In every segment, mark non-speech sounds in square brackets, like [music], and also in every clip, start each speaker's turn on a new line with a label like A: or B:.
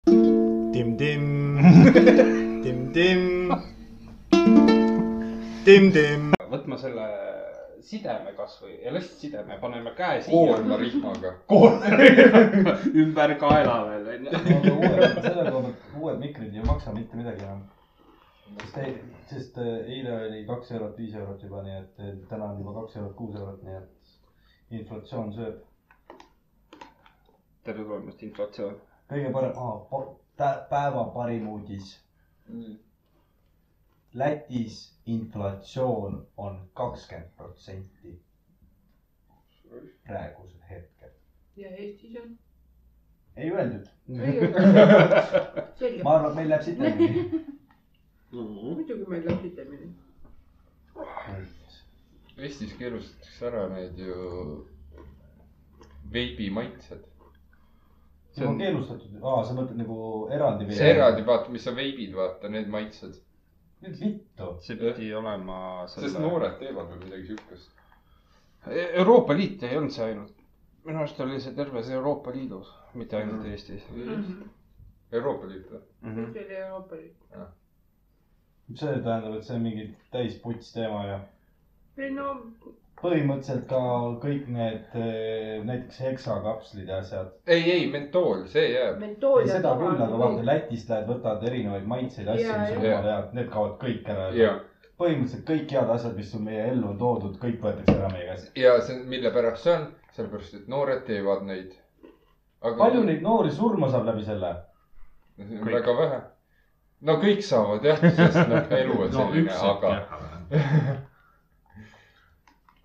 A: [laughs]
B: tim-tim , tim-tim , tim-tim .
C: võtma selle sideme kasvõi ja lihtsalt sideme , paneme käe siia . [laughs]
D: koormarihmaga .
C: koorma ümber kaela veel onju .
A: aga uued , selle koha pealt uued mikrid ei maksa mitte midagi enam . sest ei , sest äh, eile oli kaks eurot , viis eurot juba , nii et äh, täna on juba kaks eurot , kuus eurot , nii et inflatsioon sööb .
C: tere tulemast , inflatsioon .
A: kõige parem , aa , päeva parim uudis . Lätis inflatsioon on kakskümmend protsenti praegusel hetkel .
E: ja Eestis on .
A: ei öeldud ,
E: selge
A: ma , arvan , et meil läheb siit läbi .
D: [laughs]
E: muidugi meil läheb sitemini .
D: Eestis keelustatakse ära need ju veibimaitsed .
A: see on keelustatud , aa , sa mõtled nagu eraldi
D: see eraldi , vaata , mis on veibid , vaata need maitsed ,
A: nüüd vittu .
C: see pidi olema
D: sest
C: selle .
D: noored teevad veel midagi siukest .
C: E-, Euroopa Liit ei olnud see ainult . minu arust oli see terves Euroopa Liidus , mitte ainult Eestis .
D: Euroopa Liit või ?
C: Mhm.
E: kõik oli Euroopa Liit .
A: see tähendab , et see on mingi täis puts teema ja
E: ei no ,
A: põhimõtteliselt ka kõik need eh, näiteks heksakapslid ja asjad .
D: ei , ei mentool , see jääb .
E: mentool ja
A: seda küll , aga vaata . Lätist lähed , võtad erinevaid maitseid , asju , mis on
D: Jaa,
A: jumala head , need kaovad kõik ära .
D: ja ,
A: põhimõtteliselt kõik head asjad , mis on meie ellu on toodud , kõik võetakse ära meie käest .
D: ja see , mille pärast see on , sellepärast , et noored teevad neid .
A: palju
D: [laughs]
A: neid noori surma saab läbi selle ?
D: neid ? väga vähe . no kõik saavad jah , sest noh , elu on selline , aga , [laughs]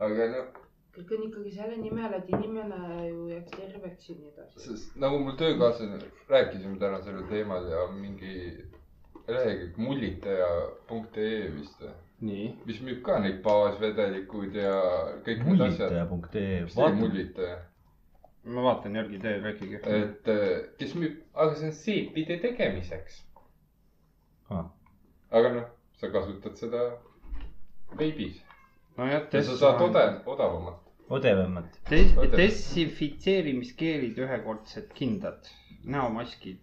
D: aga noh ,
E: kõik on ikkagi selle nimel , et inimene ju jääks terveks ja nii edasi .
D: sest nagu mul töökaaslane , rääkisime täna sellel teemal ja mingi lehekülg mullitaja.ee vist või ,
C: nii .
D: mis müüb ka neid baasvedelikud ja kõik need asjad .
A: mullitaja.ee ,
D: mis teeb
A: vaata ,
D: mullitaja ,
C: ma vaatan järgi , tee rääkige .
D: et eh, kes müüb , aga see on seepide tegemiseks
A: Ah. .
D: aga noh , sa kasutad seda veebis
C: nojah ,
D: ja sa saad odav , odavamalt .
A: odavamad .
C: Des-
D: Oota.
C: desinfitseerimiskeelid , ühekordsed kindad , näomaskid .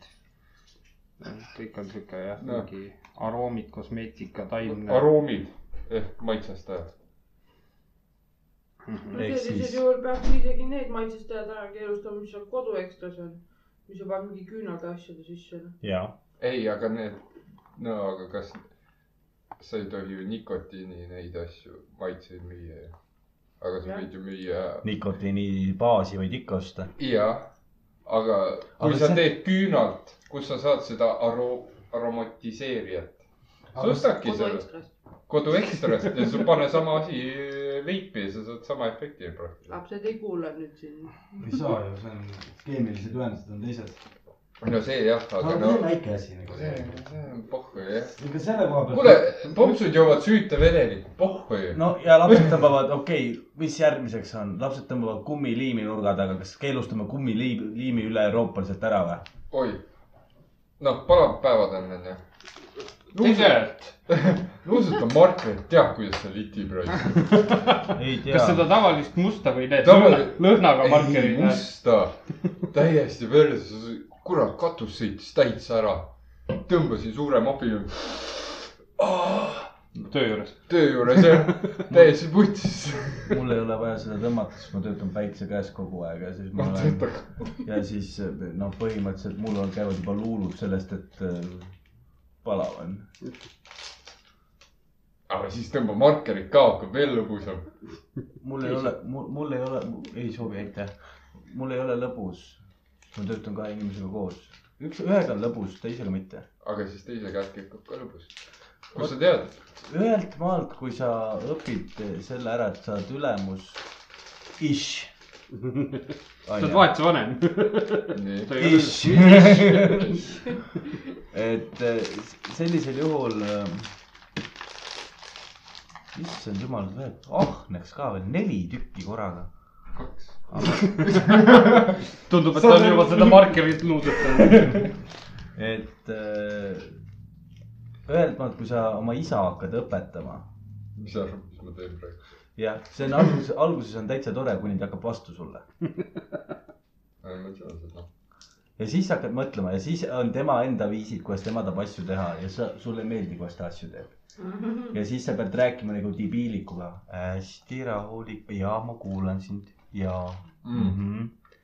C: kõik on sihuke jah
D: No.
C: no. , mingi aroomid , kosmeetika , taimne .
D: aroomid ehk maitsestajad .
E: no
C: Mhm.
A: Ehk
E: sellisel
A: siis-
E: juhul peaks isegi need maitsestajad ära keelustama , mis seal koduekstras on , mis sa paned mingi küünlaga asjade sisse .
A: jaa .
D: ei , aga need , no aga kas , sa ei tohi ju nikotiini neid asju , maitseid müüa ju . aga sa
E: Jah.
D: võid ju müüa ,
A: nikotiinibaasi võid ikka osta .
D: jaa , aga kui
A: Aga
D: sa
A: see-
D: teed küünalt , kus sa saad seda aro- , aromatiseerijat . sa
A: Aga
D: ostadki selle
E: koduekstrast ,
D: kodu ekstrast ja sul pane sama asi veipi ja sa saad sama efekti praktiliselt .
E: lapsed ei kuule nüüd siin .
A: ei saa ju , see on , keemilised ühendused on teised .
D: no see jah , aga
A: aga
D: no
A: see on väike asi nagu
D: see , see on pohhu jah .
A: ega selle koha pealt .
D: kuule , popsud joovad süüta vedelikku , pohhu ju .
F: no ja lapsed tõmbavad , okei okay, , mis järgmiseks on , lapsed tõmbavad kummiliimi nurga taga , kas keelustame kummiliimi liimi üle-euroopaliselt ära või ?
D: oi , noh , palapäevad on onju .
C: tegelikult ,
D: luusud on markerid , teab , kuidas see litib raisk .
F: ei
C: kas
F: tea ,
C: seda tavalist musta või need
D: Tavali-
C: lõhna- lõhnaga
D: ei
C: markerid ?
D: musta , täiesti versus , kurat , katus sõitis täitsa ära . tõmbasin suure mopi .
C: töö juures .
D: töö juures jah , täiesti putsis .
F: mul ei ole vaja seda tõmmata , sest ma töötan päikse käes kogu aeg ja siis ma olen ja siis noh , põhimõtteliselt mul on , käivad juba luulud sellest , et äh, palav on .
D: aga siis tõmba markerid ka , hakkab veel lõbusam .
F: mul ei ole , mul , mul ei ole , ei soovi , aitäh . mul ei ole lõbus . ma töötan kahe inimesega koos . üks , ühega on lõbus , teisega mitte .
D: aga siis teise käest kipub ka lõbus . kust sa tead ?
F: ühelt maalt , kui sa õpid selle ära , et sa oled ülemus , ish .
C: sa oled vahetuse vanem .
D: nii ,
F: ish . et eh, sellisel juhul . issand jumal , ahneks ka veel neli tükki korraga .
D: kaks .
C: tundub , et ta on juba seda markerit nuudutanud .
F: et eh, ühelt maalt , kui sa oma isa hakkad õpetama ,
D: mis sa arvad , mis ma teen praegu ?
F: jah , see on alguses , alguses on täitsa tore , kuni ta hakkab vastu sulle .
D: ma ei tea seda .
G: ja siis sa hakkad mõtlema ja siis on tema enda viisid , kuidas tema tahab asju teha ja sa , sulle ei meeldi , kuidas ta asju teeb . ja siis sa pead rääkima nagu debiilikuga . hästi rahulik ja ma kuulan sind ja mm. .
D: mm. .
G: -hmm.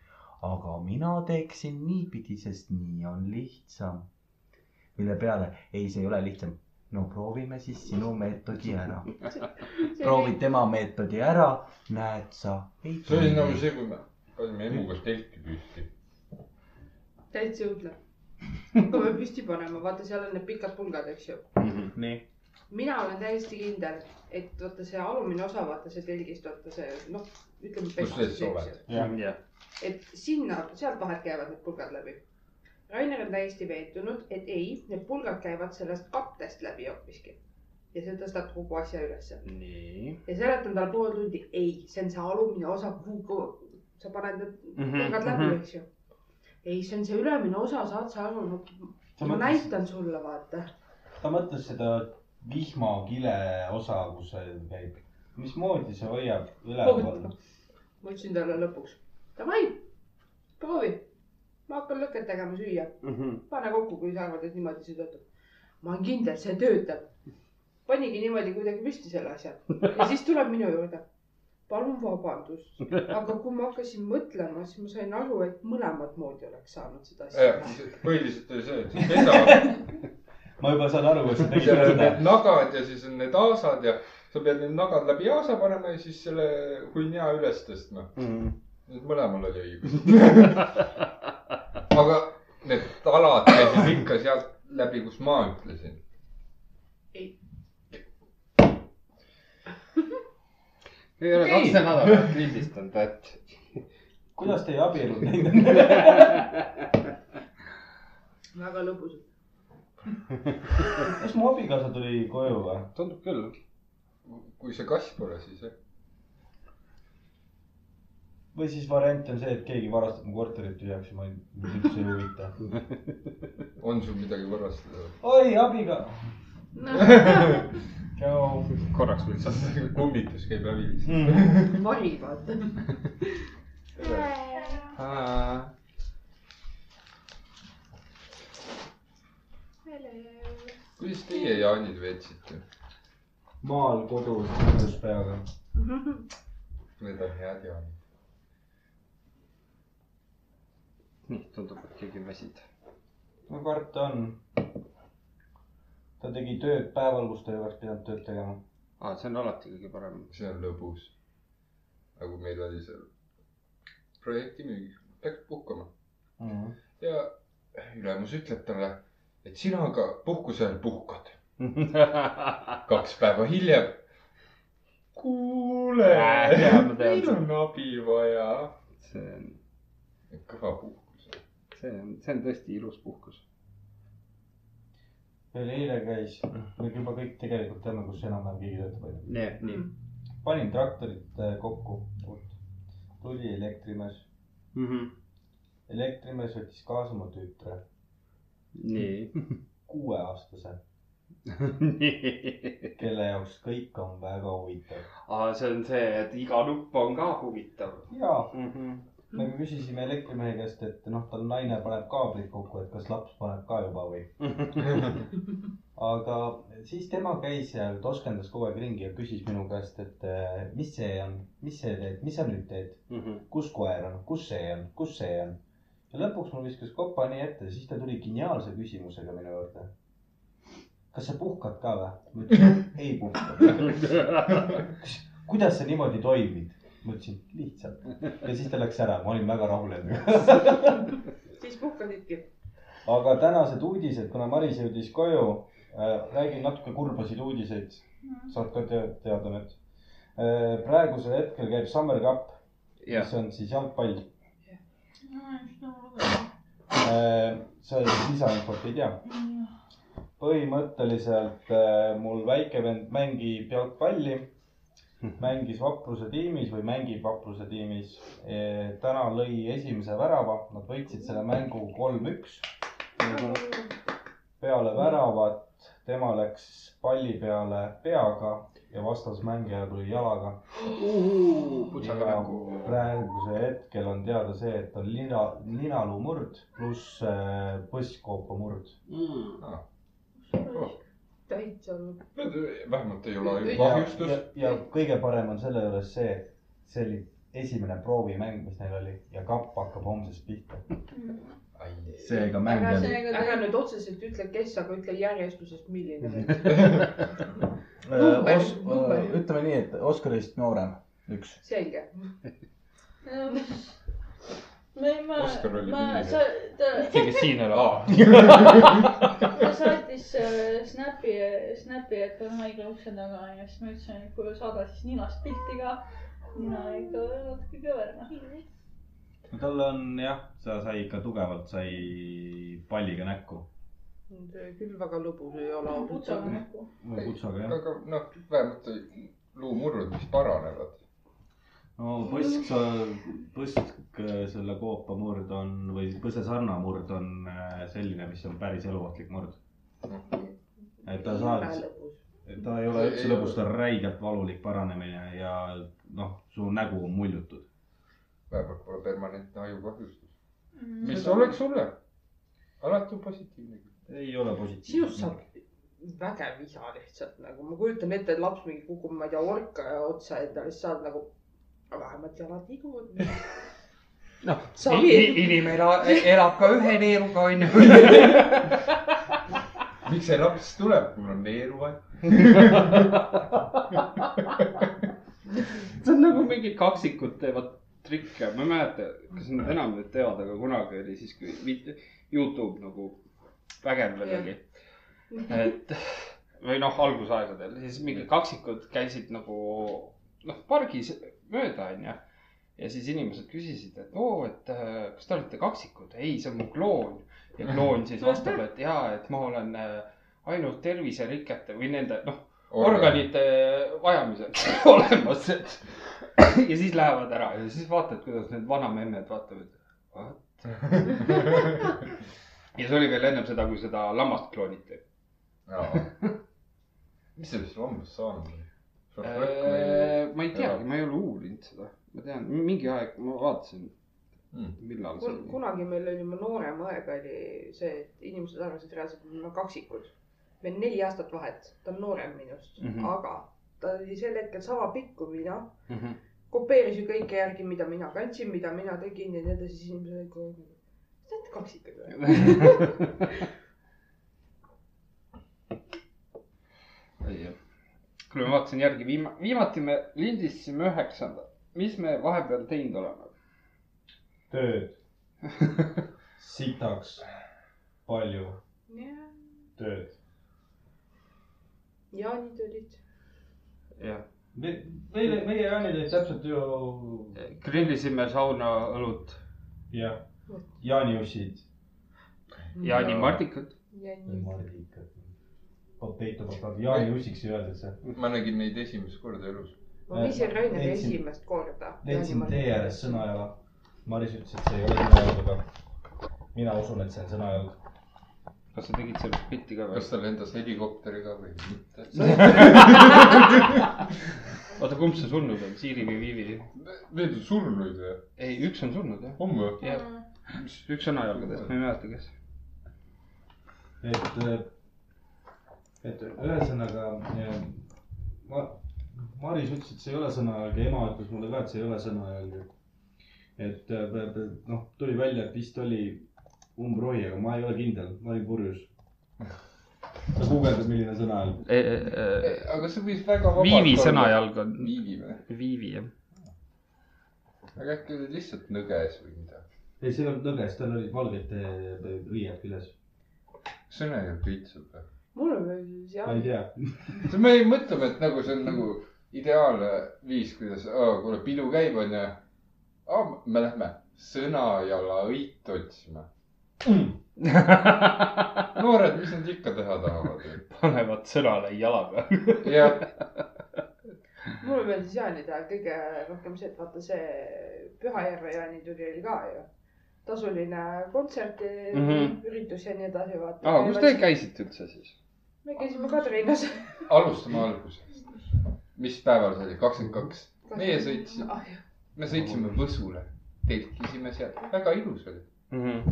G: aga mina teeksin niipidi , sest nii on lihtsam . mille peale , ei , see ei ole lihtsam . no proovime siis sinu meetodi ära . proovid tema meetodi ära , näed sa .
D: see oli nagu see , kui me panime emuga telki püsti .
E: täitsa õudne . hakkame püsti panema , vaata , seal on need pikad pulgad , eks ju .
C: Mhm.
G: nii .
E: mina olen täiesti kindel , et vaata see alumine osa , vaata see telgist , vaata see noh , ütleme .
D: Kus sa siis oled? ?
C: Mm, jah ,
E: et sinna , sealt vahelt käivad need pulgad läbi . Rainer on täiesti veendunud , et ei , need pulgad käivad sellest kattest läbi hoopiski ja see tõstab kogu asja ülesse
C: nii
E: ja seletan talle pool tundi , ei , see on see alumine osa , kuhu sa paned need
F: Mhm,
E: pulgad läbi , eks ju . ei , see on see ülemine osa , saad sa aru , no ma näitan sulle , vaata .
F: ta mõtles seda vihmakile osa , kus see käib . mismoodi see hoiab üleval ?
E: ma ütlesin talle lõpuks , davai , proovi , ma hakkan lõket tegema , süüa ,
C: Mhm.
E: pane kokku , kui sa arvad , et niimoodi see töötab . ma olen kindel , see töötab . panigi niimoodi kuidagi püsti selle asja ja siis tuleb minu juurde . palun vabandust , aga kui ma hakkasin mõtlema , siis ma sain aru , et mõlemat moodi oleks saanud seda asja .
D: põhiliselt oli see , et see pesa ,
F: ma juba saan aru ,
D: [laughs]
F: kas sa tegid
D: seal on
F: seda
D: need . nagad ja siis on need aasad ja sa pead need nagad läbi aasa panema ja siis selle hunnia üles tõstma .
C: Mhm.
D: Need mõlemal oli õigus . aga need alad käisid ikka sealt läbi , kus ma ütlesin .
C: ei ole
D: Okei.
C: kaks nädalat lindistanud , et
F: kuidas teie abielu läinud ?
E: väga lõbus .
F: kas mu abikaasa tuli koju või ?
C: tundub küll .
D: kui see kass pole , siis jah .
F: või siis variant on see , et keegi varastab mu korterit tühjaks ja ma ei , mind üldse ei huvita .
D: on sul midagi varastada ?
F: oi , abikaasa .
E: [laughs]
F: tšau .
C: korraks lihtsalt .
D: [laughs] kummitus käib läbi .
E: vari , vaata .
D: kuidas teie jaanid veetsite ?
F: maal kodus mõnuspäevaga .
D: Need on head jaanid .
C: nii , tundub , et keegi on väsinud .
F: no karta on . ta tegi tööd päeval , kus ta ei oleks pidanud tööd tegema .
C: aa , see on alati kõige [laughs] parem .
D: see on lõbus . nagu meil oli seal projekti müügis , läks puhkama
F: Mhm.
D: ja ülemus ütleb talle , et sina ka puhkuse ajal puhkad . kaks päeva hiljem . kuule
C: Äh, tean, ma , tean
D: meil on abi vaja .
C: see on ,
D: kõva puhkus .
C: see on , see on tõesti ilus puhkus .
F: veel eile käis , me juba kõik tegelikult teame , kus enam-vähem keegi töötab , onju .
C: nii , nii
F: panin traktorit äh, kokku , tuli elektrimees ,
C: Mhm.
F: elektrimees võttis kaasa oma tütre ,
C: nii .
F: kuueaastase ,
C: [laughs] nii . [laughs]
F: kelle jaoks kõik on väga huvitav .
C: aa , see on see , et iga nupp on ka huvitav
F: ja
C: mm . -hmm.
F: me küsisime elektrimehe käest , et noh , tal naine paneb kaablid kokku , et kas laps paneb ka juba või , aga siis tema käis seal , toskendas kogu aeg ringi ja küsis minu käest , et äh, mis see on , mis see teed , mis sa nüüd teed ,
C: Mm [laughs] -hmm.
F: kus koer on , kus see on , kus see on . ja lõpuks mul viskas kopa nii ette , siis ta tuli geniaalse küsimusega minu juurde . kas sa puhkad ka või ? ma ütlesin , ei puhka . kuidas sa niimoodi toimid ? ma ütlesin , lihtsalt . ja siis ta läks ära , ma olin väga rahul endaga .
E: siis puhkasidki .
F: aga tänased uudised , kuna Maris jõudis koju äh, , räägin natuke kurbasid uudiseid . saad ka te teada nüüd äh, . praegusel hetkel käib Summer Cup ,
C: jah
F: mis , on siis jalgpall Äh, see lisainfot ei tea . põhimõtteliselt äh, mul väike vend mängib jalgpalli , mängis Vapruse tiimis või mängib Vapruse tiimis . täna lõi esimese värava , nad võitsid selle mängu kolm-üks . peale väravat tema läks palli peale peaga ja vastasmängija tuli jalaga .
D: putsaga
F: Jaa.
D: nägu .
F: praegusel hetkel on teada see , et on lina , linaluu murd pluss äh, põsskoopa murd .
E: täitsa .
D: vähemalt ei ole
E: Ja-
F: ja,
D: kahjustus
F: ja, . ja kõige parem on selle juures see , see oli esimene proovimäng , mis neil oli ja kapp hakkab homsest pihta .
H: seega mäng
E: ära ,
H: on .
E: ära nüüd otseselt ütle , kes , aga ütle järjestuses , milline .
F: Mhm. [laughs]
E: number-
H: Äh, Os- ,
E: number-
H: ütleme nii , et Oscarist noorem , üks .
E: selge .
I: ma ei , ma
D: Oskar oli ,
I: ma ,
D: milline?
I: sa , ta ,
C: see , kes siin elab .
I: ta saatis äh, Snapi , Snapi , et on haigla ukse taga ja siis ma ütlesin , et kui saada siis ninast pilti ka . nina ikka natuke noh. kõverama .
F: tal on jah , ta sai ikka tugevalt , sai palliga näkku
E: küll väga lõbus ei ole .
I: kutsume kokku .
F: või kutsaga jah .
D: aga noh , vähemalt ei- luumurrud , mis paranevad .
F: no põsk , põsk , selle koopa murd on või põsesarna murd on äh, selline , mis on päris eluohtlik murd .
D: Noh,
F: et ta saalis , ta ei ole
D: Ei
F: üldse
D: ole.
F: lõbus , ta on räigelt valulik paranemine ja noh , su nägu on muljutud .
D: vähemalt pole permanentne ajukahjustus . mis
I: Mm.
D: oleks sulle ? alati on positiivne .
F: ei ole positiivne .
E: sinust saab vägev isa lihtsalt nagu , ma kujutan ette , et laps mingi kukub , ma ei tea , orka otsa endale , siis saad nagu , vähemalt jalad
F: [laughs]
E: liiguvad .
C: noh ,
E: Sa
C: in-
E: olid-
C: inimene elab ka ühe neeruga , onju .
D: miks see laps tuleb , mul on neeru vaja .
C: see on nagu mingid kaksikud teevad trikke , ma ei mäleta , kas nad enam nüüd teevad , aga kunagi oli siis , kui vi- Youtube nagu vägev
E: Jah.
C: oli . et või noh , algusaegadel siis mingid kaksikud käisid nagu noh , pargis mööda , onju . ja siis inimesed küsisid , et oo , et äh, kas te olete kaksikud ? ei , see on mu kloon . ja kloon siis vastab , et jaa , et ma olen äh, ainult terviserikete või nende noh , organite vajamiseks [laughs] olemas , et ja siis lähevad ära ja siis vaatad , kuidas need vanamemmed vaatavad . [laughs] ja see oli veel ennem seda , kui seda lammast klooniti .
D: [laughs] mis sellest lambast saanud on ? Äh,
C: Äh, ma ei teagi , ma ei ole uurinud seda , ma tean , mingi aeg ma vaatasin Hmm.
D: Mm. ,
C: millal see oli .
E: kunagi meil oli , mu noorem aeg oli see , et inimesed arvasid reaalselt , et me oleme kaksikud . meil on neli aastat vahet , ta on noorem minust mm ,
C: Mhm.
E: -hmm. aga ta oli sel hetkel sama pikk kui mina .
C: Mhm.
E: kopeeris ju kõike järgi , mida mina kandsin , mida mina tegin ja nii edasi , siis inimesed olid kogu aeg nagu , kas te olete kaksikud või ?
C: Ei, jah. kuule , ma vaatasin järgi , viima- , viimati me lindistasime üheksanda , mis me vahepeal teinud oleme ?
F: tööd sitaks , palju tööd .
E: jaanid olid .
C: jah ,
F: me , meile , meie Jaanil olid täpselt ju
C: grillisime sauna õlut ,
F: jah , jaaniussid .
C: jaanimardikad .
F: mardikad , potato , potato , jaaniussiks ei öeldud see .
D: ma nägin neid esimest korda elus .
E: ma viisin Rainile
F: Leidsin-
E: esimest korda .
F: leidsin tee ääres sõnajala . Maris ütles , et see ei ole sõnajalg , aga mina usun , et see on sõnajalg .
C: kas sa tegid sellest pilti ka või
D: kas ? ta lendas helikopteriga või mitte ? [laughs]
C: oota , kumb see surnud on , Siiri või Viivi ?
D: Need on surnuid või ?
C: ei , üks on surnud jah ,
D: on või ?
C: Jah. üks sõnajalgadest , ma ei mäleta , kes .
F: et , et ühesõnaga eh, ma , Maris ütles , et see ei ole sõnajalg ja ema ütles mulle ka , et see ei ole sõnajalg . et eh, pe- pe- noh , tuli välja , et vist oli umbrohi , aga ma ei ole kindel , ma olin purjus . sa guugeldad , milline sõnajalg .
D: Äh, aga see võis väga vabalt
C: E, Viivi . sõnajalg on
D: Viivi või ?
C: Viivi jah . [laughs]
D: aga äkki oli lihtsalt nõges või midagi ?
F: ei , see ei olnud nõges , tal olid valged eh, pe- õied küljes .
D: sõnajalg õitseb või ?
E: mul on veel
F: ma ei
E: jaanid .
F: tea ,
D: see , me mõtleme , et nagu see on nagu ideaalne viis , kuidas , kuule , pidu käib , onju . me lähme sõnajala õit otsima . noored , mis nad ikka teha tahavad ?
C: panevad sõnale jalaga . [laughs]
D: jah ,
E: mulle meeldis jaanide ajal kõige rohkem see , et vaata see Pühajärve jaanitüli oli ka ju . tasuline kontsert mm ,
C: Mhm.
E: -hmm. üritus ja nii edasi , vaata .
C: aa , kus te ? käisite üldse siis ?
E: me käisime Kadrinas .
D: alustame algusest . mis päeval see oli , kakskümmend kaks ? meie sõitsime ,
E: Ah,
D: me sõitsime Võsule , telkisime seal , väga ilus oli .
C: Mhm.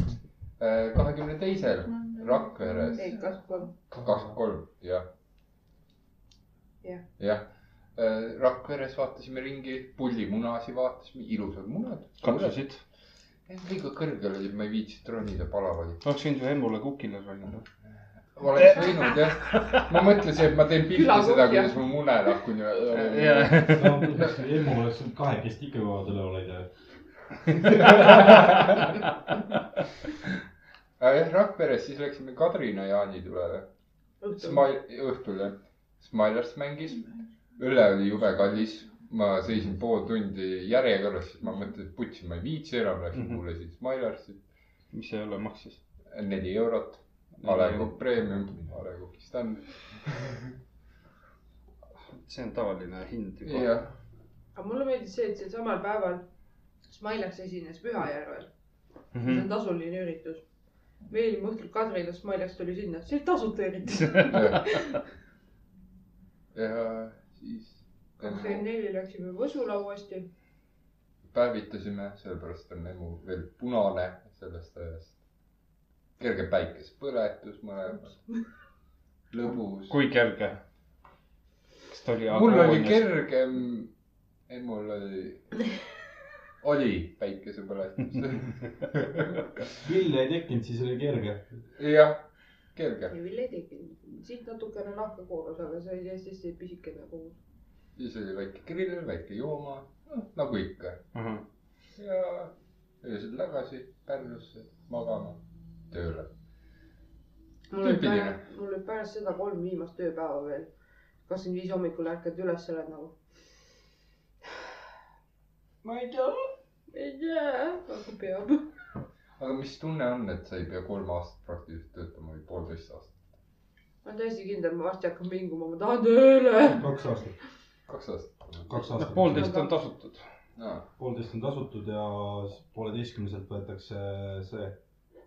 D: kahekümne teisel , Rakveres
E: ei , kasvab .
D: kakskümmend kolm , jah .
E: Jah.
D: jah , Rakveres vaatasime ringi , pullimunasi vaatasime , ilusad munad .
C: katsusid ,
D: liiga kõrgel olid , ma ei viitsinud ronida , palav oli .
C: oleks võinud ju emmule kukile ronida .
D: oleks võinud jah , ma mõtlesin , et ma teen pilti
E: Külakohv,
D: seda ,
E: jah.
D: kuidas ma mune lahkun ja .
C: [laughs]
F: emu oleks võinud kahekesti ikka kohe tuleval aida .
D: aga jah , Rakveres siis läksime Kadrina jaanitulele . Smile , õhtul jah . Smilers mängis , õlle oli jube kallis , ma seisin pool tundi järjekorras , siis ma mõtlesin , et putsi , ma ei viitsi enam , läksin
C: Mhm.
D: kuulasin Smilersit ,
C: mis see jälle maksis ?
D: neli eurot , A Le Coq Premium , A Le Coq Stand .
C: see on tavaline hind juba .
D: jah , [laughs]
E: aga mulle meeldis see , et sel samal päeval Smileks esines Pühajärvel , see
C: Mhm.
E: on tasuline üritus . me eelmine õhtul Kadrinas , Smileks tuli sinna , see oli tasuta üritus .
D: jah . ja siis
E: kakskümmend neli läksime Võsula uuesti ,
D: päevitasime , sellepärast on emu veel punane sellest ajast . kerge päikesepõletus mõlemas , lõbus .
C: [laughs] kui kerge ? kas ta oli
D: mul oli ? kergem , ei mul oli , oli [laughs] päikesepõletus .
F: lille ei tekkinud , siis oli kerge .
D: jah , kerge ,
E: Neville ei tekkinud , siit natukene nahka koorus , aga see oli hästi hästi pisikene kogus .
D: siis oli väike grill , väike jooma , noh nagu ikka
C: Mhm.
D: ja öösel tagasi Pärnusse magama , tööle .
E: mul oli
D: Tüüpiline.
E: pärast , mul oli pärast seda kolm viimast tööpäeva veel . kakskümmend viis hommikul ärkad üles , oled nagu . [sighs] ma ei tea . ei tea , aga peab .
D: aga mis tunne on , et sa ei pea kolm aastat praktiliselt töötama või poolteist aastat ?
E: ma olen täiesti kindel , ma varsti hakkan vinguma , ma tahan tööle .
F: kaks aastat ,
D: kaks aastat .
F: kaks aastat .
C: Noh, poolteist on tasutud .
D: no
F: poolteist on tasutud ja s- pooleteistkümneselt võetakse see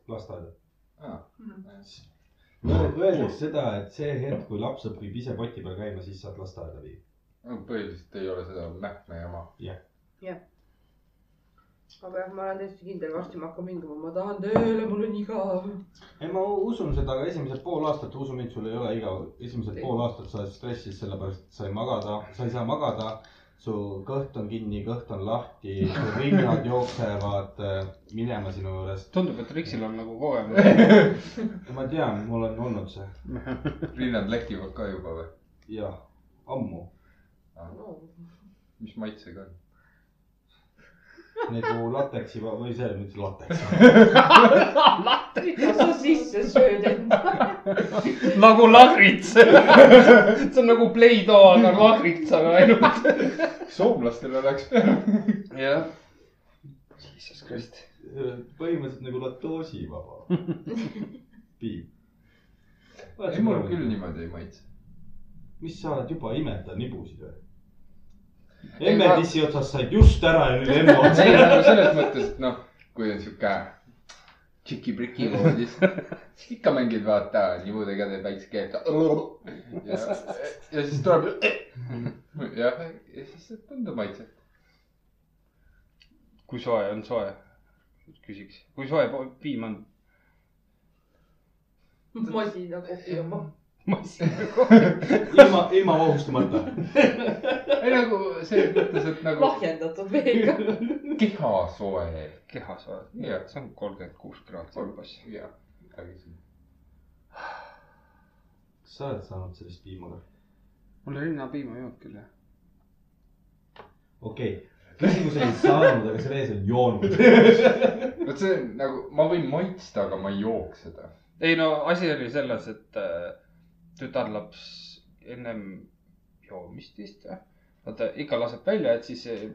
F: lasteaeda .
D: ah, ,
F: Öeldakse seda , et see hetk , kui laps õpib ise poti peal käima , siis saad lasteaeda viia .
D: põhiliselt ei ole seda mähkme jama .
E: aga jah , ma olen täiesti kindel , varsti ma hakkan vinguma , ma tahan tööle , mul on igav .
F: ei , ma usun seda , aga esimesed pool aastat , usu mind , sul ei ole igav , esimesed
E: Ei.
F: pool aastat sa oled stressis , sellepärast et sa ei magada , sa ei saa magada , su kõht on kinni , kõht on lahti , su rinnad jooksevad äh, minema sinu juurest .
C: tundub , et Riksil on nagu [laughs] kogemus .
F: ma tean , mul on olnud see
D: rinnad lekivad ka juba või ?
F: ja ammu
D: mis maitsega on ?
F: nagu lateksi va- või see , mitte lateks ,
E: mida sa sisse sööd endale ?
C: nagu lahrits . [laughs] see on nagu Play-Doh , aga lahrits , aga [laughs] ainult .
D: soomlastele läks
C: jah . Jesus Christ .
F: põhimõtteliselt nagu latoosivaba piim .
D: ei , mul küll . niimoodi ei maitse .
F: mis sa oled juba imetav nibusid või ?
D: Ei,
F: emme
D: ma-
F: dissi otsast said just ära ja nüüd emme
D: ei ,
F: otsa .
D: nagu selles mõttes , et noh , kui on sihuke tšiki-priki voodis , ikka mängid vaata nibudega teeb väikse keelt . ja ja siis tuleb . jah , ja siis ei tunda maitset .
C: kui soe on soe ? küsiks , kui soe po- piim on ?
E: masinakohvi oma .
C: ma ei tea .
F: ilma , ilma vahustamata .
D: ei nagu selles mõttes , et nagu
E: lahjendatud veega .
D: keha soe .
C: keha soe .
D: Jah.
C: see on kolmkümmend kuus kraadi umbes .
D: jah , midagi siin .
F: kas sa oled saanud sellist piima ka ?
C: mul rinnapiima ei olnud küll jah .
F: okei okay. , küsimus ei saanud , aga see mees on joonud .
D: [laughs] vot see on nagu , ma võin maitsta , aga ma ei jooks seda .
C: ei no asi oli selles , et äh, tütarlaps ennem joomist vist või , vaata ikka laseb välja , et siis äh,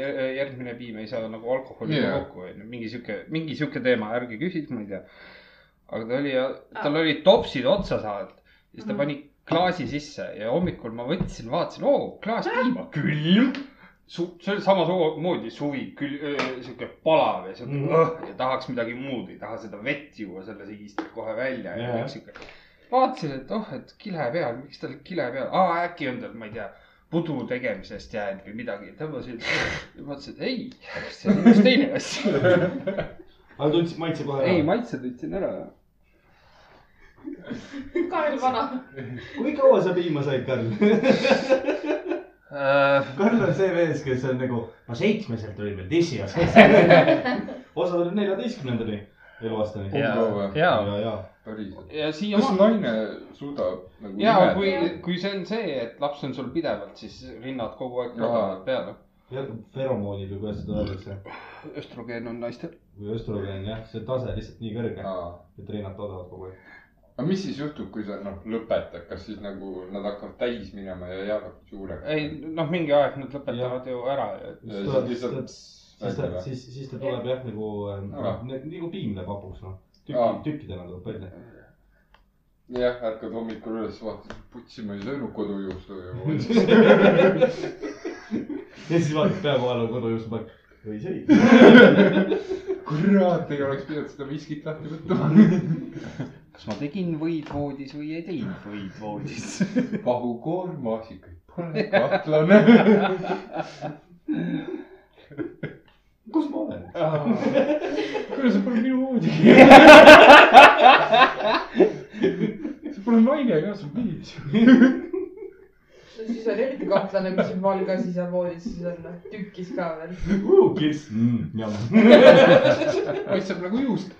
C: jä- järgmine piim ei saa nagu alkoholiga
D: Jaa.
C: yeah. kokku onju , mingi sihuke , mingi sihuke teema , ärge küsige , ma ei tea . aga ta oli , tal olid topsid otsa saanud ja siis ta
E: Mhm.
C: pani klaasi sisse ja hommikul ma võtsin , vaatasin , oo , klaas piima , külm . Su- , see oli samamoodi suvi , küll , sihuke palav ja sihuke
F: Mhm.
C: mm. ja tahaks midagi muud , ei taha seda vett juua , selle see kistab kohe välja ja
F: Jajah.
C: kõik sihuke . vaatasin , et oh , et kile peal , miks tal kile peal , aa äkki on tal , ma ei tea , pudu tegemisest jäänud või midagi , tõmbasin , mõtlesin , et ei , see on üks teine asi .
F: aga tundsid maitse kohe
C: ei ,
F: ära ?
C: maitse tundsin ära .
E: Karel Vana .
F: kui kaua sa piima said , Karl ? Karl on see mees , kes on nagu , no seitsmeselt oli meil dissiaskas . osa oli neljateistkümnendani eluaastani .
C: ja
D: Kumb ,
C: ja ,
F: ja , ja .
D: päriselt .
C: ja
D: kas
C: siiamaani
D: naine suudab nagu
C: ja
D: imeda?
C: kui
I: Jaa. ,
C: kui see on see , et laps on sul pidevalt , siis rinnad kogu aeg
D: Jaa.
C: ladavad peale .
F: jah , feromoonid või kuidas seda öeldakse
C: östrogeen on naistel .
F: või östrogeen jah , see tase lihtsalt nii kõrge ,
D: Aa.
F: et rinnad toodavad kogu aeg .
D: aga mis siis juhtub , kui sa noh lõpetad , kas siis nagu nad hakkavad täis minema ja jäävad suureks ?
C: ei , noh , mingi aeg nad lõpetavad ju ära .
D: siis lihtsalt
F: siis ta ,
D: välja või ?
F: siis , siis ta tuleb jah nagu
D: Ära. ,
F: nagu piim läheb hapuks noh . tükki
D: Aa. ,
F: tükkidena tuleb
D: [laughs]
F: välja .
D: jah , ärkad hommikul üles , vaatad , putsi , ma ei söönud kodujuustu ju .
F: ja siis vaatad pea kohal on kodujuust , mõtled , või see .
D: kurat , ei oleks pidanud seda viskit lahti võtma .
C: kas ma tegin võid voodis või ei teinud võid [laughs] voodis ?
D: pahukoor , maasikaid pole , kahtlane .
F: kus ma olen ?
D: kuule , see pole minu voodigi . see pole naine ka , see on mees ju .
E: siis on eriti kahtlane , mis siin valga siis on voodis , siis on noh, tükis ka veel .
F: kirss .
D: paistab nagu juust .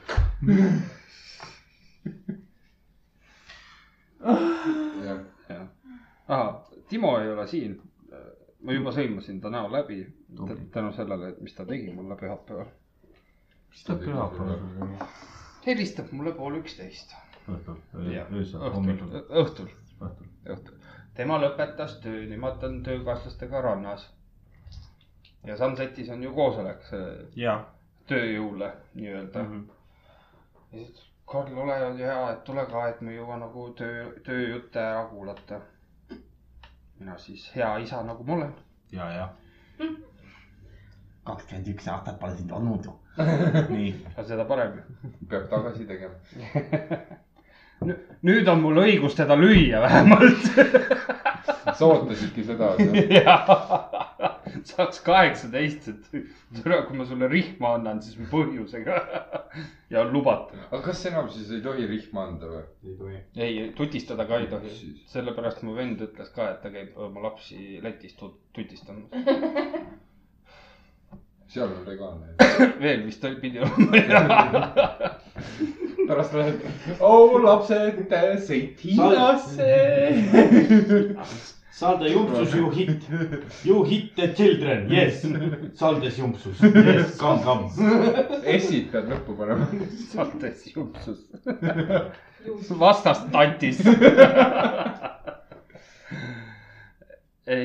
D: jah ,
C: Timo ei ole siin . ma juba sõimasin ta näo läbi
J: Tubli.
C: tä- tänu sellele , et mis ta tegi mulle pühapäeval .
J: mis ta pühapäeval sul oli ?
C: helistab mulle pool üksteist .
J: õhtul ,
C: Jah.
J: öösel ,
C: õhtul
J: hommikul ,,
C: õhtul ,
J: õhtul .
C: õhtul . tema lõpetas töö , nemad on töökaaslastega rannas . ja Sunsetis on ju koosolek see
J: jaa .
C: tööjõule nii-öelda . ja siis ütles , Karl , ole hea , et tule ka , et me ei jõua nagu töö , tööjutte ära kuulata . mina siis hea isa , nagu ma olen .
J: ja , ja .
F: Hm.
J: kakskümmend üks aastat pole sind olnud
F: [laughs]
J: ju . nii ,
C: aga seda parem .
D: peab tagasi tegema .
C: nüüd on mul õigus teda lüüa [laughs] vähemalt .
D: sa ootasidki seda , et jah ?
C: saaks kaheksateist , et türa , kui ma sulle rihma annan , siis põhjusega [laughs] ja on lubatud .
D: aga kas enam siis ei tohi rihma anda või ?
F: ei tohi .
C: ei , tutistada ka ei tohi
D: Siis. .
C: sellepärast mu vend ütles ka , et ta käib oma lapsi Lätis tut- tutistamas .
D: seal on legaalne .
C: veel vist oli- pidi olema .
D: pärast lähed , oo lapsed , sõit Hiinasse .
F: Salda jumpsus you
J: [laughs]
F: hit , you hit the children , yes . Saldes jumpsus ,
J: [laughs]
F: yes , come , come .
D: S-id pead lõppu panema .
C: saates jumpsus . vastast tantis .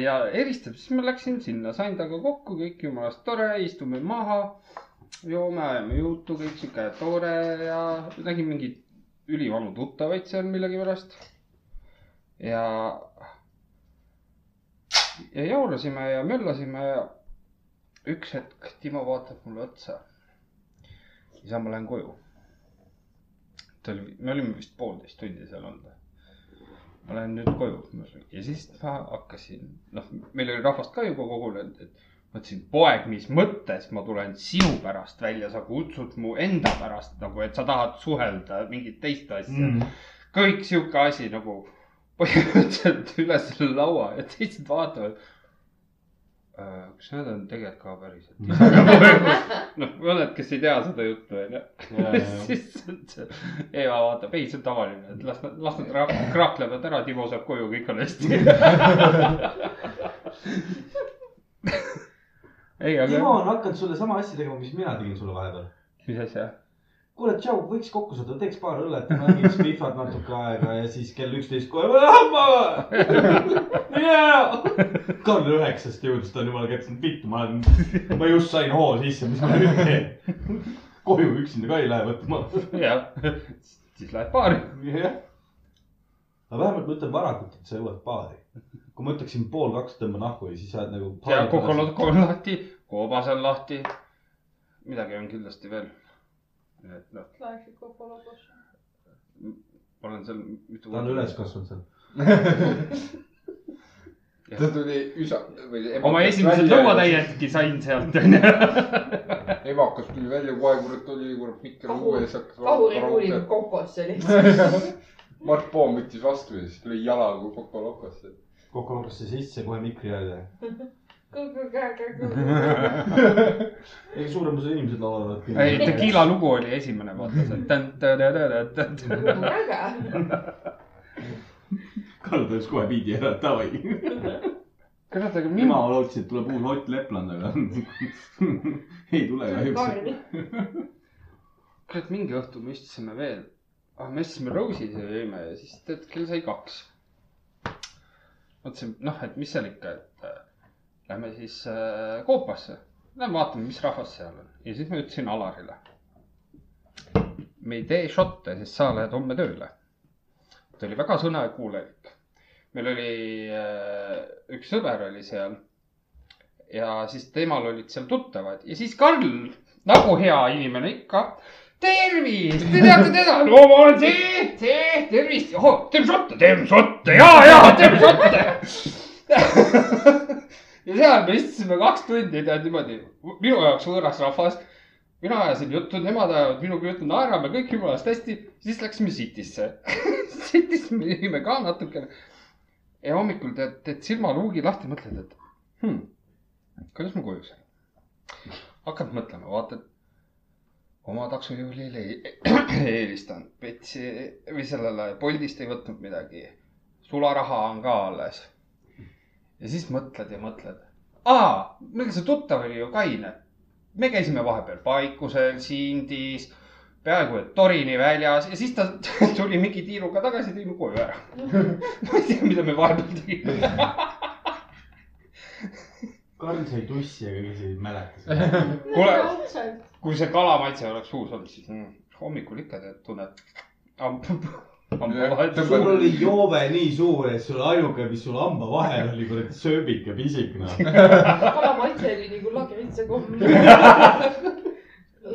C: ja helistab , siis ma läksin sinna , sain temaga kokku , kõik jumalast tore , istume maha , joome , ajame juttu , kõik sihuke tore ja nägin mingeid ülivanu tuttavaid seal millegipärast . ja , ja jaurasime ja möllasime ja üks hetk Timo vaatab mulle otsa . siis ma lähen koju ta oli , me olime vist poolteist tundi seal olnud . ma lähen nüüd koju ja siis ma hakkasin , noh , meil oli rahvast ka juba kogunenud , et mõtlesin , poeg , mis mõttes ma tulen sinu pärast välja , sa kutsud mu enda pärast nagu , et sa tahad suhelda mingit teist asja mm. . kõik sihuke asi nagu põhimõtteliselt üle selle laua ja teised vaatavad . kas need on tegelikult ka
F: [laughs]
C: päriselt ? noh , mõned , kes ei tea seda juttu , onju . [laughs] siis see- Eva vaatab , ei , see on tavaline , et las nad , las nad ra- kraaklevad ära , Timo saab koju , kõik on hästi . ei ,
F: Timo
C: aga
F: on hakanud sulle sama asja tegema , mis mina tegin sulle vahepeal .
C: mis asja ?
F: kuule , tšau , võiks kokku saada , teeks paar õllet , mängiks Fifat natuke aega ja siis kell üksteist kohe , hamma . [laughs] Karl üheksast jõudis , ta on jumala kätte saanud , vittu , ma olen , ma just sain hoo sisse , mis ma nüüd teen . koju üksinda ka ei lähe võtma .
C: jah , siis läheb baari .
F: aga vähemalt ma ütlen varakult , et sa jõuad baari . kui ma ütleksin pool kaks tõmban ahku ja siis sa oled nagu .
C: ja kokolotko on lahti , koobas on lahti . midagi on kindlasti veel . et noh ,
I: klassik Kokoloboss .
C: ma olen seal mitu
F: ta on üles kasvanud seal .
D: ta tuli üsa või
C: oma esimesed lõuatäiedki sain sealt onju .
D: emakas tuli välja kohe , kurat oli kurat mikker
E: Kahu-
D: õue ja siis hakkas
E: kahurikuuli
D: raudteed .
E: kokos oli .
D: [laughs] Mart Poom võttis vastu ja siis tuli jalaga kokolokosse .
F: kokku lukkusse sisse kohe mikri jälle . ei , suurem osa inimesed laulavad .
C: ei , Tequila lugu oli esimene , vaata see tõn-tõn-tõn-tõn-tõn .
E: väga .
K: Karl tõus kohe viidi ära , davai .
C: kurat , aga
K: mina
C: mina ,
K: lootsin , et tuleb uus Ott Lepland , aga [laughs] ei tule kahjuks .
I: Kaarel ,
C: kurat mingi õhtu me istusime veel , ah me istusime Rose'is ja jõime ja siis tead kell sai kaks . mõtlesin , noh , et mis seal ikka , et äh, lähme siis äh, Koopasse , lähme vaatame , mis rahvas seal on ja siis ma ütlesin Alarile . me ei tee šotte , sest sa lähed homme tööle . ta oli väga sõnakuulelik . meil oli äh, üks sõber oli seal ja siis temal olid seal tuttavad ja siis Karl , nagu hea inimene ikka tervist , te teate teda , no Nagu ma olen see , see , tervist , teeme šotte , teeme šotte ja , ja teeme šotte . [laughs] ja seal me istusime kaks tundi tead niimoodi , minu jaoks võõras rahvas . mina ajasin juttu , nemad ajavad minuga juttu , naerame kõik jumalast hästi , siis läksime [laughs] City'sse . City's me jõime ka natukene . ja hommikul tead , teed silmaluugi lahti , mõtled , et hmm, kuidas ma koju sain . hakkad mõtlema , vaatad oma taksojuhile [coughs] ei ei eelistanud , Petsi või sellele Boltist ei võtnud midagi . sularaha on ka alles . ja siis mõtled ja mõtled . aa , meil see tuttav oli ju kaine . me käisime vahepeal Paikusel , Sindis , peaaegu et Torini väljas ja siis ta [laughs] tuli mingi tiiruga tagasi , tõi mu koju ära . [laughs] ma ei tea , mida me vahepeal tegime .
F: Karl sai tussi , aga ise ei mäleta seda .
C: Kuule-
I: ausalt ,
C: kui see kalamaitse oleks suus olnud , siis mm, hommikul ikka tead , tunned .
F: sul oli joove nii suur , et sul ainuke , mis sul hamba vahel oli , kuradi sööbik ja pisik , noh .
E: kalamaitse oli nagu lagritsa komm .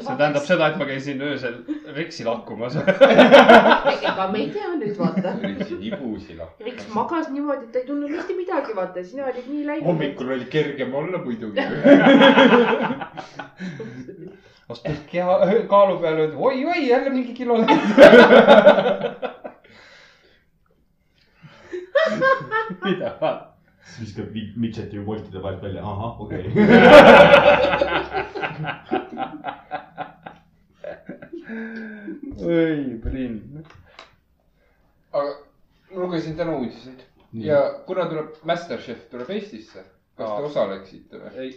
C: see tähendab seda , et ma käisin öösel Riksi [laughs] lakkumas .
E: ega me ei tea nüüd , vaata .
D: rikisin ibusi noh. lahti .
E: Riks magas niimoodi , et ta ei tundnud mitte midagi , vaata , sina olid nii läinud .
D: hommikul oli kergem olla muidugi .
C: astun keha , kaalu peale , oi-oi , jälle mingi [laughs] kilo läinud . mida ?
F: siis viskab vi- midžeti ju voltide vahelt välja , ahah , okei okay. .
C: oi , Priin .
D: [laughs] aga ma lugesin täna uudiseid ja kuna tuleb Masterchef tuleb Eestisse , kas
C: Aa.
D: te osaleksite või ?
C: ei ,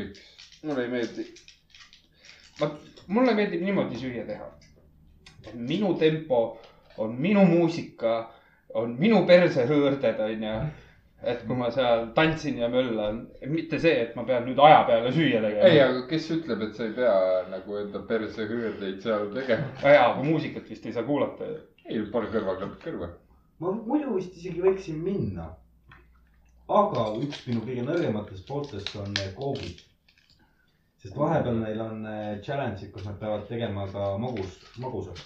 D: miks ?
C: mulle ei meeldi . ma , mulle meeldib niimoodi süüa teha . minu tempo on minu muusika , on minu persehõõrded , onju . et kui ma seal tantsin ja möllan , mitte see , et ma pean nüüd aja peale süüa
D: ei ,
C: tegema .
D: aga kes ütleb , et sa ei pea nagu enda persehõõrdeid seal tegema ?
C: aja , aga muusikat vist ei saa kuulata ju .
D: ei , pane kõrvaklapid kõrva .
F: ma muidu vist isegi võiksin minna . aga üks minu kõige nõrgematest pooltest on eh, koogid . sest vahepeal neil on eh, challenge'id , kus nad peavad tegema ka magust , magusat .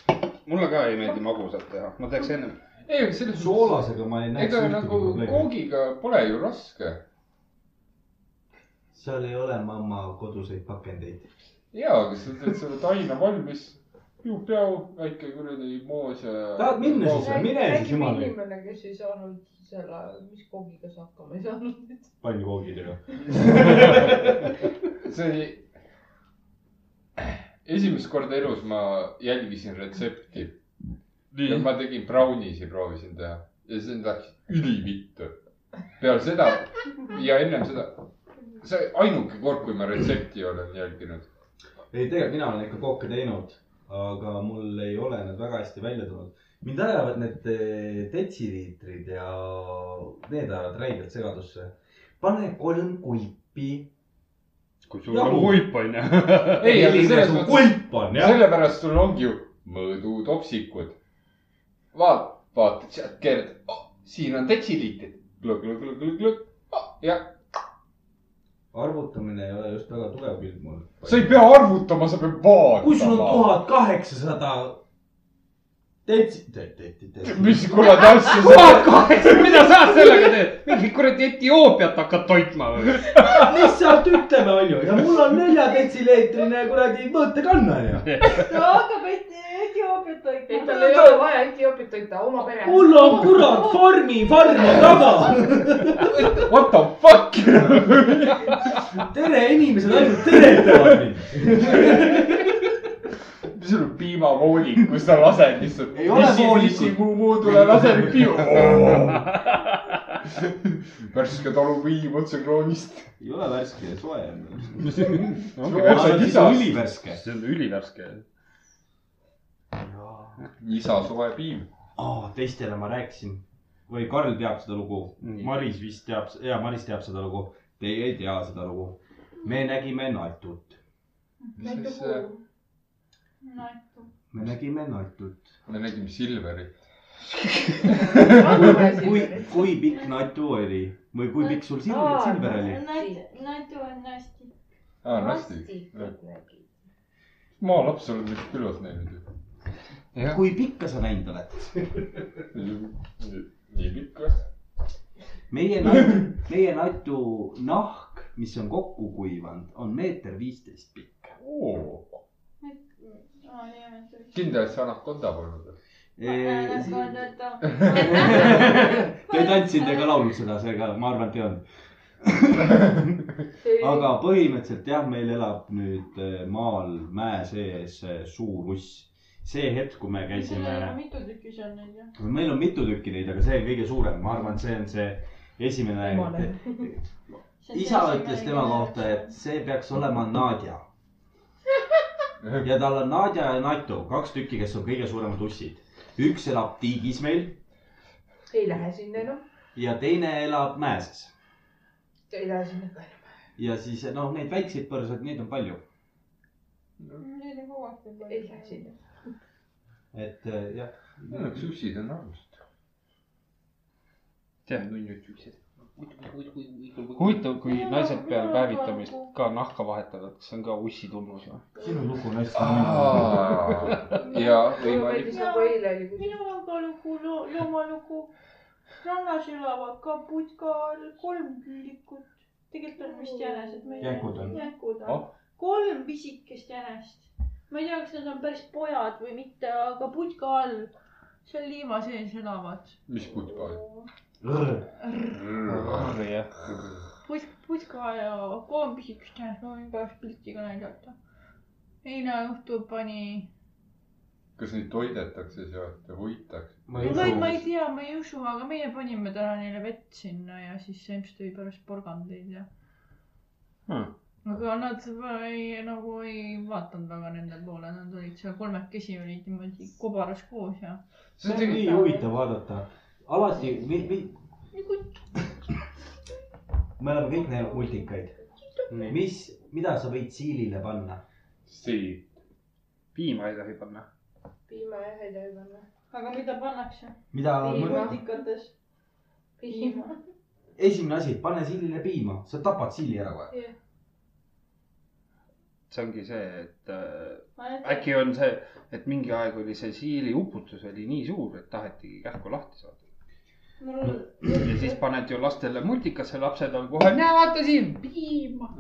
C: mulle ka ei meeldi magusat teha , ma teeks ennem .
D: ei , aga selles mõttes ,
F: soolasega ma ei näeks
D: ega
F: ühtegi
D: nagu
F: probleemi .
D: koogiga pole ju raske .
F: seal ei ole mamma koduseid pakendeid .
D: ja , aga sa teed selle taina valmis , piu-piau , väike kuradi moos ja .
F: Tahad minna siis või? Mine siis, jumal eest.
E: inimene , kes ei saanud selle , mis koogiga sa hakkama ei
D: [laughs]
E: saanud .
F: palju koogidega ?
D: see oli , esimest korda elus ma jälgisin retsepti ja ma tegin brauniisi , proovisin teha ja siis läks ülivittu . peale seda ja ennem seda , see ainuke kord , kui ma retsepti olen jälginud .
F: ei , tegelikult mina olen ikka kooke teinud , aga mul ei ole need väga hästi välja tulnud . mind ajavad need eh, detsiliitrid ja need ajavad räigelt segadusse . pane kolm kuipi .
C: kui
F: sul on
C: huip onju .
D: ei , aga selles mõttes ,
F: kulp on jah .
D: sellepärast sul ongi ju mõõdutopsikud . vaat- , vaatad sealt , keerad oh, , siin on detsiliitrid , glõg-glõg-glõg-glõg-glõg oh, ja
F: arvutamine ei ole just väga tugev külg mul .
D: sa ei pea arvutama , sa pead vaatama .
F: kui sul on tuhat kaheksasada
A: täitsa , täitsa ,
D: mis kurat asja see
C: tuhat kaheksa , mida sa sellega teed ? mingi kuradi Etioopiat hakkad toitma
L: [laughs]
C: või ?
A: lihtsalt ütleme , onju , ja mul on neljadetsileetrine kuradi mõõtekanna ju .
I: ta hakkab Etioopiat
E: ei ,
I: toitma
E: tal . ei ole vaja Etioopiat toita oma pere .
A: mul on kurat farmi farmi taga .
C: What the fuck ?
A: tere , inimesed ainult teretavad mind .
D: mis sul on piimavoolik , kus sa lased lihtsalt .
F: Ei ole voolikut.
D: muu muudule lased piima . värske talupiim otse kroonist .
L: ei ole värske , soe on .
D: Otse lisast.
L: ülivärske .
C: see on ülivärske .
D: isa soe piim .
A: oh, . teistele ma rääkisin või Karl teab seda lugu ,
L: Mm.
C: Nii.
A: Maris vist teab , jaa , Maris teab seda lugu . Teie ei tea seda lugu . me nägime natut ,
D: siis
A: me nägime natut .
D: me nägime Silverit .
A: kui , kui pikk natu oli või kui pikk sul silm ,
I: Aa,
A: silver oli ?
I: Nat- , Natu on hästi .
D: aa , hästi . maalaps oled vist küllalt näinud ju .
F: kui pikka sa näinud oled ?
D: nii pikk või ?
F: meie natu , meie natu nahk , mis on kokku kuivanud , on meeter viisteist pikk .
D: kindel , et see anakonda polnud või ?
I: Te
F: [laughs] Te ei tantsinud ega . laulnud seda , seega ma arvan , et ei olnud .
I: aga .
F: aga põhimõtteliselt jah , meil elab nüüd eh, maal mäe sees eh, suur uss . see hetk , kui me käisime ,
I: mitu tükki see on neid jah ?
F: meil on mitu tükki neid , aga see on kõige suurem , ma arvan , see on see esimene . isa ütles tema kohta , et see peaks olema [laughs] Nadja . ja tal on Nadja ja Natu , kaks tükki , kes on kõige suuremad ussid . üks elab tiigis meil
E: ei lähe sinna enam ,
F: ja teine elab mäeses
E: ei lähe sinna ka enam .
F: ja siis noh , neid väikseid põrsaid , neid on palju ,
I: Neid on kogu aeg palju .
E: ei lähe sinna .
F: et eh, jah .
D: sussid on armsad .
C: tead , huvitav , kui naised peale päevitamist ka nahka vahetavad , kas see on ka ussi tunnus noh. või ?
F: sinu lugu on hästi
D: ja
E: mulle
D: võimalik .
E: meeldis nagu eile oli , kui
I: minul on ka lugu , loomalugu . rannas elavad ka putka all kolm küülikut . tegelikult on vist jänesed .
F: Jänkud on.
I: jänkud on
D: Ah.
I: oh. . kolm pisikest jänest . ma ei tea , kas nad on päris pojad või mitte , aga putka all , seal liiva sees elavad .
D: [laughs] mis putka oli ?
C: jah .
I: put- , putka ja kolm pisikest jänest , ma võin pärast pilti ka näidata . eile õhtul pani ,
D: kas neid toidetakse sealt ja hoitakse ?
F: ma ei
I: ma ei , ma ei
F: usu ,
I: tea , ma ei usu , aga meie panime täna neile vett sinna ja siis see ilmselt tõi pärast porgandeid ja
C: Hmm.
I: aga nad ei , nagu ei vaadanud väga nende poole , nad olid seal kolmekesi olid niimoodi kobaras koos ja .
D: see
F: see
D: on
F: on
D: tegelikult
F: nii huvitav vaadata , alati , me , me ,
I: nagu
F: me oleme kõik näinud multikaid ,
C: nii ,
F: mis , mida sa võid siilile panna ?
D: see .
C: piima ei tohi panna .
E: piima jah ei lähe enam .
I: aga mida pannakse ?
F: mida ,
E: Piima.
I: multikates .
E: piima .
F: esimene asi , pane siilile piima , sa tapad siili ära kohe .
C: see ongi see , et äh, äkki on see , et mingi aeg oli see siili uputus oli nii suur , et tahetigi kähku lahti saada .
I: mul
C: ja siis paned ju lastele multikasse , lapsed on kohe , näe vaata siin , piima .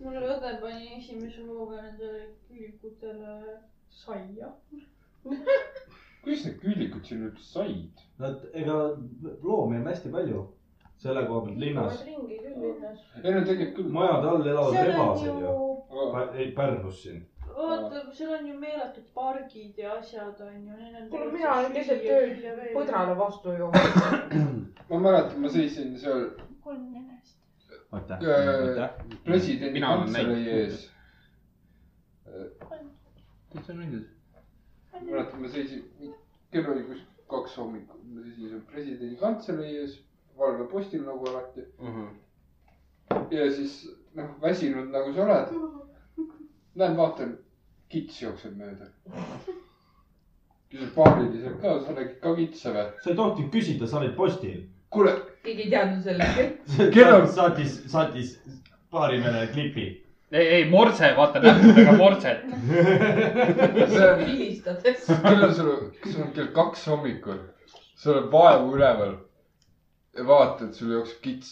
I: mul õde pani esimese hooga nendele küülikutele saia .
D: kuidas need küülikud siin üldse said ?
F: Nad , ega loomi on hästi palju selle koha pealt linnas ,
E: ringi küll linnas .
D: ei no tegelikult küll .
F: majade all elavad
I: seal on
F: rebased
I: ju
F: ju ,, ei Pärnus siin .
I: oota , seal on ju meeletud pargid ja asjad on ju .
E: kuule , mina olen keset ööd põdrale vastu ju .
D: ma mäletan , ma seisin seal
I: kolm jänest .
F: aitäh ,
D: Äh,
F: aitäh .
D: presidendi
C: Mina olen
D: kantselei
C: näinud.
D: ees . Äh, mis sa nägid ? ma mäletan , ma seisin , kell oli kuskil kaks hommikul , ma seisin seal presidendi kantselei ees , valve postil nagu alati
C: Mhm.
D: ja siis noh , väsinud nagu sa oled . Lähen vaatan , kits jookseb mööda . küsin paariliselt ka , sa nägid ka kitse või ?
F: sa ei tohtinud küsida , sa olid
D: [laughs]
F: postil .
D: kuule ,
E: keegi ei teadnud sellest .
D: Kellel- [laughs]
F: saatis , saatis paarimehele klipi .
C: ei , ei morse , vaata näpudega morset .
D: see on ,
E: vilistades .
D: kell on sul , sul on kell kaks hommikul , sa oled vaevu üleval ja vaatad , sul jookseb kits ,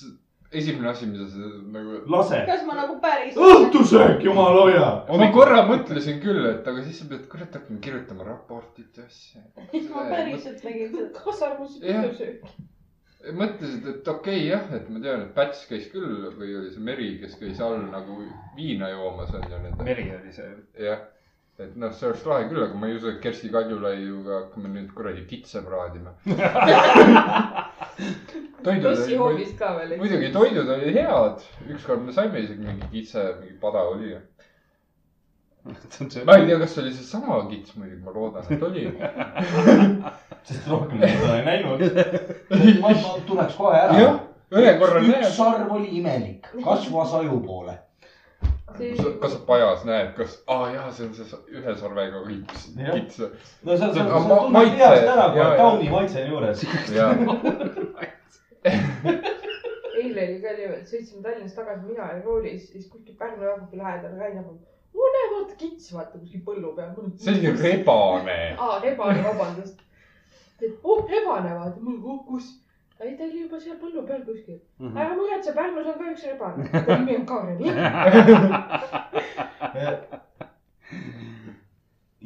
D: esimene asi , mida sa nagu .
F: lase .
I: kas ma nagu päris .
F: õhtusöök , jumala hoia .
D: ma korra mõtlesin küll , et aga siis sa pead kurat hakkama kirjutama raportit ja
I: siis ma
D: asja .
I: päriselt tegin seda .
E: kasarmus
D: Jah.
E: õhtusöök .
D: mõtlesid , et okei okay, jah , et ma tean , et Päts käis küll või oli see Meri , kes käis all nagu viina joomas onju nende .
C: meri [laughs] oli see .
D: jah , et noh , see oleks lahe küll , aga ma ei usu , et Kersti Kaljulaiuga hakkame nüüd kuradi kitse praadima .
E: bussihoovis ka veel .
D: muidugi toidud olid head , ükskord me saime isegi mingi kitse , mingi pada oli . ma ei tea , kas see oli seesama kits muidugi , ma loodan , et oli .
F: sest rohkem ma seda ei
D: [laughs]
F: näinud .
M: ma ma tuleks kohe ära
D: jah ., ühe korra
M: üks
D: näed ,
M: sarv oli imelik , kasvas aju poole .
D: kas sa pajas näed , kas , aa jaa , see on see sa- ühe sarvega kits ,
F: Jah.
D: kits .
F: no seal ,
D: Aga
F: seal , seal
D: ma-
F: tunned
D: maitse-
F: peast ära , kui
D: jaa,
F: on
D: jaa.
F: kauni maitse on
D: [laughs]
F: juures .
E: eile oli ka niimoodi , sõitsime Tallinnast tagasi , mina olin roolis , siis kuskil Pärnu jaagupi lähedal nagu, Rain Abel . oo , näe , vaata kits , vaata kuskil põllu peal .
D: see oli . rebane .
E: aa , rebane , vabandust . oh , rebane , vaata , mul oh, kus . ei , ta oli juba seal põllu peal kuskil .
C: Mhm.
E: ära muretse , Pärnus on ka üks [laughs] rebane . ta nimi on Kaarel .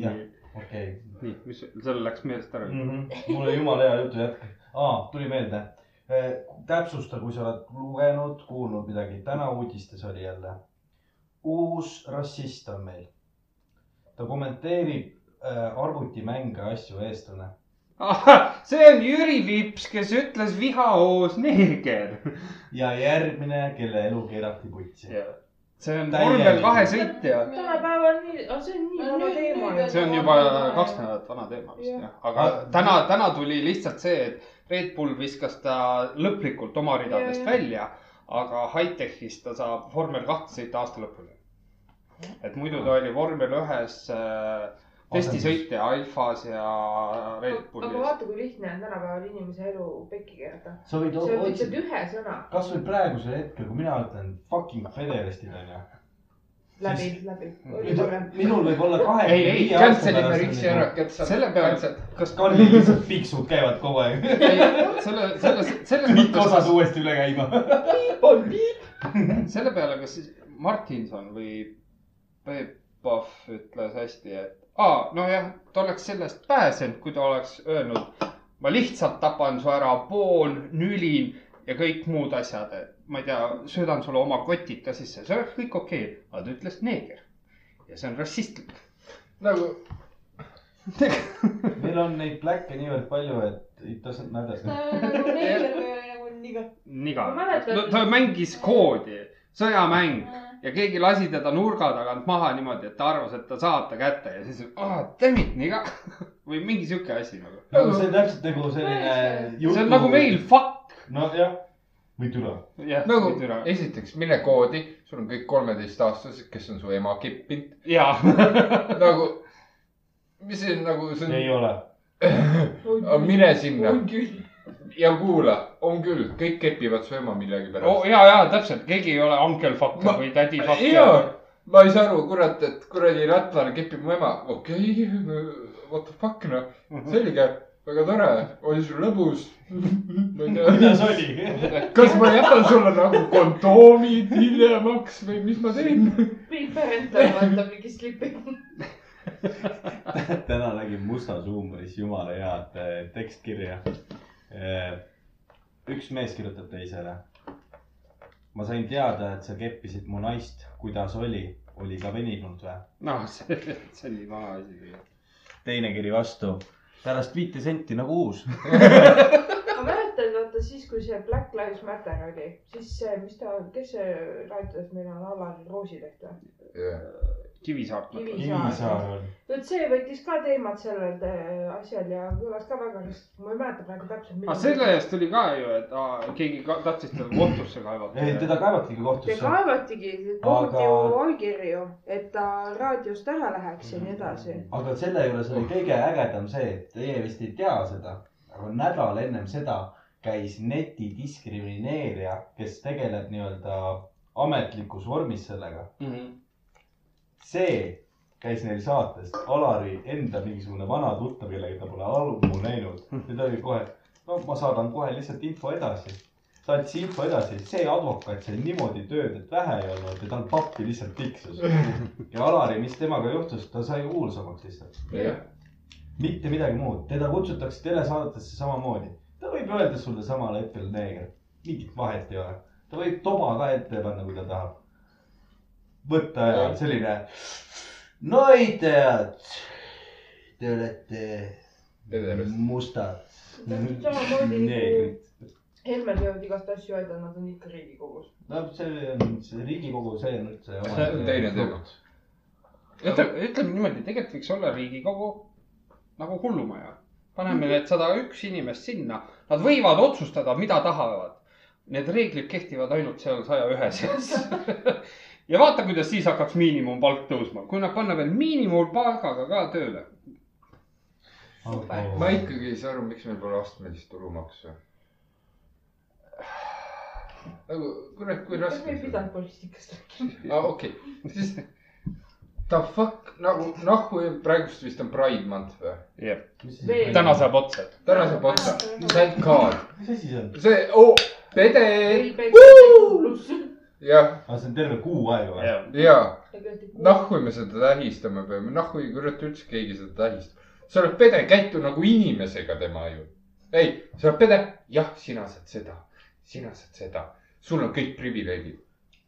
F: jah , okei .
C: nii , mis , sellel läks meelest ära .
F: mul oli jumala hea jutu jätk . aa , tuli meelde . täpsusta , kui sa oled lugenud , kuulnud midagi . täna uudistes oli jälle . uus rassist on meil . ta kommenteerib äh, arvutimänge , asju , eestlane .
C: see on Jüri Vips , kes ütles vihahoos neeger .
F: ja järgmine , kelle elu keerati putsi .
C: see on
F: Täielik.
C: kolmel kahe sõitja .
E: tänapäeval nii , see on nii vana teema .
C: see on juba kaks nädalat vana teema vist
E: Jah.
C: jah , aga täna , täna tuli lihtsalt see , et Red Bull viskas ta lõplikult oma ridadest
E: Jah, jah.
C: välja , aga high-tech'is ta saab vormel kahte sõita aasta lõpuni . et muidu ta oli vormel ühes äh, testisõitja Alfas ja Red
E: aga
C: Bullis .
E: vaata , kui lihtne on tänapäeval inimese elu pekki keerata .
F: sa võid
E: see on lihtsalt
F: otsida ,
E: ühe sõna
F: kasvõi praegusel hetkel , kui mina ütlen fucking pederastid onju .
E: läbi , läbi . oli parem .
F: minul võib olla kahe .
C: Ei, ei,
D: kantselime riksi ära , kantselime .
C: selle peale ,
F: kas Karlil lihtsalt piiksud käivad kogu aeg ?
C: selle , selles , selles
F: kõik
C: mõttes ,
F: osas uuesti üle käima .
C: [clears throat] selle peale , kas siis Martinson või Peep Pahv ütles hästi , et aa , nojah , ta oleks sellest pääsenud , kui ta oleks öelnud , ma lihtsalt tapan su ära , poon , nülin ja kõik muud asjad , et ma ei tea , söödan sulle oma kotid ka sisse , see oleks kõik okei okay. , aga ta ütles neeger ja see on rassistlik .
D: nagu
C: [laughs]
F: meil on neid pläkke niivõrd palju , et it doesn't matter .
I: ta oli nagu neeger või oli nagu niga .
C: niga
E: Ma mäletan- ,
C: no, ta mängis koodi , sõjamäng ja keegi lasi teda nurga tagant maha niimoodi , et ta arvas , et ta saab ta kätte ja siis , aa , dammit , niga [laughs] või mingi sihuke asi nagu .
F: nagu see on täpselt nagu selline jutu... .
C: see on nagu meil . fuck ,
F: nojah , või türa .
C: jah ,
D: nagu esiteks mine koodi , sul on kõik kolmeteistaastased , kes on su ema kippinud ,
C: jaa ,
D: nagu , mis see on, nagu , see
F: ei ole .
D: on , mine sinna
E: on küll .
D: ja kuula , on küll , kõik kepivad su ema millegipärast .
C: ja , ja täpselt , keegi ei ole uncle fuck
D: Ma-
C: või tädi fuck .
D: jaa , ma ei saa aru , kurat , et kuradi ratlane kepib mu ema , okei okay, , what the fuck noh , selge , väga tore , oli sul lõbus ? [laughs] ma ei tea ,
F: kuidas oli ?
D: kas ma jätan sulle nagu kondoomid hiljemaks või mis ma teen ?
E: Big Parental vaatab mingi slipi .
F: [laughs] täna nägin Mustas huumoris jumala head eh, tekstkirja . üks mees kirjutab teisele . ma sain teada , et sa keppisid mu naist , kuidas oli , oli ka veninud või ?
C: [laughs] noh , see , see on nii vana asi .
F: teine kiri vastu , pärast viite senti nagu uus .
E: ma mäletan , vaata siis , kui see Black Lives Matter oli , siis see , mis ta , kes see raadios meil on , Alar Roosileht või ?
C: Kivisaart .
E: Kivisaar . vot see võttis ka teemat sellel eh, asjal ja kõlas ka väga , ma ei mäleta praegu täpselt .
C: aga Ah, selle eest tuli ka ju , et aa, keegi ka, tahtis teda kohtusse kaevata .
F: ei , teda kaevatigi
E: ja
F: kohtusse .
E: kaevatigi , toodi
F: Aga-
E: ju allkirju , et ta raadiost ära läheks ja nii edasi .
F: aga selle juures oli kõige ägedam see , et teie vist ei tea seda , aga nädal ennem seda käis netidiskrimineerija , kes tegeleb nii-öelda ametlikus vormis sellega .
C: -hmm.
F: see käis neil saates , Alari enda mingisugune vana tuttav , kellega ta pole ammu näinud . ja ta oli kohe , no ma saadan kohe lihtsalt info edasi . saatis info edasi , see advokaat sai niimoodi tööd , et vähe ei olnud ja tal pappi lihtsalt tiksus . ja Alari , mis temaga juhtus , ta sai kuulsamaks lihtsalt .
D: jah ,
F: mitte midagi muud , teda kutsutakse telesaadetesse samamoodi . ta võib öelda sulle samal hetkel neeger , mingit vahet ei ole . ta võib toba ka ette panna , kui ta tahab . võtta ja
D: Jah.
F: selline . no ei tead , te olete
D: Ederest.
F: mustad .
E: Täpselt samamoodi nagu
F: neegrid .
E: Helmel peavad igast asju öelda , nad on ikka Riigikogus .
F: no see on , see Riigikogu , see on üldse .
D: see on teine teema .
C: ütleme , ütleme niimoodi , tegelikult võiks olla Riigikogu nagu hullumaja . paneme need sada üks inimest sinna , nad võivad otsustada , mida tahavad . Need reeglid kehtivad ainult seal saja ühe sees . [laughs] ja vaata , kuidas siis hakkaks miinimumpalk tõusma , kui nad panna veel miinimumpalgaga ka tööle .
D: ma ikkagi ei saa aru , miks meil pole astmelist tulumaksu . nagu kurat , kui
E: kas me
D: raske
E: ei
D: see on .
E: pidanud poliitikast rääkima ?
D: aa , okei , siis the fuck nagu nahku praegust vist on Pride Month või ?
C: jah ,
E: Veel.
C: täna saab otsa .
D: täna saab otsa , thank god ,
F: mis asi see on ?
D: see oh, , pede ,
E: ei , peaks .
D: jah ,
F: aa , Ah, see on terve kuu aega või ?
D: ja nahku me seda tähistama peame , nahku ei kurat üldse keegi seda tähistab . sa oled pede , käitu nagu inimesega tema ju . ei , sa oled pede , jah , sina saad seda , sina saad seda , sul on kõik privileegid .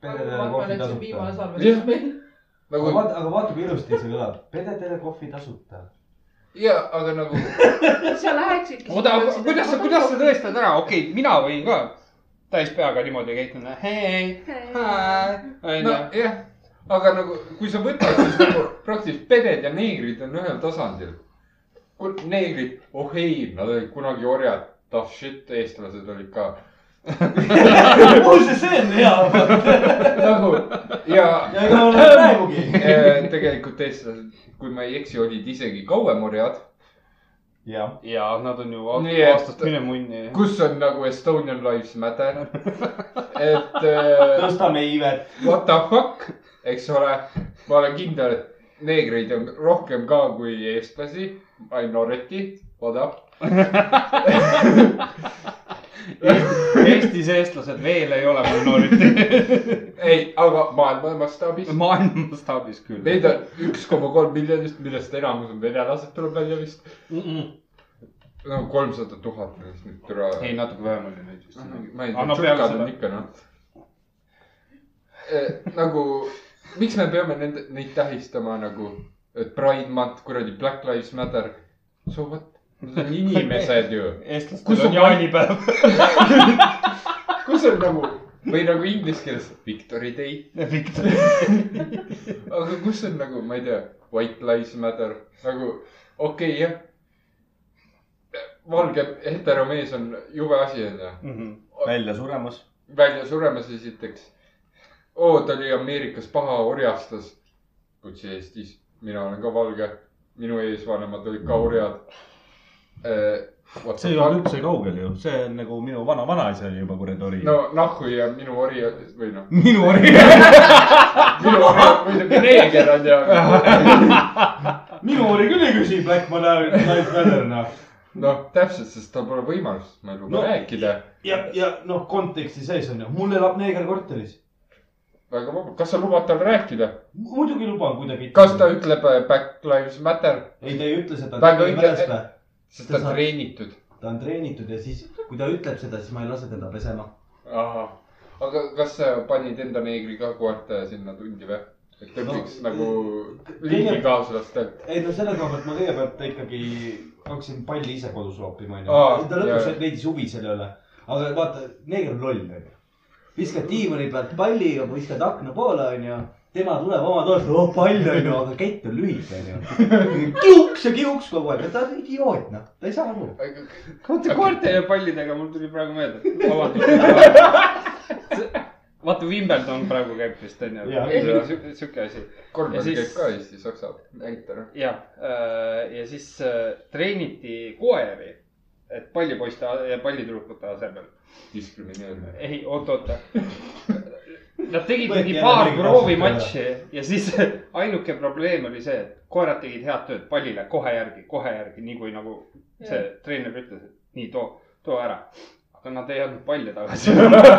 F: peredele kohvi tasuta .
D: Jah.
E: aga
F: aga
D: nagu
F: vaata , aga vaata , kui ilusti see kõlab . peredele kohvi tasuta .
D: ja , aga nagu
E: sa läheksidki .
C: oota , kuidas sa , kuidas sa ? tõestad ära , okei okay, , mina võin ka täis peaga niimoodi käituda , hei , hei , onju .
D: nojah , aga nagu , kui sa võtad , siis nagu praktiliselt peded ja neegrid on ühel tasandil . neegrid , oh ei , nad olid kunagi orjad , tough shit , eestlased olid ka
F: [laughs] muuseas , see on hea .
D: nagu ja
F: ja ega ma olen praegugi .
D: eh, tegelikult eestlased , kui ma ei eksi , olid isegi kauem orjad ,
F: jah ,
C: ja nad on ju a-
D: Nii et-
C: aastast minemunni .
D: kus on nagu Estonian Lives Matter . et eh,
F: tõstame E iivet .
D: what the fuck , eks ole , ma olen kindel , et neegreid on rohkem ka kui eestlasi , minority , what up .
C: Eestis eestlased veel ei ole minority , [laughs]
D: ei , aga maailma mastaabis .
C: maailma mastaabis küll .
D: Neid on üks koma kolm miljonit , millest enamus on venelased , tuleb välja vist .
C: mm . -mm.
D: no kolmsada tuhat neist nüüd türa .
C: ei , natuke vähem oli neid vist .
D: ma ei tea ,
C: annab peale
D: tšukad
C: seda
D: on . ikka noh . nagu , miks me peame nende , neid tähistama nagu , et Pride Month , kuradi Black Lives Matter . So what , nad on inimesed ju . Kus
C: eestlastel
D: on
C: on jaanipäev . [laughs]
D: kus on nagu või nagu inglise keeles Victory Day , aga kus on nagu , ma ei tea , White Lives Matter nagu okei okay, , jah . valge heteromees on jube asi , onju .
F: välja suremas .
D: välja suremas esiteks . oo , ta oli Ameerikas paha orjastas . kutsi Eestis , mina olen ka valge , minu eesvanemad olid ka orjad . Äh,
A: see ei ole üldse kaugel ju , see on nagu minu vana-vanaisa oli juba kuradi ori .
D: no nahku ja minu ori või noh ,
A: [laughs] minu [laughs] ori ,
D: minu ori on muidugi neeger onju , aga
F: minu oli küll ei küsi Black Mother , Life Matter'na .
D: noh , täpselt , sest tal pole võimalust ma ei luba no.
F: No.
D: rääkida .
F: ja , ja noh , konteksti sees on ju , mul elab neeger korteris .
D: väga vabalt , kas sa lubad tal rääkida ?
F: muidugi luban kuidagi .
D: kas ta ? ütleb äh, Back Lives Matter ,
F: ei , ta ei ütle seda .
D: Ta ei ütle-
F: ta
D: sest ta
F: Ta
D: on
F: saab-
D: treenitud .
F: on treenitud ja siis , kui ta ütleb seda , siis ma ei lase teda pesema .
D: aga kas sa panid enda neegri ka koerte sinna tundi või ? et õpiks no,
F: No, mm,
D: nagu
F: tegelikult-
D: liigikaaslastelt .
F: ei no selle koha pealt ma kõigepealt ikkagi hakkasin palli ise kodus loopima
D: Aa,
F: onju . ta lõpuks
D: jaa.
F: leidis huvi selle üle . aga vaata , neeger on loll onju . viskad diivani pealt palli , viskad akna poole onju . tema tuleb oma toast , oh pall onju , aga kett on lühike onju . kiuks ja kiuks kogu aeg , ta on idioot noh , ta ei saa aru .
C: oota , koerte ja pallidega mul tuli praegu meelde . vabandust . [laughs] vaata , Wimbledon praegu käib vist onju
F: Jaa. .
C: sihuke asi . Ja
D: korvpall
C: siis-
D: käib ka Eesti , Saksa näitel .
C: jah , ja siis äh, treeniti koeri , et pallipoiste ja pallitüdrukute asemel .
D: diskrimineerimine .
C: ei , oot , oota . Nad tegid mingi
F: Jälle
C: paar
F: mingi
C: proovimatši ja siis [laughs] ainuke probleem oli see , et koerad tegid head tööd pallile kohe järgi , kohe järgi , nii kui nagu see treener ütles , et nii , too , too ära . aga nad ei andnud palle tagasi .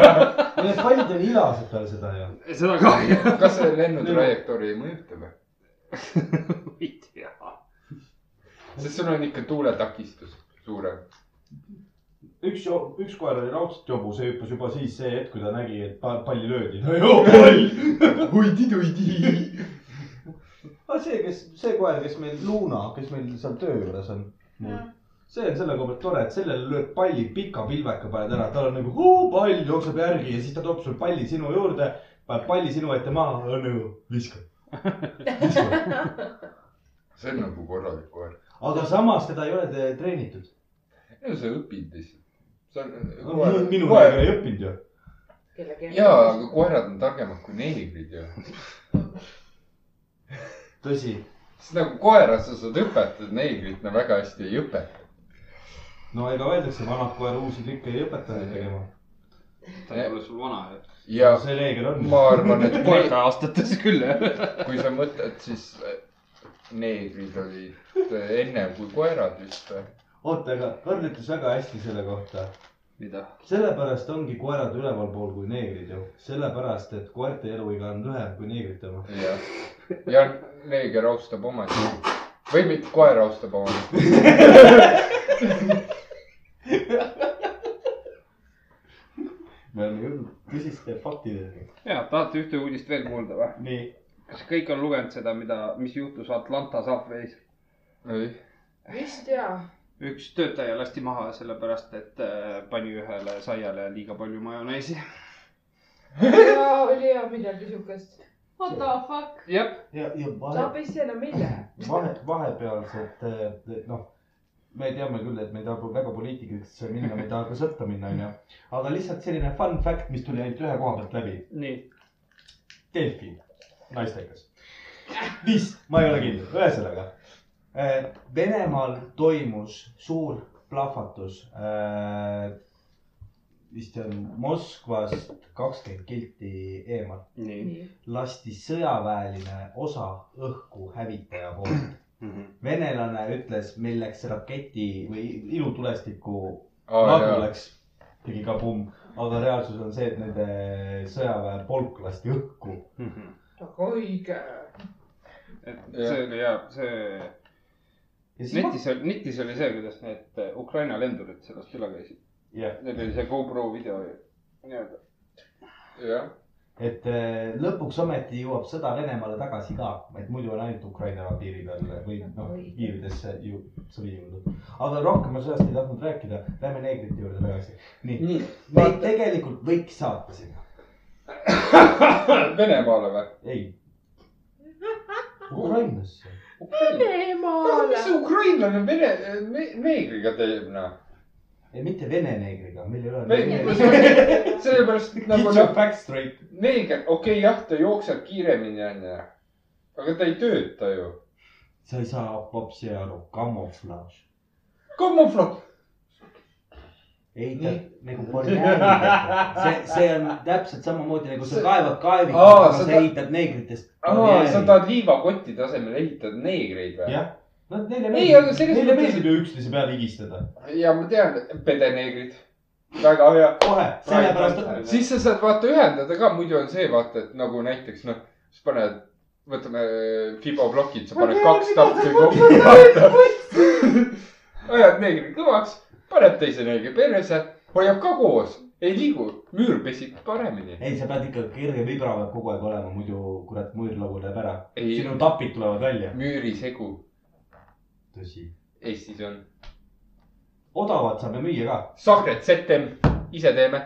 F: [laughs] Need pallid on ilased peale seda ju .
C: seda ka ei
D: [laughs] kas see lennutrajektoori ei mõjuta või ?
C: ei tea .
F: Mm.
D: sest sul on ikka tuuletakistus
F: [laughs]
D: suurem .
F: üks , üks koer oli raudselt jobu , see hüppas juba siis see hetk , kui ta nägi , et pa- palli löödi . [laughs] joo , pall !
D: hoidi-toidi .
F: aga see , kes , see koer , kes meil , Luna , kes meil seal töö juures on , see on selle koha pealt tore , et sellele lööd palli pika pilveka paned ära , tal on nagu hoo, pall jookseb järgi ja siis ta toob sul palli sinu juurde , paneb palli sinu ette maha , on nagu viskab . viskab ,
D: see on nagu korralik koer .
F: aga samas teda ei ole te- treenitud .
D: no sa õpid lihtsalt . sa on . äh,
F: minu aega ei õppinud ju .
E: kellegi .
D: jaa , aga koerad on targemad kui neegrid ju .
F: tõsi ,
D: sest nagu koera sa saad õpetada , neegrit no väga hästi ei õpeta .
F: no ega öeldakse , vanad koera uusi trikke ei õpeta neid tegema .
C: ta ei ole nagu sul vana ju .
D: ja
F: see reegel on .
D: ma arvan , et kui,
C: koerte aastates küll jah .
D: kui sa mõtled , siis äh, neegrid olid äh, ennem kui koerad vist . äh,
F: oota , aga Karl ütles väga hästi selle kohta .
C: mida ?
F: sellepärast ongi koerad ülevalpool kui neegrid ju , sellepärast et koerte eluiga on lühem kui neegrite oma .
D: ja , ja neeger austab oma sisu või mitte koer austab oma .
F: me oleme jõudnud tõsiste faktideni .
C: ja , tahate ühte uudist veel kuulda või ?
F: nii .
C: kas kõik on lugenud seda , mida , mis juhtus Atlanta Subway's ?
D: ei ,
E: vist jaa .
C: üks töötaja lasti maha sellepärast , et äh, pani ühele saiale liiga palju majoneesi .
E: jaa , oli jaa midagi siukest .
I: What the fuck ?
C: jah ,
F: ja , ja vahe
E: saab , ise enam ei lähe .
F: vahe , vahepealsed eh, noh , me teame küll , et me ei taha väga poliitikaks minna , me ei taha ka sõtta minna , onju . aga lihtsalt selline fun fact , mis tuli ainult ühe koha pealt läbi .
C: nii .
F: Delfi , naistekas . vist , ma ei ole kindel , ühesõnaga . Venemaal toimus suur plahvatus . vist see on Moskvast kakskümmend kilti eemal ,
C: nii
E: nii .
F: lasti sõjaväeline osa õhku hävitaja poolt .
C: mm .
D: Mhm.
C: -hmm.
F: venelane ütles , meil läks raketi või ilutulestiku
D: aa
F: ladu
D: jaa ,
F: läks , tegi ka pumm , aga reaalsus on see , et nende sõjaväepolk lasti õhku
C: Mm
F: Mhm.
C: -hmm.
E: aga õige .
C: et
D: Jah.
C: see oli hea , see
F: ja siis ma
C: netis oli , netis oli see , kuidas need äh, Ukraina lendurid sellest üle käisid .
F: Jah.
C: Neil oli see GoPro video ju nii-öelda .
D: jah .
F: et eh, lõpuks ometi jõuab sõda Venemaale tagasi ka , et muidu on ainult Ukraina piiri peal või noh , piiridesse ju sõvi jõudnud . aga rohkem ma sellest ei tahtnud rääkida , lähme neegrite juurde tagasi . nii ,
D: nii ,
F: neid tegelikult võiks saata sinna ,
D: Venemaale või ?
F: ei . Ukrainasse ,
E: Venemaale
D: mis . see ukrainlane vene , neegriga teeb noh ?
F: ei mitte vene neegriga , meil ei ole .
D: [laughs] sellepärast nagu
F: Kitchen facts straight .
D: neeger , okei okay, , jah , ta jookseb kiiremini onju , aga ta ei tööta ju .
F: sa ei saa popsi aru , camouflage .
D: kamuflaaž ,
F: ei
D: Nii. ,
F: nagu barjäärid , see , see on täpselt samamoodi nagu sa
D: See-
F: kaevad kaevikut ,
D: Aa,
F: aga
D: sa
F: sa
D: ta-
F: ehitad neegritest .
D: sa tahad liivakoti tasemel ehitada neegreid või ?
F: jah , no neile
D: Ei, aga
F: meeldib ,
D: selles
F: neile
D: mõttes-
F: meeldib ju üksteise peale higistada .
D: ja ma tean , pedeneegrid , väga hea .
F: kohe , sellepärast ,
D: siis sa saad vaata ühendada ka , muidu on see vaata , et nagu näiteks noh , sa paned , võtame äh, Fibo plokid , sa paned kaks tahvli kokku , [laughs] vaata . ajad neegri kõvaks , paned teise neegri peresse , hoiab ka koos , ei liigu , müür pesib paremini .
F: ei , sa pead ikka kerge vibra peab kogu aeg olema , muidu kurat müür laguneb ära .
D: ei ,
F: sinu tapid tulevad välja .
D: müürisegu
F: tõsi .
D: Eestis on .
F: odavalt saame müüa ka ,
D: Sagret Setem , ise teeme ,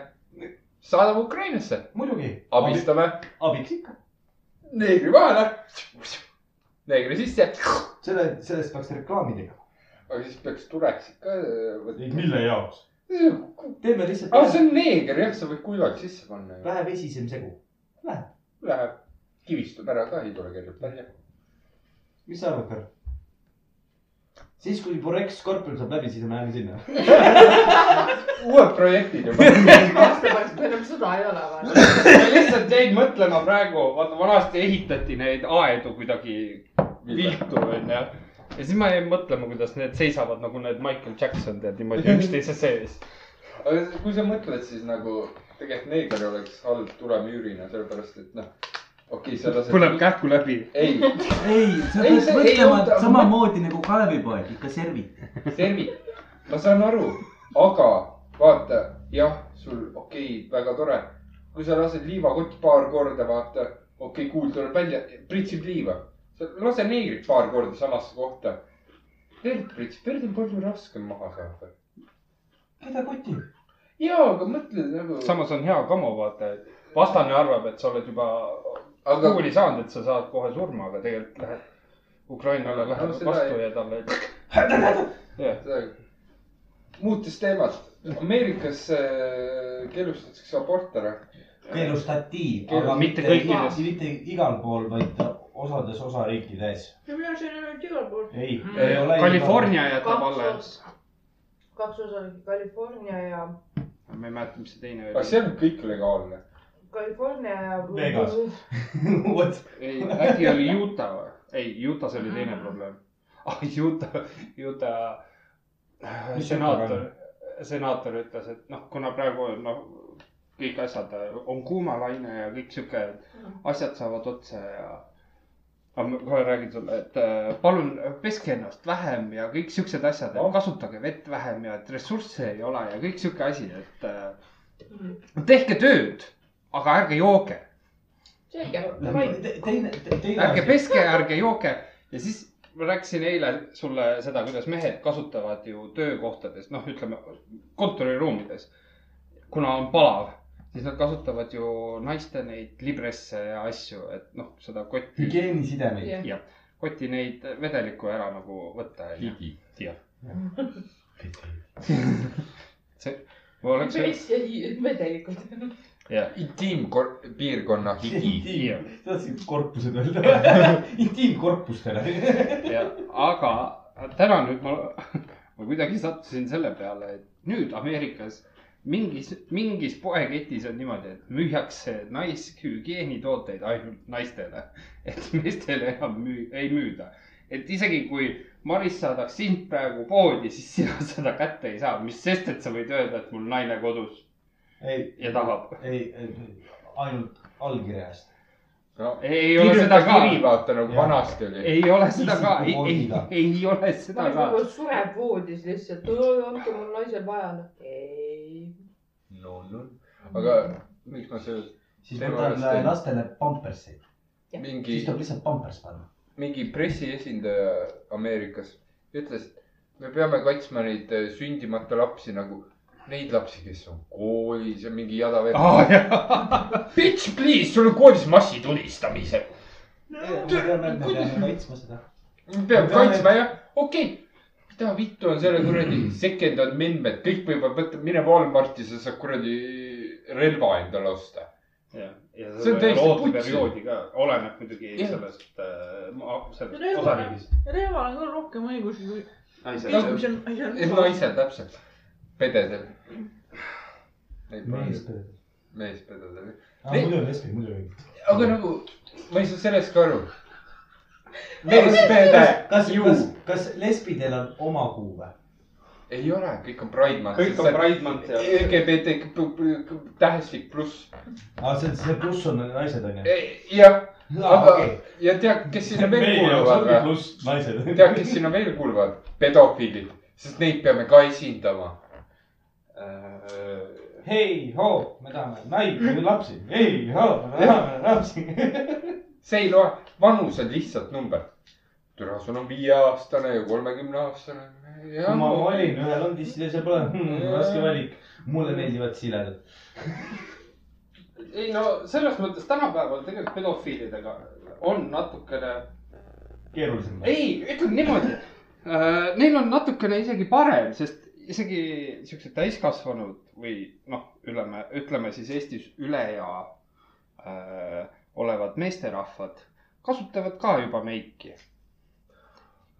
D: saadame Ukrainasse ,
F: muidugi .
D: abistame
F: abiks ikka .
D: neegri vahele , neegri sisse ,
F: selle , sellest peaks reklaami tegema .
D: aga siis peaks tuleksid ka võtma .
F: mille jaoks ? teeme lihtsalt
D: aga
F: vähe,
D: see on neeger jah , sa võid kuivaks sisse panna ju .
F: vähe vesisem segu .
D: Läheb , kivistub ära ka , ei tule kergelt välja .
F: mis sa arvad , Karl ? siis , kui Borex Scorpion saab läbi , siis me läheme sinna .
D: uued projektid juba .
E: aasta pärast , kui enam sõda ei ole vaata .
C: ma lihtsalt jäin mõtlema praegu , vaata vanasti ehitati neid aedu kuidagi viltu , onju . ja siis ma jäin mõtlema , kuidas need seisavad nagu need Michael Jackson tead niimoodi üksteise sees .
D: aga kui sa mõtled , siis nagu tegelikult neeger oleks halb tulemüürina , sellepärast et noh , okei okay, , sa lased .
C: põleb . kähku läbi .
D: ei ,
F: ei , sa
D: Ei,
F: pead
D: see- ei
F: mõtlema
D: oota,
F: samamoodi nagu Kalevipoeg , ikka servid .
D: servi , ma saan aru , aga vaata , jah , sul okei okay, , väga tore . kui sa lased liivakott paar korda , vaata , okei okay, , kuul tuleb välja , pritsib liiva . lase neegrit paar korda samasse kohta . verd pritsib , verd on palju raskem maha saada .
A: keda kotib ?
D: ja , aga mõtle nagu .
C: samas on hea kamo , vaata , et vastane arvab , et sa oled juba
D: Aga-
C: kuuli saanud , et sa saad kohe surma , aga tegelikult lähed Ukrainale lähed
D: No seda
C: vastu
D: ei-
C: ja talle .
D: Seda- muutest teemast , Ameerikas äh, keelustatakse abort ära .
A: keelustati ,
C: Keelus-
A: aga
C: mitte
A: mitte
C: kõikides.
A: kõikides , mitte igal pool , vaid osades osariikides .
E: ja minu arust on ainult igal pool .
A: ei ,
D: Hmm.
A: ei ole .
C: California jätab
E: kaks
C: alles .
E: osa , kaks osa oli California ja ,
C: ma ei mäleta , mis see teine
D: aga
C: oli .
D: seal on kõik legaalne .
E: California ja .
A: Vegas. [laughs] vot ,
C: ei , äkki oli Utah või ? ei , Utah's oli teine probleem . [laughs] ah , Utah , Utah äh,
A: Mis
C: senaator , senaator ütles , et noh , kuna praegu on, noh , kõik asjad äh, on kuumalaine ja kõik sihuke asjad saavad otsa ja . aga ma kohe räägin sulle , et äh, palun peske ennast vähem ja kõik siuksed asjad , et kasutage vett vähem ja et ressursse ei ole ja kõik sihuke asi , et äh, tehke tööd , aga ärge jooge
E: selge ,
A: teine , teine
C: ärge . peske , ärge jooke ja siis ma rääkisin eile sulle seda , kuidas mehed kasutavad ju töökohtades , noh , ütleme kontoriruumides , kuna on palav , siis nad kasutavad ju naiste neid libresse ja asju , et noh , seda kotti ,
A: hügieenisidemeid .
E: jah .
C: kotti neid vedelikku ära nagu võtta .
L: higi .
C: see , ma oleks .
E: päris vedelikud .
C: jah ,
D: intiimpiirkonna higi .
C: jah .
A: tahtsin korpused öelda , intiimkorpustele .
C: ja , aga täna nüüd ma , [laughs] ma kuidagi sattusin selle peale , et nüüd Ameerikas mingis , mingis poeketis on niimoodi , et müüakse naishügieenitooteid ainult naistele . et meestele enam müü- , ei müüda . et isegi kui Maris saadaks sind praegu poodi , siis sina seda kätte ei saa , mis sest , et sa võid öelda , et mul naine kodus
A: ei ,
C: ja tahab .
A: ei , ainult allkirjast .
D: [laughs] no
C: ei ole seda ka ,
D: kiri , vaata nagu
A: Jah.
D: vanasti oli .
C: ei ole seda ka , ei , ei , ei ole
E: ma
C: seda ka
E: nagu sureb voodis lihtsalt , andke mul naisel vaja . ei .
D: no , no , aga miks ma seal
A: siis
D: Tema
A: võtan
D: arust ei.
A: lastele pamperseid ,
D: mingi
A: siis , tuleb lihtsalt pampers panna .
D: mingi pressiesindaja Ameerikas ütles , et me peame kaitsma neid äh, sündimata lapsi nagu neid lapsi , kes on koolis ja mingi jada veel
C: Aa, Ah, jah.
D: Bitch , please , sul on koolis massitulistamised .
A: me peame , me peame kaitsma seda .
D: peab kaitsma jah , okei okay. mida vittu on selle kuradi second amendment , kõik võivad võtta , mine Walmarti , sa saad kuradi relva endale osta .
C: jah , ja
D: See on täiesti
C: ooteperioodi ka , oleneb muidugi
D: Jah.
C: sellest äh, ma- sellest
I: Relva-
C: osariigist .
I: relval on küll rohkem õigusi kui
C: naised ,
I: inimesel ,
D: et
I: asjal .
D: naised täpselt , pededel .
A: mees
D: mees ,
A: peab .
D: mees pededel ,
A: aa , muidu on lesbi , muidu on .
D: aga nagu ma ei saa sellest ka aru . mees pede ,
A: kas ,
D: ju
A: kas , kas lesbidel on oma kuu või ?
D: ei ole , kõik on Pride Month .
C: kõik on . Pride'mont ja
D: LGBT tähestik pluss ,
A: aa , see , see pluss on naised on ju ?
D: jah , aga , ja tead , kes sinna veel kuuluvad või ?
A: pluss naised .
D: tead , kes sinna veel kuuluvad ? pedofiilid , sest neid peame ka esindama .
C: Äh,
A: hei hoo , me tahame naisi , lapsi , hei hoo , me tahame lapsi .
D: see ei loe , vanus on lihtsalt number . türa , sul on viieaastane ja kolmekümneaastane .
A: kui ma valin , ühel on dissid ja teisel pole
F: [laughs]
A: hmm, , raske valik . mulle meeldivad siledad .
C: ei no selles mõttes tänapäeval tegelikult pedofiilidega on natukene ,
A: keerulisem .
C: ei , ütleme niimoodi äh, , neil on natukene isegi parem , sest isegi siuksed täiskasvanud või noh , ütleme , ütleme siis Eestis üle ja äh, olevad meesterahvad kasutavad ka juba meiki .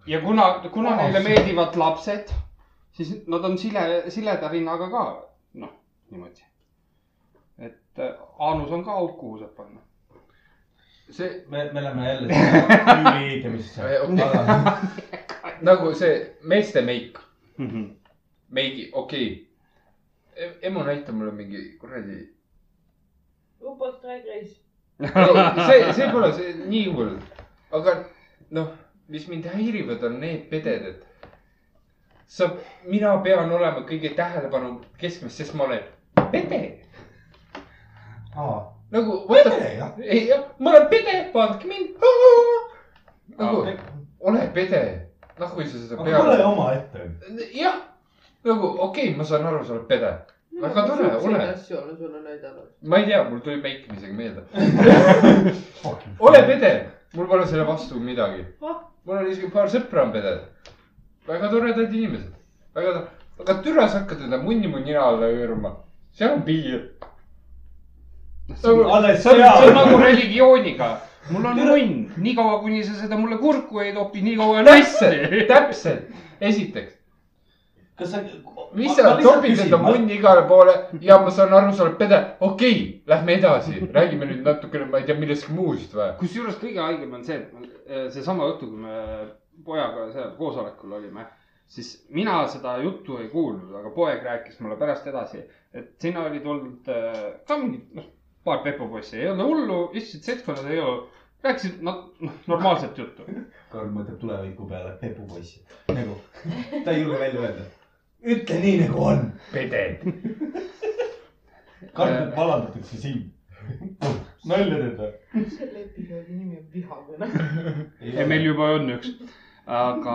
C: ja kuna , kuna neile meeldivad lapsed , siis nad on sile , sileda rinnaga ka noh , niimoodi . et äh, Anus on ka auk , kuhu saab panna .
D: see ,
F: me , me läheme jälle tüüliidimisse .
D: okei , nagu see meeste meik ,
C: Mhm.
D: meigi , okei okay. . emu näitab mulle mingi kuradi ,
N: Rupert Drag Race .
D: see , see pole see nii hull , aga noh , mis mind häirivad , on need peded , et sa , mina pean olema kõige tähelepanu keskmes , sest ma olen pede
F: aa ,
D: nagu . pede
F: jah? ?
D: ei jah , ma olen pede , vaadake mind . nagu ole pede , noh kui sa seda
F: aga tule
D: pead .
F: omaette .
D: jah , nagu okei okay, , ma saan aru , sa oled pede . Väga tore, ole.
E: asju olen sulle näidanud .
D: ma ei tea , mul tuli meikimisega meelde . ole pede , mul pole selle vastu midagi . mul on isegi paar sõpra on peded . väga toredad inimesed , väga tore , aga türa sa hakkad enda munni mu nina alla hõõruma , seal on piir . Nagu,
F: alles
C: see on
F: seal .
C: nagu religiooniga . mul on munn , niikaua kuni sa seda mulle kurku ei topi , niikaua on hästi .
D: täpselt , esiteks ,
F: kas sa .
D: mis sa topid enda munni igale poole ja ma saan aru , sa oled pede , okei okay, , lähme edasi , räägime nüüd natukene , ma ei tea , millestki muust või .
C: kusjuures kõige haigem on see , et ma- eh, seesama õhtu , kui me pojaga seal koosolekul olime , siis mina seda juttu ei kuulnud , aga poeg rääkis mulle pärast edasi , et sinna oli tulnud äh, ka mingi , noh , paar pepopoissi , ei olnud hullu , istusid seltskonnas , ei olnud , rääkisid no, normaalset juttu .
F: Karl mõtleb tuleviku peale , pepupoiss , nagu ta ei julge välja öelda . ütle nii nagu on .
D: peded , Äh.
F: Karl , vallandatakse sind . [laughs] nalja teed või ?
E: selle episoodi nimi on vihakõne .
C: ja meil juba on üks . aga ,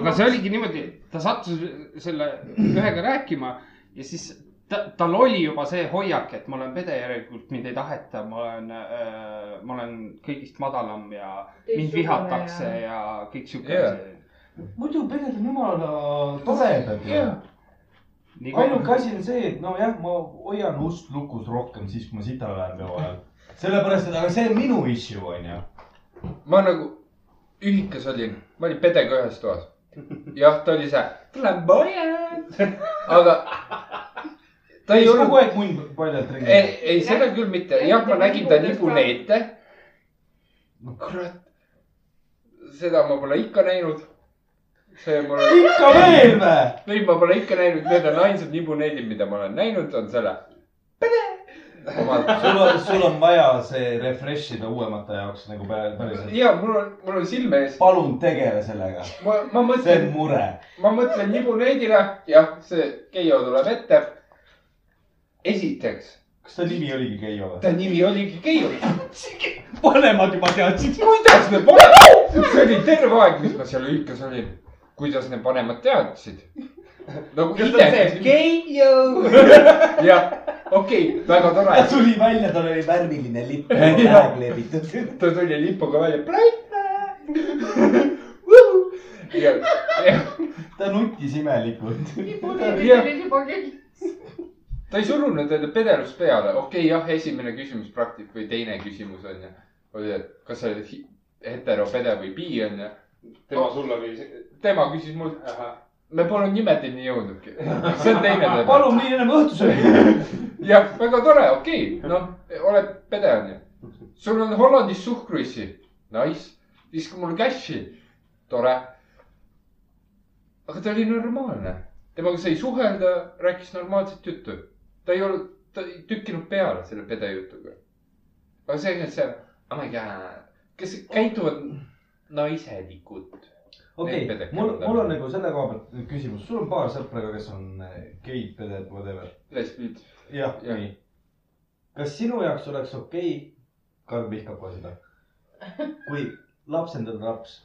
C: aga see oligi niimoodi , ta sattus selle ühega rääkima ja siis ta , tal oli juba see hoiak , et ma olen pede , järelikult mind ei taheta , ma olen äh, , ma olen kõigist madalam ja mind vihatakse ja, ja kõik siuke yeah.
D: Jaa.
C: asi .
F: muidu peded on jumala toredad ju .
C: nii
F: ainuke
C: kaua ,
F: asi on see , et nojah , ma hoian ust lukus rohkem siis , kui ma sita lähen peo ajal . sellepärast , et aga see on minu issue onju .
D: ma nagu ühikas olin , ma olin pedega ühes toas . jah , ta oli see flamboyant , aga ta ei
F: siis kogu
D: olnud ,
F: aeg mund paljalt ringi .
D: ei , ei seda küll mitte , jah , ma nägin ta nibune ette . kurat , seda ma pole ikka näinud . see mul ,
F: ikka veel või ?
D: ei , ma pole ikka näinud , need on ainsad nibuneedid , mida ma olen näinud , on selle .
F: sul on , sul on vaja see refresh ida uuemate jaoks nagu pä- päriselt .
D: ja mul on , mul on silme ees ,
F: palun tegele sellega ,
D: ma , ma
F: see on
D: mõtlen ,
F: mure
D: ma mõtlen nibuneedile , jah , see Keijo tuleb ette . esiteks ,
F: kas ta nimi oligi Keijo või ?
D: ta nimi oligi Keijo .
F: vanemad juba teadsid .
D: kuidas need vanemad , see oli terve aeg , mis ma seal ühikas olin , kuidas need vanemad teadsid ? nagu ise ,
E: Keiu .
D: [laughs] jah , okei okay, , väga tore
F: ta , tuli välja , tal oli värviline [laughs] lipp
D: Jah.
F: ära kleebitud .
D: ta tuli lipuga välja . [laughs] ja , ja
F: ta nuttis imelikult .
E: [laughs]
D: Jah.
E: lipukeegi .
D: ta ei surunud enda pedelust peale , okei okay, , jah , esimene küsimus praktik- või teine küsimus on ju , oli , et kas sa oled hi- heteropede või bi on ju . tema ,
C: sulle või ?
D: tema küsis mult , me pole nimedeni [laughs] jõudnudki , see on teine teema .
F: palun mine enam õhtusöögi .
D: jah , väga tore , okei okay. , noh , oled pede on ju . sul on Hollandis suhkruissi , nice , viska mulle cash'i , tore . aga ta oli normaalne , temaga sai suhelda , rääkis normaalset juttu . ta ei olnud , ta ei tükkinud peale selle pede jutuga . aga see , et see , oh my god , kes käituvad naiselikult .
F: okei
D: Need peded ,
F: mul ,
D: käivad
F: mul on
D: läbi.
F: nagu selle koha pealt küsimus , sul on paar sõpra ka , kes on eh, geid , peded , whatever .
D: lesbid ,
F: jah ,
D: Jah.
F: nii . kas sinu jaoks oleks okei okay, , Karl vihkab ka seda , kui lapsendada laps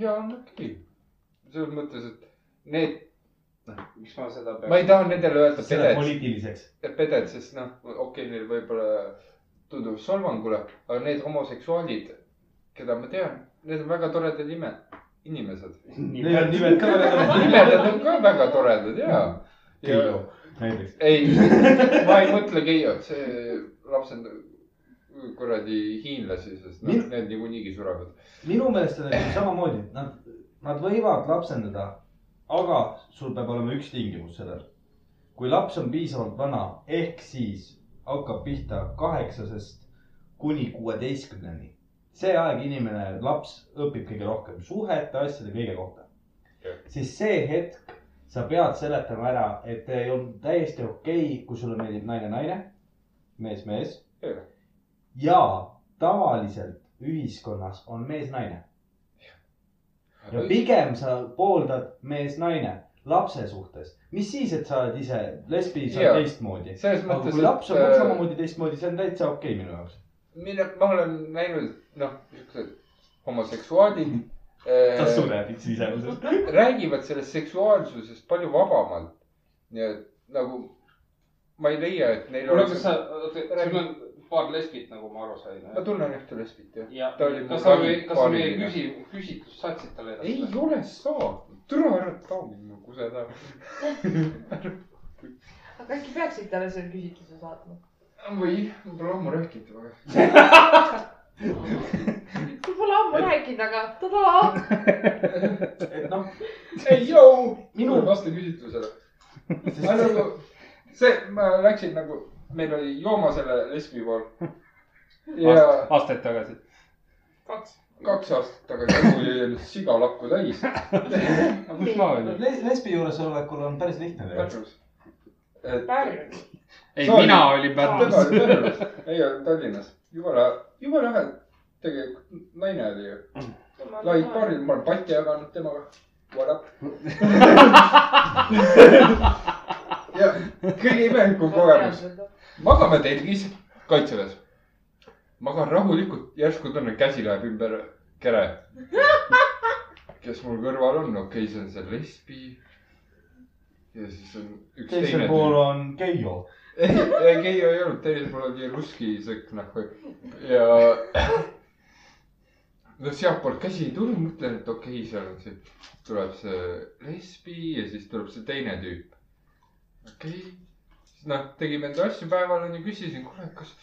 D: ja on okei okay. . selles mõttes , et need ,
C: miks ma seda
D: ma ei
C: pean ?
D: taha nendele öelda
F: selle
D: pedet
F: poliitiliseks ?
D: peded , sest noh , okei okay, , neil võib-olla tundub solvangule , aga need homoseksuaalid , keda ma tean , need on väga toredad ime , inimesed .
F: Neil on nimed ka väga
D: [laughs]
F: toredad .
D: nimed on ka väga toredad ja, ja .
F: Keijo näiteks .
D: ei , ma ei mõtle Keiot , see laps on kuradi hiinlasi , sest noh
F: Min- ,
D: need niikuinii surevad .
F: minu meelest on nagu samamoodi , nad , nad võivad lapsendada , aga sul peab olema üks tingimus sellel . kui laps on piisavalt vana , ehk siis hakkab pihta kaheksasest kuni kuueteistkümneni . see aeg inimene , laps õpib kõige rohkem suhete , asjade , kõige kohta . siis see hetk sa pead seletama ära , et ei olnud täiesti okei okay, , kui sulle meeldib naine , naine , mees , mees .
D: Jah.
F: ja tavaliselt ühiskonnas on mees , naine ja pigem sa pooldad mees-naine lapse suhtes , mis siis , et sa oled ise lesbi , sa
D: Jaa.
F: oled teistmoodi .
D: selles
F: aga
D: mõttes ,
F: kui laps on
D: äh,
F: äh... samamoodi teistmoodi , see on täitsa okei okay minu jaoks .
D: mille , ma olen näinud , noh , niisugused
F: [laughs]
D: homoseksuaalid äh,
F: sureb sisemuses .
D: räägivad sellest seksuaalsusest palju vabamalt . nii et nagu ma ei leia , et neil
C: kuule , kas
D: oleks
C: sa , sul on paar lesbit , nagu ma aru sain .
D: ma tunnen ühte lesbit jah .
C: ja
D: ta oli
C: kas
D: mul
C: sa , kas sa meie
D: paariline.
C: küsi- , küsitlust saatsid talle
D: ei
C: edasi ?
D: ole saanud , türa ära tauni mu kuse taha .
E: aga äkki peaksid talle selle küsitluse saatma ?
D: või , ma pole ammu rääkinud , aga
E: sa pole ammu rääkinud , aga tadaa .
F: [laughs] et noh ,
D: [laughs] ei joo ,
F: Minu-
D: minu vastu
C: [laughs]
D: küsitlusele . ma nagu , see , ma läksin nagu , meil oli Jooma selle lesbi pool . ja
C: aastaid tagasi .
E: kaks .
D: kaks aastat tagasi nagu jäi ennast sigalakku täis
C: kus ma olin ?
F: lesbi juuresolekul on päris lihtne tegelikult .
D: Pärnus . et
E: Pärnus .
C: ei ,
D: Sorry.
C: mina olin Pärnus
D: tema . oli Pärnus , meie olime Tallinnas . jumala , jumala lahe tegelikult naine oli ju . laid paaril , ma olen patja jaganud temaga . What up ? ja kõige imelikum kogemus . magame telgis , kaitseväes . magan rahulikult , järsku tunnen , käsi läheb ümber kere . kes mul kõrval on , okei okay, , see on see lesbi . ja siis on üks
F: teisel
D: teine .
F: pool on Keijo .
D: ei , ei , ei , ei olnud , teisel pool oli ruski sõkk nagu ja . no sealtpoolt käsi ei tulnud , mõtlen , et okei okay, , seal on see , tuleb see lesbi ja siis tuleb see teine tüüp . okei okay. , siis noh , tegime enda asju päeval onju , küsisin , kuule , kas .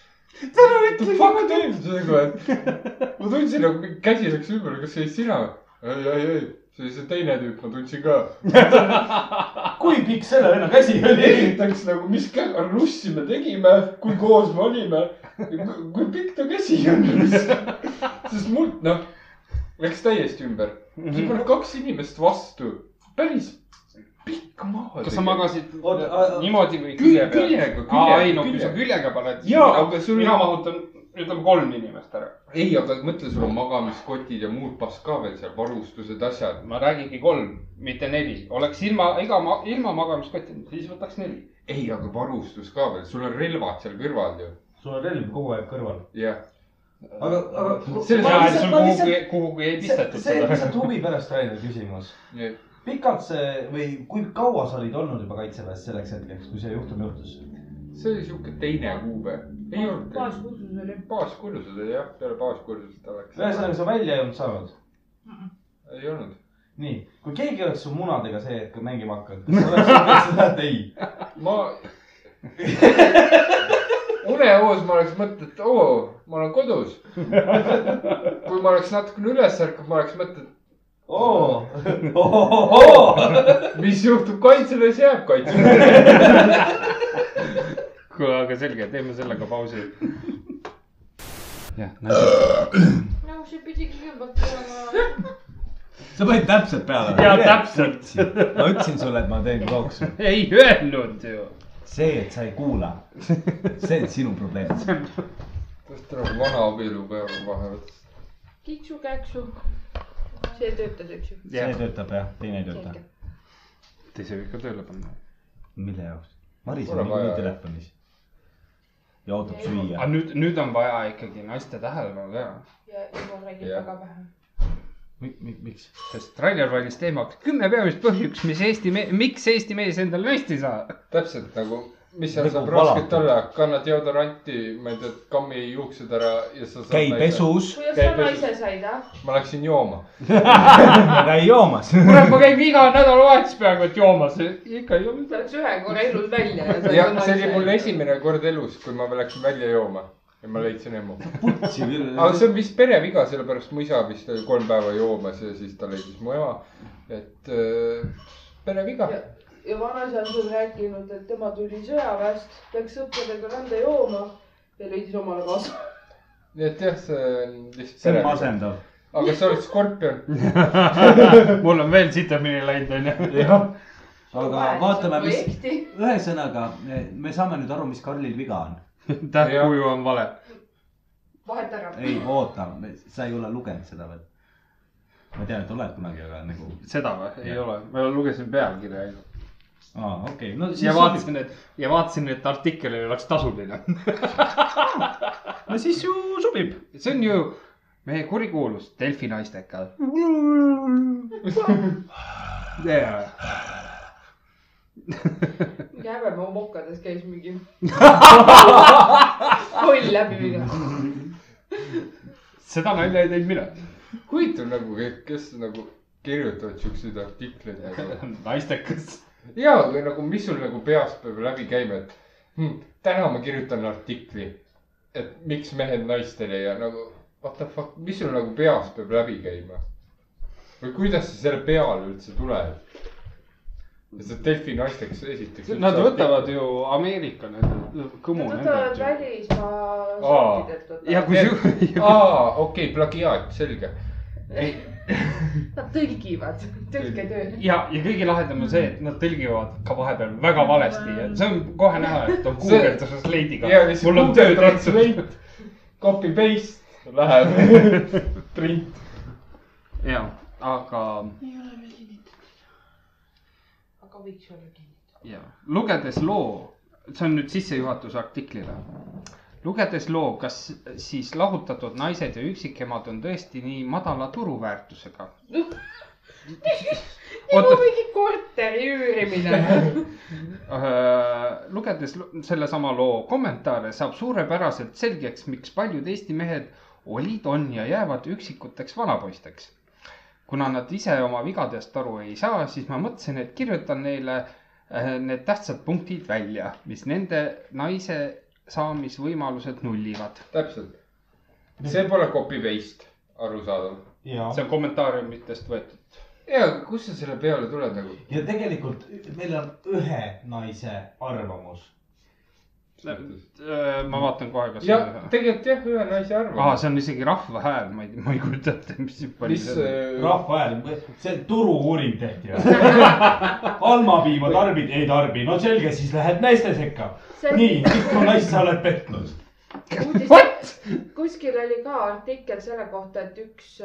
D: täna ütle , fuck teeb sellega , et ma tundsin nagu mingi käsi läks ümber , kas see olid sina või ? ei , ei , ei , see oli see teine tüüp , ma tundsin ka
F: kui pikk selle venna käsi oli ?
D: esiteks nagu , mis kä- russi me tegime , kui koos me olime , kui pikk ta käsi on . sest mul , noh , läks täiesti ümber . siin
C: kas
D: pole kaks inimest vastu , päris pikk maa .
C: sa ? magasid
F: Oota, a- a-
C: niimoodi või külje
D: külje ,
C: peal ?
D: küljega ,
C: aa , ei no kui sa
D: küljega .
C: küljega paned .
D: Jaa, aga sul-
C: mina mahutan , ütleme kolm inimest ära .
D: ei , aga mõtle , sul on magamiskotid ja muud pass ka veel seal , varustused , asjad .
C: ma räägingi kolm , mitte neli . oleks ilma , ega ma , ilma magamiskotti , siis võtaks neli .
D: ei , aga varustus ka veel , sul on relvad seal kõrval ju .
F: sul on relv kogu aeg kõrval .
D: jah ,
F: aga , aga .
C: selles mõttes , et sul kuhugi , kuhugi ei pistetud
F: seda . see on
C: seda .
F: lihtsalt huvi pärast ainult küsimus .
D: nii et
F: pikalt see või kui kaua sa olid olnud juba kaitseväes selleks hetkeks , kui see juhtum juhtus ?
D: see oli sihuke teine kuupäev . ei olnud .
E: baaskursus oli .
D: baaskursused oli jah , peale baaskursust oleks .
F: ühesõnaga , sa välja ei olnud saanud .
D: ei olnud .
F: nii , kui keegi oleks su munadega see hetk mängima hakanud , kas sa oleks öelnud seda , [laughs] et ei ?
D: ma unehoos ma oleks mõtelnud , et oo , ma olen kodus . kui ma oleks natukene üles ärkanud , ma oleks mõtelnud ,
F: oo ,
D: mis juhtub kaitseväes , jääb kaitseväes .
C: kuule , aga selge , teeme sellega pausi . jah , näed .
I: Nagu
E: no see pidigi kõigepealt tulema .
I: [laughs] sa panid täpselt peale .
C: ja täpselt .
I: ma ütlesin sulle , et ma teen jooksu .
C: ei öelnud ju .
I: see , et sa ei kuula , see on sinu probleem .
D: tõesti nagu vana abielupäev on vahel .
E: kiksu-käksu . see töötas , eks ju .
I: see töötab jah , teine ei tööta .
E: selge .
C: Te ei saa ikka tööle panna .
I: mille jaoks ? Maris on
D: Korra vaja,
I: niikuinii
D: jah.
I: telefonis ja ootab
C: aga
I: süüa .
C: nüüd , nüüd on vaja ikkagi naiste tähelepanu ka ,
E: ja Ivo räägib
D: Jah.
E: väga vähe .
I: miks ?
C: sest Rainer valis teemaks kümme peamist põhjust , mis Eesti , miks Eesti mees endale naist ei saa .
D: täpselt nagu , mis seal
I: Nagu
D: saab rasket
I: valatud.
D: olla , kanna deodoranti , ma ei tea , kammi juuksed ära ja sa saad .
I: käi . pesus ,
E: kuidas
D: Käib
E: sa
D: pesus.
E: naise said , ah ?
D: ma läksin jooma .
I: käi joomas .
C: kurat , ma käin iga nädalavahetus peaaegu et joomas , ikka ei
E: sa
C: olnud .
E: läks ühe korra elus välja ja said
D: jah , see oli mul . esimene kord elus , kui ma läksin välja jooma ja ma leidsin emu .
I: putsi
D: aga
I: küll .
D: see on vist pereviga , sellepärast mu isa vist oli kolm päeva joomas ja siis ta leidis mu ema . et äh, pereviga .
E: ja vanaisa on küll rääkinud , et tema tuli sõjaväest , läks sõpradega randa jooma ja leidis omale kaasa .
D: nii et jah , see on lihtsalt .
L: see on . masendav .
D: aga sa oled skorpion .
C: mul on veel sitemini läinud , onju .
F: jah . aga vaatame , mis ,. ühesõnaga , me saame nüüd aru , mis Karlil viga on .
C: tähtkuju on vale .
E: vaheta ära .
F: ei , oota , sa ei ole lugenud seda veel . ma tean , et oled kunagi , aga nagu ,
C: seda või ? ei ole , ma lugesin pealkirja ainult .
F: aa , okei , no siis
C: ja . vaatasin , et ja vaatasin , et artikkel ei oleks tasuline . [laughs]
F: no siis ju sobib .
C: see on ju meie kurikuulus Delfi [laughs] naisteka .
E: Jäävemaa mokades käis mingi koll läbi minema .
C: seda nalja ei teinud mina .
D: huvitav nagu , kes nagu kirjutavad siukseid artikleid
C: [laughs]
D: nagu .
C: [laughs] naistekas .
D: ja , või nagu , mis sul nagu peas peab läbi käima , et hm, täna ma kirjutan artikli , et miks mehed naistele ja nagu what the fuck , mis sul nagu peas peab läbi käima ? või kuidas sa selle peale üldse tuled ? ja see Delfi naisteks esiteks .
C: Nad võtavad . ju Ameerika need kõmu .
E: Nad võtavad välismaa
D: Aa.
E: sortidelt
C: ja [laughs]
E: võtavad .
C: kusjuures ,
D: aa , okei okay, , plagiaat , selge .
E: Nad tõlgivad , tõlketöö .
C: ja , ja kõige lahedam on see , et nad tõlgivad ka vahepeal väga valesti ja see on kohe näha , et on
D: See-
C: guugelduses leidiga
D: ja . siis
C: mul on töö
D: Google
C: tehtud .
D: Translate , copy paste läheb [laughs] print .
C: ja , aga
I: ei ole veel kinnitatud .
E: aga võiks olla kinni .
C: ja lugedes loo , see on nüüd sissejuhatuse artiklile . lugedes loo , kas siis lahutatud naised ja üksikemad on tõesti nii madala [laughs] turuväärtusega ?
E: nagu
C: oota ,
E: mingi korteri üürimine .
C: Äh, lugedes lo- sellesama loo kommentaare saab suurepäraselt selgeks , miks paljud Eesti mehed olid , on ja jäävad üksikuteks vanapoisteks . kuna nad ise oma vigadest aru ei saa , siis ma mõtlesin , et kirjutan neile äh, need tähtsad punktid välja , mis nende naise saamisvõimalused nullivad .
D: täpselt . see pole copy paste , arusaadav .
A: ja ,
C: see on kommentaariumitest võetud .
D: ja , aga kust sa selle peale tuled nagu ?
A: ja tegelikult meil on ühe naise arvamus .
C: Äh, ma vaatan kohe , kas .
D: jah , tegelikult jah , ühe naise
C: aa ,
D: arvamus .
C: see on isegi rahva hääl , ma ei , ma ei kujuta ette , mis äh, siin
D: mis äh,
C: palju .
A: rahvahääl , see on turu-uuring tehti või ? almapiima tarbid , ei tarbi , no selge , siis lähed naiste sekka . nii , mitu naist sa oled petnud ?
E: uudis , kuskil oli ka artikkel selle kohta , et üks ,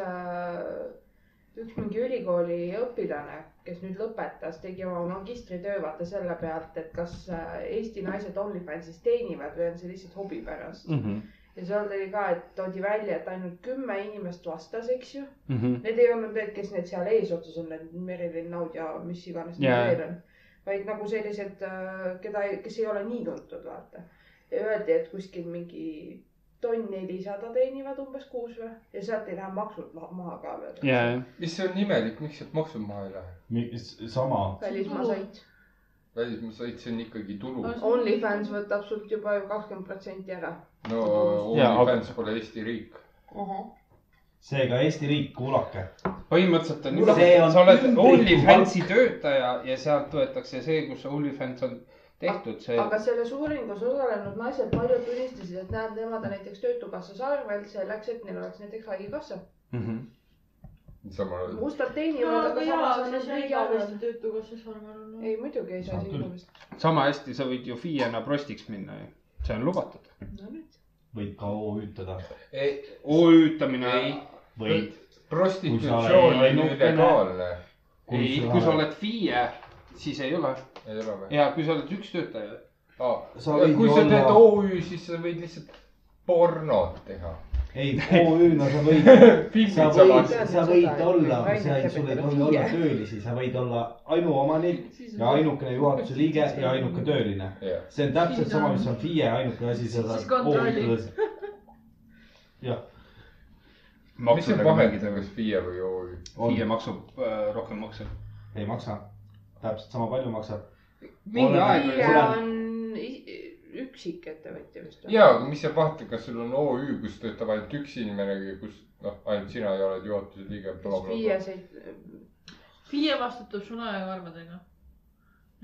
E: üks mingi ülikooli õpilane , kes nüüd lõpetas , tegi oma magistritöö vaata selle pealt , et kas äh, Eesti naised OnlyFansis teenivad või on see lihtsalt hobi
C: Mm.
E: pärast . ja seal oli ka , et toodi välja , et ainult kümme inimest vastas , eks ju . Need ei olnud need , kes need seal eesotsas on , need Merilin Naud ja mis iganes need
C: Jaa.
E: veel on , vaid nagu sellised , keda , kes ei ole nii tuntud , vaata . ja öeldi , et kuskil mingi tonn nelisada teenivad umbes kuus või ja sealt ei lähe maksud ma- maha ka veel .
C: ja ,
D: mis on imelik , miks sealt maksud maha ei lähe ?
A: sama .
E: välismaa sait .
D: välismaa sait , see on ikkagi tulu .
E: Onlyfans . võtab sult juba ju kakskümmend protsenti ära .
D: no
C: Jaa, aga-
D: OnlyFans pole Eesti riik .
A: seega Eesti riik , kuulake .
C: põhimõtteliselt on
A: Kuule,
C: niimoodi ,
A: see
C: et
A: on
C: sa oled
A: ümbrikupalk.
C: OnlyFansi töötaja ja sealt võetakse see , kus see OnlyFans on tehtud , see .
E: aga selles uuringus osalenud naised paljud tunnistasid , et näed , nemad on näiteks Töötukassas arvel selleks , et neil oleks näiteks haigekassa .
D: sama .
E: mustad
I: no
E: teenivad ,
I: aga
E: aga
I: jaa ,
E: samas on
I: siis
E: nad
I: ei
E: riigi
I: ole
E: arvel
I: vist töötukassas arvanud .
E: ei , muidugi ei saa
A: Saab küll.
E: silmamist .
C: sama hästi sa võid ju FIE-na prostiks minna ju , see on lubatud .
E: no nüüd .
A: võid ka OÜ-tada .
C: OÜ-tamine .
D: Ei.
A: võid . Kui sa
D: prostitutsioon
A: oled-
D: on ju illegaalne .
C: ei , kui sa oled FIE , siis ei ole .
D: ei ole või ?
C: ja kui sa oled üks töötaja .
A: Sa võid
D: kui sa
A: ju
D: teed
A: olla-
D: OÜ , siis sa võid lihtsalt pornot teha .
A: ei , OÜ-na sa võid ,
D: [laughs]
A: sa
D: filmid
A: võid
D: samas ,,
A: sa võid olla , sa ei , sul ei tohi olla töölisi , sa võid olla ainuomanik ja ainukene juhatuse liige ja ainuke tööline .
D: jah .
A: see on täpselt sama , mis on FIE , ainuke asi , sa
I: Siis
A: saad
I: kontrolli.
A: OÜ-tada . jah ,
D: mis
C: nagu
D: see vahet on , kas FIE või OÜ ?
A: on
C: FIE , maksab äh, rohkem makse .
A: ei maksa . täpselt sama palju maksab .
C: mingi
A: Oleneb-
C: aeg
E: Kiire
C: oli .
E: on i- üksikettevõtja vist või ?
D: ja , aga mis see vahet , kas sul on OÜ , kus töötab ainult üks inimene , kus noh , ainult sina ja oled juhatuse liige .
E: FIE said ,
I: FIE vastutab sularahaarmadega .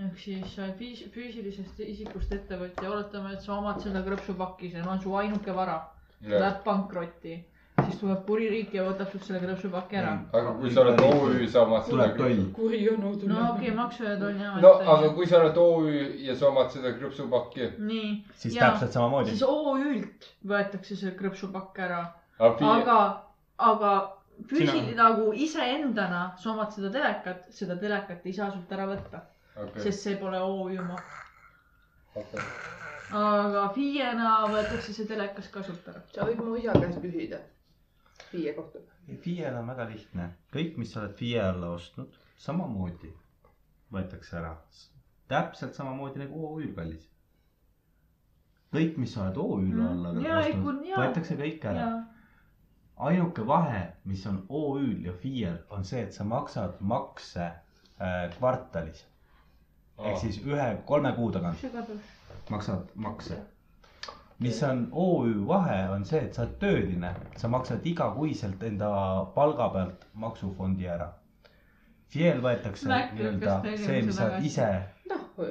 O: ehk siis sa oled füüs- , füüsilisest isikust ettevõtja , oletame , et sa omad seda krõpsupakki , see on su ainuke vara ,
D: jah .
O: läheb pankrotti , siis tuleb kuririik ja võtab sult selle krõpsupaki ära .
D: aga kui sa oled OÜ , sa omad seda
L: tuleb . toll .
E: kuri onu tuleb
O: no okei okay, , Maksu ja Tolliamet .
D: no aga kui sa oled OÜ ja sa omad seda krõpsupakki ,
O: nii ,
F: siis
O: Jaa.
F: täpselt samamoodi
O: siis . OÜ-lt võetakse see krõpsupakk ära ,
D: aga
O: aga , aga füüsiliselt nagu iseendana sa omad seda telekat , seda telekat ei saa sult ära võtta ,
D: FIE .
O: sest see pole OÜ oma . aga FIE-na võetakse see telekas kasutada .
E: sa võid mu isa käest küsida viie kohta .
F: FIE-l on väga lihtne , kõik , mis sa oled FIE alla ostnud , samamoodi võetakse ära . täpselt samamoodi nagu OÜ-l kallis . kõik , mis sa oled OÜ-l
O: Mm,
F: alla
O: jaa, ei,
F: ostnud
O: kun- , jaa.
F: võetakse kõik ära . ainuke vahe , mis on OÜ-l ja FIE-l , on see , et sa maksad makse äh, kvartalis ehk siis ühe , kolme kuu tagant maksad makse . mis on OÜ vahe , on see , et sa oled tööline , sa maksad igakuiselt enda palga pealt maksufondi ära . FIE-l võetakse
O: Mac
F: nii-öelda
O: lükkas tegemise
F: see , mis sa
O: tagasi.
F: ise .
E: noh ,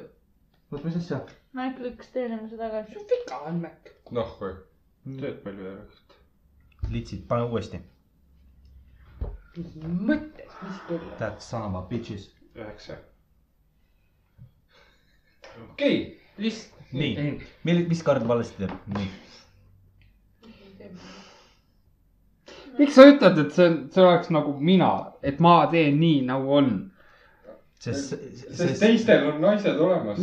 F: oot , mis asja ?
I: Mäkk lükkas teeninduse tagasi .
E: viga on mäkk .
D: noh , või
C: tööd palju ei ole .
F: litsid , pane uuesti .
E: mis mõttes , mis küll .
F: That son of a bitches .
C: üheksa .
D: okei okay, , lihtsalt .
F: nii , milli- , mis kard valesti teeb ? nii ,
C: miks sa ütled , et see , see oleks nagu mina , et ma teen nii nagu on ?
F: sest ,
D: sest
F: sest ,
D: teistel on naised olemas .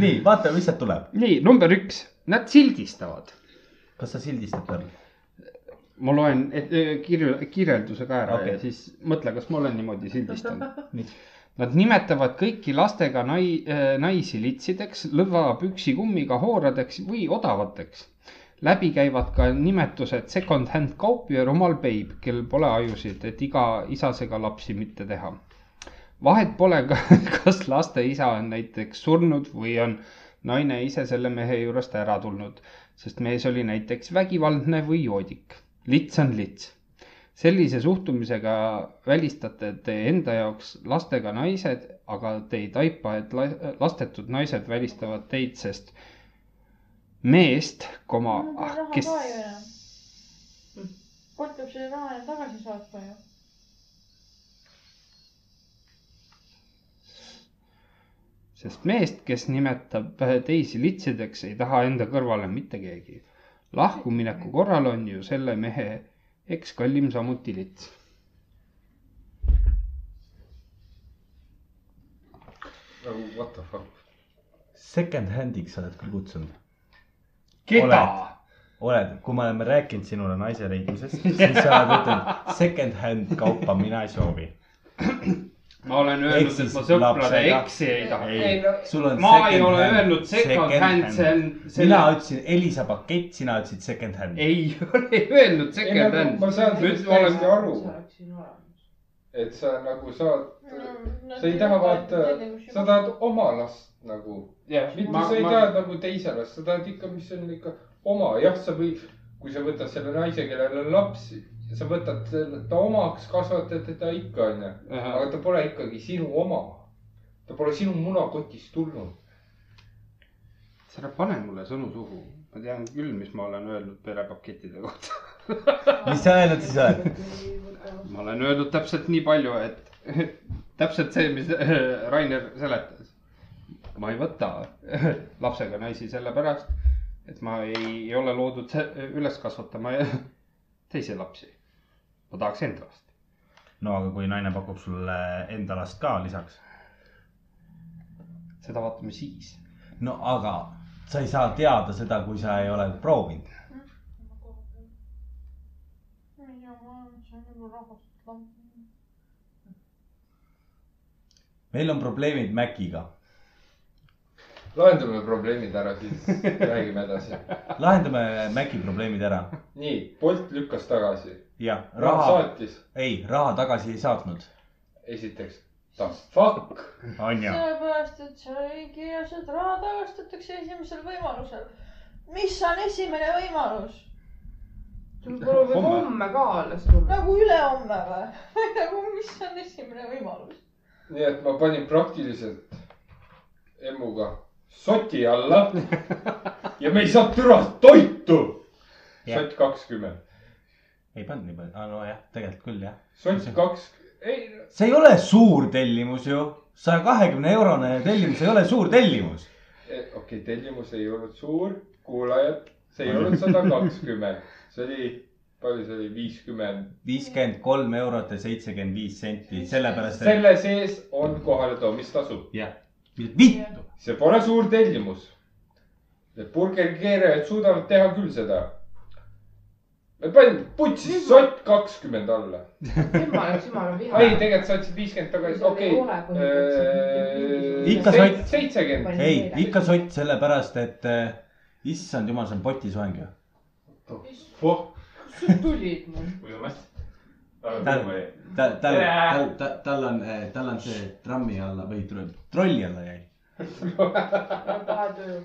F: nii , vaatame , mis sealt tuleb .
C: nii , number üks , nad sildistavad .
F: kas sa sildistad veel ?
C: ma loen et, öö, kirju , kirjelduse ka ära okay.
F: Okei.
C: ja siis mõtle , kas ma olen niimoodi sildistanud .
F: [laughs] Nii.
C: Nad nimetavad kõiki lastega nai- , naisi litsideks , lõvapüksi kummiga hooradeks või odavateks . läbi käivad ka nimetused second-hand kaup ja rumal beib , kel pole ajusid , et iga isas ega lapsi mitte teha . vahet pole ka , [laughs] kas laste isa on näiteks surnud või on naine ise selle mehe juurest ära tulnud , sest mees oli näiteks vägivaldne või joodik . lits on lits . sellise suhtumisega välistate te enda jaoks lastega naised , aga te ei taipa , et la- lastetud naised välistavad teid , sest meest , koma ah,
I: No ta ei , taha
C: kes
I: ka ju enam. Kolt peab selle raha ju tagasi saatma ju .
C: sest meest , kes nimetab äh, teisi litsideks , ei taha enda kõrvale mitte keegi . lahkumineku korral on ju selle mehe eks kallim samuti lits .
D: nagu what the fuck .
F: Second hand'iks sa oled küll kutsunud .
C: keda ?
F: oled , kui me oleme rääkinud sinule naise leidmisest , siis sa oled ütelnud second hand kaupa mina ei soovi .
C: ma olen
F: Ehk
C: öelnud ,
F: siis
C: et ma sõprade
F: lapsega-
C: eksi ei taha .
F: ei , sul on .
C: ma ei ole öelnud second hand , see on ,
F: mina
C: selle ,
F: ütlesin Elisa pakett , sina ütlesid second hand .
C: ei [laughs] ole öelnud
D: ei
C: second , hand .
D: ma saan sellest täiesti aru ,
E: oleksin olemas .
D: et sa nagu saad , sa ei taha vaata , sa . tahad oma last nagu , mitte ma, sa ei ma... taha nagu teise last , sa tahad ikka , mis on ikka oma , jah , sa võid , kui sa võtad selle naise , kellel on lapsi , sa võtad selle- ta omaks , kasvatad teda ikka onju ,
C: Äh,
D: aga ta pole ikkagi sinu oma . ta pole sinu munakotist tulnud .
C: ära pane mulle sõnu suhu , ma tean küll , mis ma olen öelnud perepakettide kohta .
F: mis sa öelnud siis oled ?
C: ma olen öelnud täpselt nii palju , et täpselt see , mis Rainer seletas . ma ei võta lapsega naisi sellepärast , et ma ei, ei ole loodud se- üles kasvatama teisi lapsi . ma tahaks enda last .
F: no aga kui naine pakub sulle enda last ka lisaks .
C: seda vaatame siis .
F: no aga sa ei saa teada seda , kui sa ei ole proovinud .
I: ma ei tea , ma olen , see on nagu rahvastatud lamp .
F: meil on probleemid Maciga ,
D: lahendame probleemid ära , [laughs] siis räägime edasi .
F: lahendame Maci probleemid ära .
D: nii , Bolt lükkas tagasi ,
F: jah ,
D: raha
F: raha ,
D: saatis ,
F: ei , raha tagasi ei saatnud .
D: esiteks , the fuck .
F: on ju ?
I: sellepärast , et seal oli kirjas , et raha tagastatakse esimesel võimalusel . mis on esimene võimalus ?
E: [laughs] sul pole veel
C: Homme.
E: homme ka alles tulla .
I: nagu ülehomme või ? nagu , mis on esimene võimalus ?
D: nii et ma panin praktiliselt emmuga soti alla ja me ei saa türast toitu .
F: Jah.
D: sott kakskümmend ,
F: ei pannud nii palju , aa nojah , tegelikult küll jah .
D: sott kaks , ei
F: see ei ole suur tellimus ju , saja kahekümne eurone tellimus ei ole suur tellimus .
D: Eh, okei okay, , tellimus ei olnud suur , kuulajad , see ei olnud sada kakskümmend , see oli , palju see oli , viiskümmend .
F: viiskümmend kolm eurot ja seitsekümmend viis senti , sellepärast et
D: selle sees on kohaletoomistasu ,
F: vittu ,
D: see pole suur tellimus . Need burgerikeerajad suudavad teha küll seda . me panime putsi sott kakskümmend alla ,
E: tema läks jumala
D: ei
E: vihale .
D: tegelikult sa ütlesid viiskümmend tagasi , okei .
F: Ikka sott.
D: seitsekümmend ,
F: ei ikka sott , sellepärast et äh, issand jumal , see on potisoeng ju .
E: kust sa tulid mul ?
F: ta , tal , tal , tal , tal on , tal on see trammi alla või tro- trolli alla jäi .
E: paha töö .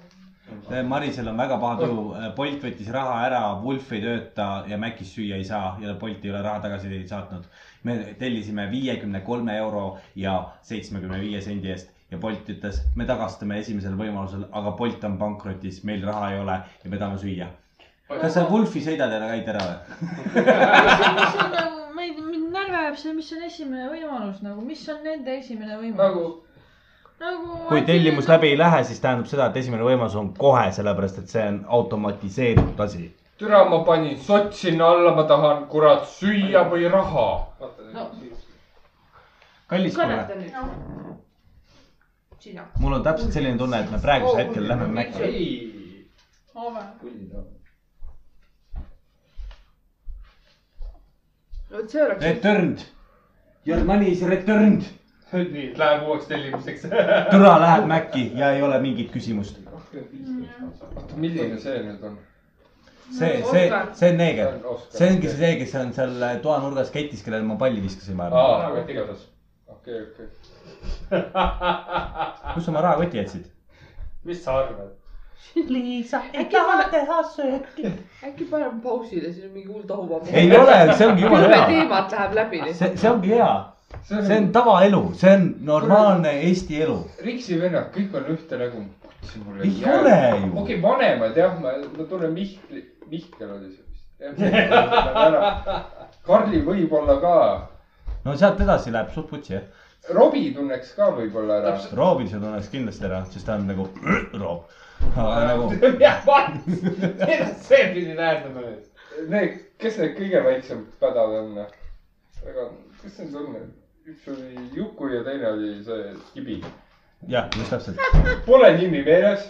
F: Eh, Marisel on väga paha tuju , Bolt võttis raha ära , Wolf ei tööta ja Macis süüa ei saa ja Bolt ei ole raha tagasi saatnud . me tellisime viiekümne kolme euro ja seitsmekümne viie sendi eest ja Bolt ütles , me tagastame esimesel võimalusel , aga Bolt on pankrotis , meil raha ei ole ja me tahame süüa . kas sa Wolfi sõidad ja käid ära või ?
O: mis on nagu , ma ei , mind närvajab see , mis on esimene võimalus nagu , mis on nende esimene
D: nagu
O: võimalus nagu .
F: kui tellimus läbi ei lähe , siis tähendab seda , et esimene võimalus on kohe , sellepärast et see on automatiseeritud asi .
D: türa , ma panin sott sinna alla , ma tahan kurat süüa või raha .
F: kallis kuule ,
E: kannata nüüd .
I: Noh,
E: sina .
F: mul on täpselt selline tunne , et me praegusel hetkel lähme Maci .
D: ei , küll on .
E: vot see oleks .
F: Returned . Your money is returned .
D: nii , läheb uueks tellimuseks .
F: türa läheb Maci ja ei ole mingit küsimust .
D: oota , milline see nüüd on ?
F: see , see , see on neeger . see
D: see
F: ongi see , kes on seal toanurgas ketis , kellele ma palli viskasin vahepeal .
D: aa , aga Nagu, igatahes . okei , okei .
F: kus sa oma rahakoti jätsid ?
C: mis sa arvad ?
O: Liisa ,
E: äkki pane , äkki paneme pausile , siin on mingi hull tahuvabu .
F: ei ole , see ongi jumala
E: kümme
F: hea .
E: teemat läheb läbi nüüd .
F: see , see ongi hea , see on tavaelu , see on normaalne Eesti elu .
D: Riksi vennad , kõik on ühte nägu .
F: Ei ole ju.
D: okei , vanemad jah , ma , ma tunnen Mihkli , Mihkel oli see vist . Karli võib-olla ka ,
F: no sealt edasi läheb suht putsi jah .
D: Robi tunneks ka võib-olla ära .
F: Robinson tunneks kindlasti ära , sest ta on nagu [clears throat] Rob . aga nagu
C: jah , vaat , see pidi tähendama nüüd .
D: Need , kes need kõige väiksemad pädad on ? aga kes need on ? üks oli Juku ja teine oli see Kibi .
F: jah , just täpselt .
D: Pole nimi meeles .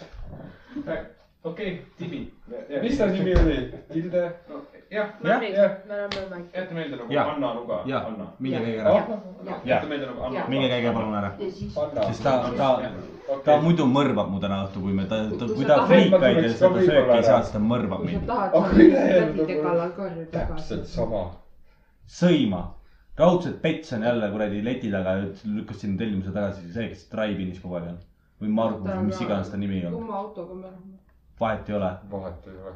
C: okei , Tibi ,
D: mis ta nimi oli ? Hilde ?
C: jah ,
F: jah ,
E: me oleme mängijad .
C: jäta meelde nagu
F: Jah.
C: Anna Luga ,
F: Jah.
C: Anna .
F: minge käige ära ,
E: ja ,
F: Jah.
C: jäta meelde nagu
E: ja
C: Anna .,
F: minge käige palun ära ,
E: ja siis .
D: Anna .
F: sest ta , ta , ta
D: okei ,
F: muidu mõrvab mu täna õhtul , kui me ta , ta , kui
E: Kui
F: ta
E: sa
D: tahad, ma
F: friikaid ja
D: tuleks ka
F: seda sööki
D: võib-olla
F: ei saa
D: ära. ,
F: siis ta mõrvab
E: kui sa
F: mind .
E: tahad ,
D: Ah,
E: sa võid
D: ülejäänud
E: läbide
D: nagu-
E: kallal karju tagasi
D: täpselt . sama .
F: sõima , raudselt pets on jälle kuradi leti taga ja lükkas sinna tellimuse tagasi , see , kes Drive-Inis kogu aeg on või Margus , mis iganes ta nimi on ,
E: kumma autoga me oleme ?
F: vahet ei ole ,
D: vahet ei ole .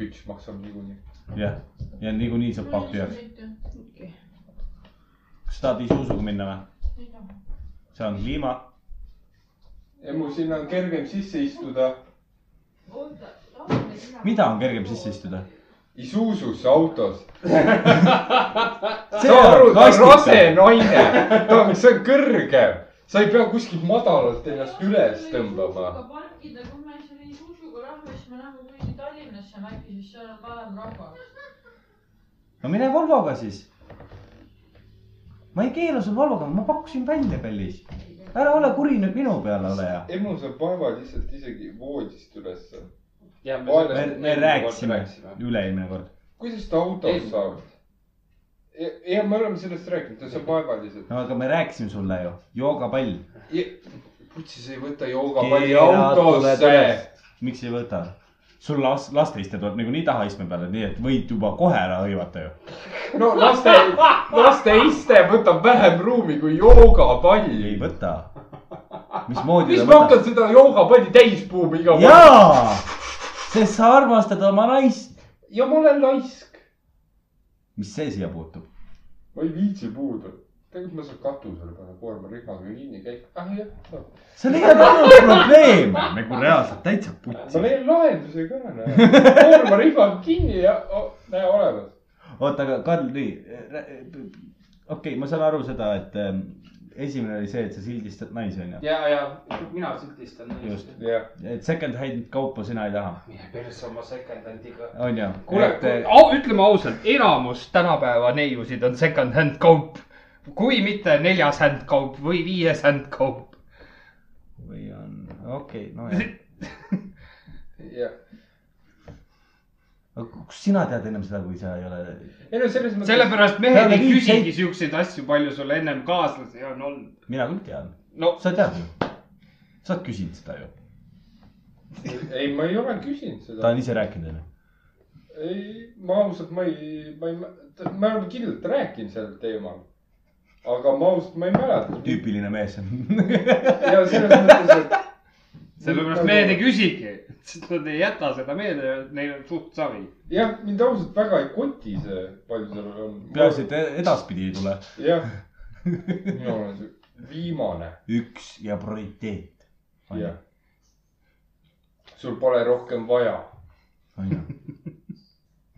D: küts maksab niikuinii .
F: jah , ja niikuinii saab pakk tühjaks . kas tahad isuusuga minna või ? see on kliima ,
D: emu , sinna on kergem sisse istuda .
F: mida on kergem sisse istuda ?
D: Isuzusse autos . [laughs] sa aru , ta on rase naine , see on kõrgem , sa ei pea kuskilt madalalt ennast üles tõmbama .
O: parkida , kui me selle Isuzuga lähme , siis me lähme kuhugi Tallinnasse äkki , siis seal on vähem rahvast .
F: no mine Volvoga siis . ma ei keela sul Volvoga , ma pakkusin välja , kallis . ära ole kuri nüüd minu peale , ole hea .
D: emu saab vaeva lihtsalt isegi voodist ülesse .
F: me , me rääkisime . üle-eelmine kord .
D: kuidas ta autos saab ? ja me oleme sellest rääkinud , ta saab vaeva lihtsalt .
F: no aga me rääkisime sulle ju , joogapall .
D: putsi , sa ei võta joogapalli autosse .
F: miks ei võta ? sul las- , laste istaja tuleb niikuinii taha istme peale , nagu nii et võid juba kohe ära hõivata ju .
D: no laste , laste iste võtab vähem ruumi kui joogapall
F: ei . võta . mismoodi
D: mis ma hakkan ? seda joogapalli täis puhuma iga päev ?
F: jaa , sest sa armastad oma naist .
D: ja ma olen laisk .
F: mis see siia puutub ?
D: ma ei viitsi puudu . tegelikult ma saan katusele panna koorma rihmaga kinni , käib , ah jah no. ,
F: see ei ole ainult probleem , nagu reaalselt täitsa
D: ma
F: putsi .
D: leian lahenduse ka ,
F: [laughs]
D: näe . koorma rihmaga kinni ja oh, näe olemas .
F: oota , aga Karl , nii , okei , ma saan aru seda , et ähm, esimene oli see , et sa sildistad naisi , onju .
C: ja , ja mina sildistan
F: Just.
C: neist .
D: jah ,
F: et second hand kaupa sina ei taha ,
C: mine persse oma second hand'iga .
F: onju . eh,
C: kuule , ütleme ausalt , enamus tänapäeva neiusid on second hand kaup , kui mitte neljas hand kaup või viies hand kaup .
F: või on , okei okay, , nojah .
D: jah .
F: aga kust sina tead ennem seda , kui sa ei ole ?
D: ei no selles mõttes .
C: sellepärast mehed
F: Peale
C: ei
F: viit
C: küsigi siukseid asju , palju sul ennem kaaslasi on olnud .
F: mina küll tean ,
C: no
F: sa tead ju . sa oled küsinud seda ju ,
D: ei , ma ei ole küsinud
F: ta
D: seda .
F: on ise rääkinud onju .
D: ei , ma ausalt , ma ei , ma ei , me oleme kindlalt rääkinud sel teemal . aga ma ausalt , ma ei mäleta .
F: tüüpiline mees [laughs] on .
D: ja selles mõttes , et .
C: sellepärast mehed ei . küsigi , sest nad ei jäta seda meelde , neil on suht savi .
D: jah , mind ausalt väga ei koti see , palju seal on .
F: peaasi , et edaspidi ei tule .
D: jah , mina olen see viimane ,
F: üks ja prioriteet .
D: jah . sul pole rohkem vaja ,
F: onju ,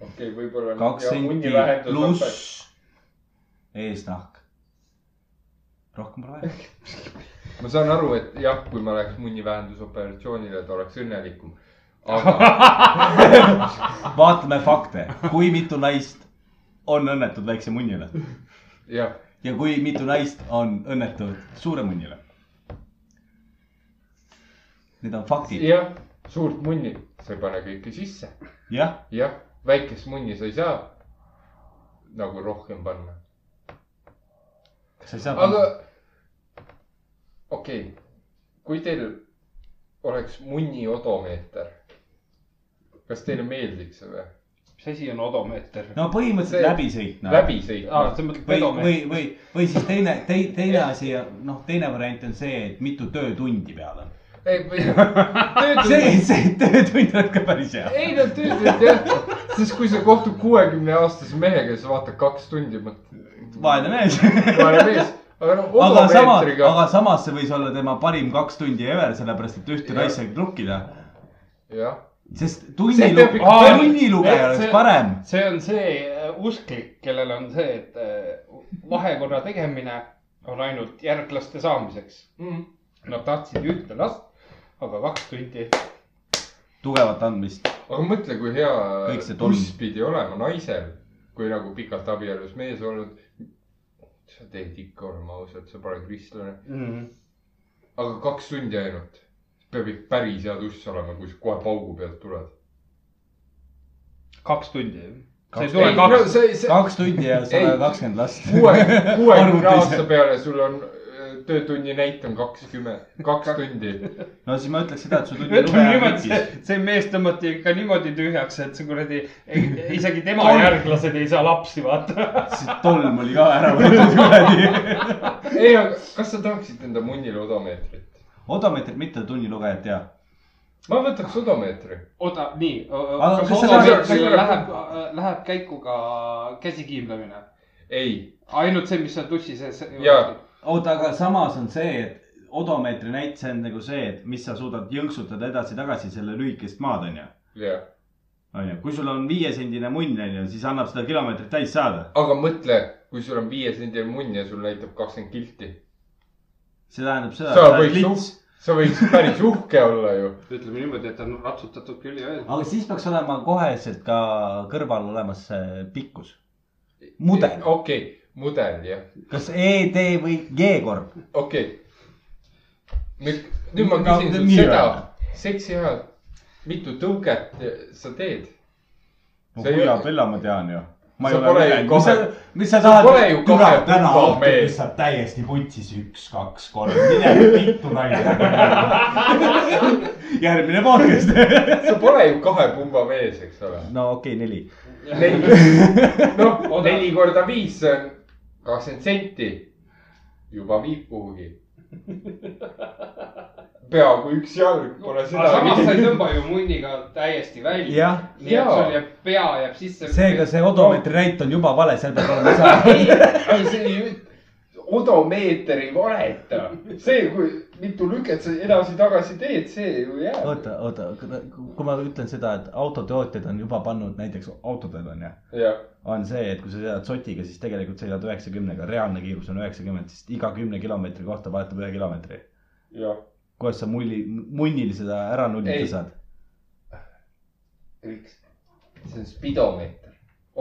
D: okei okay, , võib-olla .
F: kaks senti pluss . eesnahk . rohkem pole vaja .
D: ma saan aru , et jah , kui ma läheks munnivähendusoperatsioonile , ta oleks õnnelikum .
F: [laughs]
D: aga
F: vaatame fakte , kui mitu naist on õnnetud väikse munnile
D: jah ,
F: ja kui mitu naist on õnnetud suure munnile . Need on faktid ,
D: jah , suurt munni sa ei pane kõike sisse ,
F: jah ,
D: jah , väikest munni sa ei saa nagu rohkem panna ,
F: sa ei saa .
D: aga okei okay. , kui teil oleks munni odomeeter , kas teile meeldiks see või ?
C: mis asi on odomeeter ?
F: no põhimõtteliselt
D: see-
F: läbisõit no. .
D: läbi sõitma
C: aa , sa mõtled
F: või , või
C: pedomeeter ?,
F: või , või siis teine , tei- , teine asi , noh , teine variant on see , et mitu töötundi peal on .
D: ei , või töötad
F: see , see töötund on ka päris hea .
D: ei no töötad jah , siis kui sa kohtud kuuekümne aastase mehega , siis vaatad kaks tundi , mõtled .
F: vaene mees . [laughs]
D: vaene mees , aga noh ,
F: aga samas ,
D: odomeetriga .
F: aga samas see võis olla tema parim kaks tundi ever , sellepärast et ühte
D: Jah.
F: naist sai trukkida .
D: jah ,
F: sest
D: See peab
F: tunnilu- ,
D: ikka
F: aa,
C: palju-
F: tunnilugeja
C: see-
F: oleks parem .
C: see on see äh, usklik , kellel on see , et äh, vahekorra tegemine on ainult järglaste saamiseks . Nad tahtsid ühte last , aga kaks tundi .
F: tugevat andmist .
D: aga mõtle , kui hea
F: Kõik see tolm.
D: buss pidi olema naisel , kui nagu pikalt abielus mees olnud . sa teed ikka , oleme ausad , sa pole kristlane ,
C: Mhm.
D: aga kaks tundi ainult . peab ikka päris hea duss olema , kui sa kohe paugu pealt tuled .
C: kaks tundi . sa ei
F: Kaks-
C: tule kaks ,
D: see , see
F: kaks tundi ja sada
D: Ei.
F: kakskümmend last .
D: [laughs] kuue , kuuekümne
F: Arvutis.
D: aasta peale sul on äh, töötunni näit on kakskümmend , kaks tundi .
F: [laughs] no siis ma ütleks seda , et su
C: ütleme
F: tunnilugeja on
C: niimoodi , see
F: pükis .,
C: see mees tõmmati ikka niimoodi tühjaks , et see kuradi , isegi tema
F: Tolm.
C: järglased ei saa lapsi , vaata .
F: see tolm oli ka ära võetud kuradi . [laughs]
D: ei , aga kas sa tahaksid enda munnile odomeetrit ?
F: odomeetrit mitte tunnilugejat ja .
D: ma võtaks odomeetri .
C: oota , nii .
F: Aga
C: kas
F: kas sa
C: odomeetrile
D: tahad-
C: läheb , läheb käiku ka käsikiimlemine ?
D: ei ,
C: ainult see , mis on tussi sees .
D: Jaa.
F: oota , aga samas on see , et odomeetri näit , see on nagu see , et mis sa suudad jõnksutada edasi-tagasi selle lühikest maad , onju .
D: jah .
F: onju , kui sul on viiesendine munn , onju , siis annab seda kilomeetrit täis saada .
D: aga mõtle , kui sul on viiesendine munn ja sul näitab kakskümmend kilti .
F: see tähendab seda ,
D: sa
F: et sa oled
D: võiks
F: lits
D: uhke , sa võiks päris uhke olla ju .
C: ütleme niimoodi , et on ratsutatud külje ees .
F: aga siis peaks olema koheselt ka kõrval olemas see pikkus . mudel ,
D: okei okay, , mudel jah ,
F: kas E , D või G korv .
D: okei okay. . nüüd ma
F: No,
D: küsin sult
F: nii
D: seda
F: või? ,
D: seksi ajal , mitu tõuget sa teed ?
F: no
D: See ei
F: kui hea
D: ole-
F: Bella ma tean ju . ma ei
D: See
F: ole
D: pole ju
F: ülenud , mis sa
D: kahe- ,
F: mis sa
D: see
F: tahad
D: pole ju . kahe
F: täna
D: pumba
F: õhtul
D: mees.
F: lihtsalt täiesti putsis , üks , kaks , kolm , mine pitu
D: [laughs]
F: naisega . järgmine podcast .
D: sa pole ju kahe pumba mees , eks ole .
F: no okei okay, , neli .
D: neli , noh ,
C: Oda-
D: neli korda viis , see on kakskümmend senti . juba viib kuhugi . peaaegu üks jalg , pole
C: aga samas sa
D: seda .
C: ei tõmba ju munniga täiesti välja .
F: jah ,
C: nii et
D: Jaa.
C: sul jääb , pea jääb sisse .
D: [laughs]
F: seega see odomeetri näit on juba vale , seal peab olema lisa .
D: ei , see ei , odomeeter ei valeta . see , kui mitu lüket sa edasi-tagasi teed , see ju jääb .
F: oota , oota , kui ma ütlen seda , et autotootjad on juba pannud näiteks autodel onju ,
D: jah ,
F: on see , et kui sa sõidad sotiga , siis tegelikult sa sõidad üheksakümnega , reaalne kiirus on üheksakümmend , sest iga kümne kilomeetri kohta vahetab ühe kilomeetri .
D: jah .
F: kuidas sa mulli , munnil seda ära nullida
D: Ei.
F: saad ?
D: see on spidomeeter .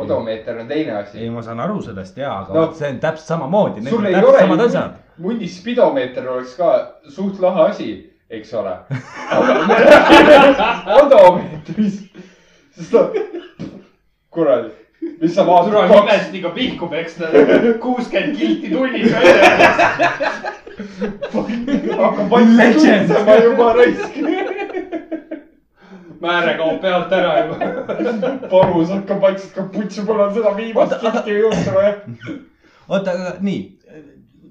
D: odomeeter on teine asi
F: ei ,. ma saan aru sellest ja , aga
D: No.
F: no. see on täpselt samamoodi .
D: sul ei ole ju
F: ole .
D: munni spidomeeter oleks ka suht lahe asi , eks
F: [laughs]
D: ole . aga me räägime odomeetrist , sest noh , kuradi , mis sa
C: tule
D: vaatad kaks ,
C: nimest ikka pihku peksta , [laughs] kuuskümmend kilti tunnis välja .
D: hakkab vaikselt
F: Legend.
D: suitsema juba raisk ,
C: määre kaob pealt ära juba .
D: parus hakkab vaikselt ka putsu , mul on seda viimast kilti juurde vaja .
F: oota , aga nii ,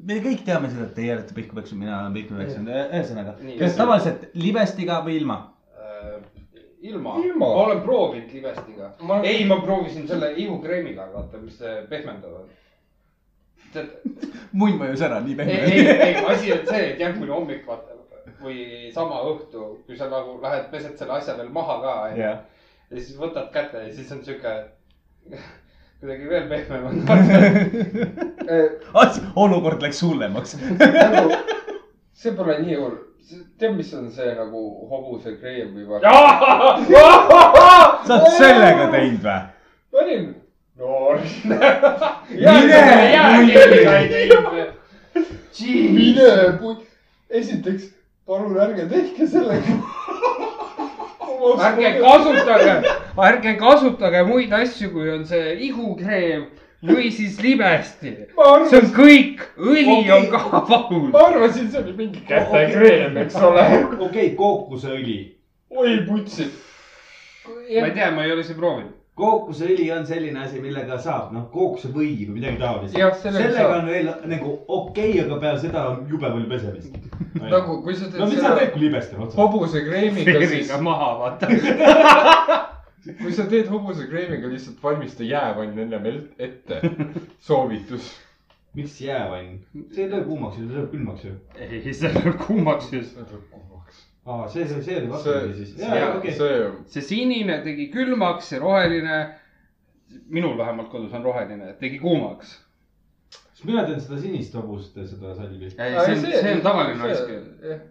F: me kõik teame seda , et teie olete pihku peksnud , mina olen pihku peksnud , ühesõnaga ,
C: Nii,
F: kas
C: see-
F: tavaliselt libestiga või ilma ?
C: Äh, ilma,
D: Ilma.
C: ilma. , ma olen proovinud libestiga ma... . ei , ma proovisin selle ihukreemiga , vaata , mis see pehmendab . tead ,
F: munn vajus ära nii
C: ei ,
F: pehme .
C: ei , ei , asi on see , et järgmine hommik vaata või sama õhtu , kui sa nagu lähed , pesed selle asja veel maha ka , onju .
F: jah ,
C: ja siis võtad kätte ja siis on sihuke [laughs] kuidagi veel pehmem [laughs] on .
F: olukord läks hullemaks .
D: nagu , see pole nii hull , tead , mis on see nagu hobuse kreem või vaata .
F: sa oled sellega teinud või ?
D: ma olin noor . mine put- , esiteks palun ärge tehke sellega .
C: ärge kasutage , ärge kasutage muid asju , kui on see ihukreem või siis libesti . see
D: ma
C: on
D: arvasin ,
C: kõik , õli okay. on
D: Okei.
C: ka valus .
D: ma arvasin , see oli mingi kätekreem , eks ole .
A: okei okay, , kookuseõli .
D: oi putsi .
C: ma ei tea , ma ei ole seda proovinud .
A: kookuseõli on selline asi , millega saab noh , kookosevõi või midagi taolist .
D: jah ,
A: sellega
D: sellega
A: on veel nagu okei okay, , aga peale seda on jube palju pesemist . [laughs]
D: on nagu , kui sa
A: no
D: teed
A: mis sa
D: seda
A: teed , kui libest on otsas ?
D: hobusekreemiga , siis
C: veeriga maha , vaata .
D: kui sa teed hobusekreemiga , lihtsalt valmista jäävann ennem el- ette . soovitus .
A: miks jäävann ? see ei löö kuumaks , see lööb külmaks ju .
C: ei , see läheb kuumaks just .
A: aa , see , see , see oli
D: see
A: vastupidi , siis . jaa ,
D: see ,
A: okei .
D: see
C: see sinine tegi külmaks ja roheline , minul vähemalt kodus on roheline , tegi kuumaks .
A: siis mina teen seda sinist hobust , seda salmi .
C: ei , see on , see on tavaline raisk .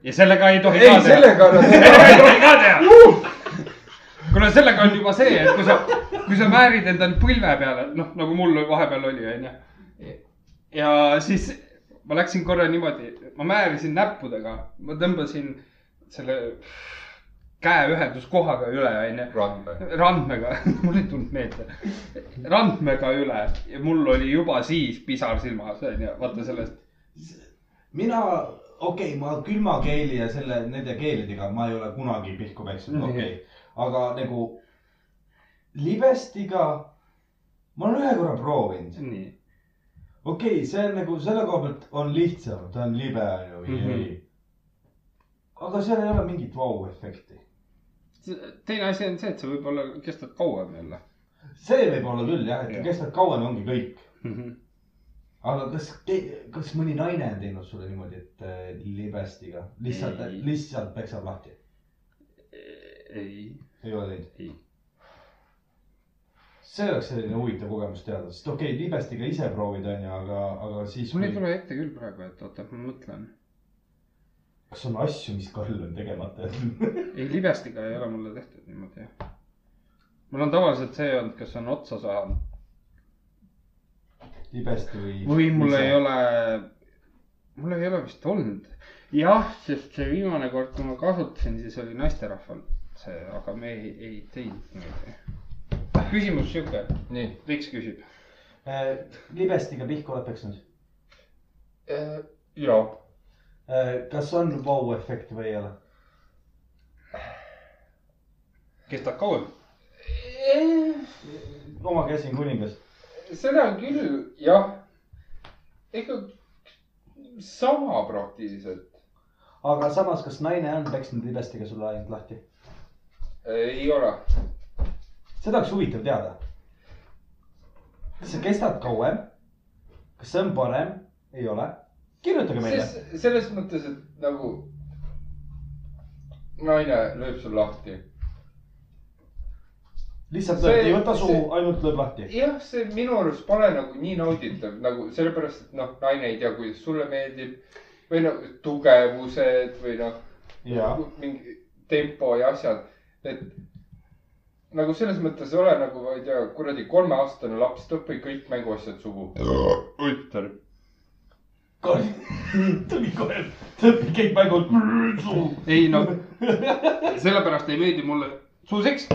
C: ja sellega ei tohi
D: ei
C: ka , teha .
D: sellega on
C: sellega [laughs]
D: [laughs]
C: ei tohi ka teha . kuule , sellega on juba see , et kui sa , kui sa määrid endal põlve peale , noh , nagu mul vahepeal oli , onju . ja siis ma läksin korra niimoodi , ma määrisin näppudega , ma tõmbasin selle käeühenduskohaga üle , onju .
D: randme .
C: randmega , [laughs] mul ei tulnud meelde , randmega üle ja mul oli juba siis pisar silmas , onju , vaata sellest .
A: mina , okei okay, , ma külmakeeli ja selle , nende keelidega ma ei ole kunagi pihku peksnud ,
C: Mhm.
A: okei okay. . aga nagu libestiga , ma olen ühe korra proovinud .
C: nii .
A: okei okay, , see on nagu selle koha pealt on lihtsam , ta on libe on ju ,
C: Mhm.
A: ei-ei . aga seal ei ole mingit vau-efekti .
C: teine asi on see , et see võib-olla kestab kauem jälle .
A: see võib olla küll jah ,
C: Jah.
A: et kestab kauem , ongi kõik .
C: Mhm.
A: aga kas , kas mõni naine on teinud sulle niimoodi , et äh, libestiga lihtsalt
C: Ei. ,
A: lihtsalt peksab lahti ?
C: ei ,
A: ei ole teinud ?
C: Ei.
A: see oleks selline huvitav kogemus teada , sest okei okay, , libestiga ise proovid , onju , aga , aga siis
C: mul ei
A: kui...
C: tule ette küll praegu , et oota , ma mõtlen .
A: kas on asju , mis Karl on tegemata [laughs] jätnud ?
C: ei , libestiga ei ole mulle tehtud niimoodi . mul on tavaliselt see olnud , kes on otsa saanud
A: libesti või ?
C: või mul ei . ole , mul ei ole vist olnud . jah , sest see viimane kord , kui ma kasutasin , siis oli naisterahval see , aga me ei , ei teinud niimoodi . küsimus sihuke ,
D: nii .
C: Riks küsib .
A: Äh, libestiga pihku oled peksnud ?
D: Äh, ja
A: Äh, kas on vau-efekt või ei ole ?
C: kestab kauem ?
A: oma käsi on kuningas .
D: eh, seda küll jah , ega sama praktiliselt .
A: aga samas , kas naine on peksnud libestiga sulle ainult lahti ?
D: eh, ei ole ,
A: seda oleks huvitav teada . kas see kestab kauem ? kas see on parem ei ole , kirjutage meile .
D: siis selles mõttes , et nagu naine lööb sul lahti .
A: lihtsalt
D: see-
A: lööb , ei võta suhu
D: see- ,
A: ainult lööb lahti .
D: jah , see minu arust pole nagu nii nauditav nagu sellepärast , et noh , naine ei tea , kuidas sulle meeldib või noh , tugevused või noh ,
A: ja ,
D: mingi tempo ja asjad , et nagu selles mõttes ei ole nagu , ma ei tea , kuradi kolmeaastane laps , ta õpib kõik mänguasjad suhu . ütleb .
A: [laughs] tuli kohe , tõmbi kõik mängud [laughs] suhu .
C: ei no , [laughs] sellepärast ei meeldi mulle suuseks ,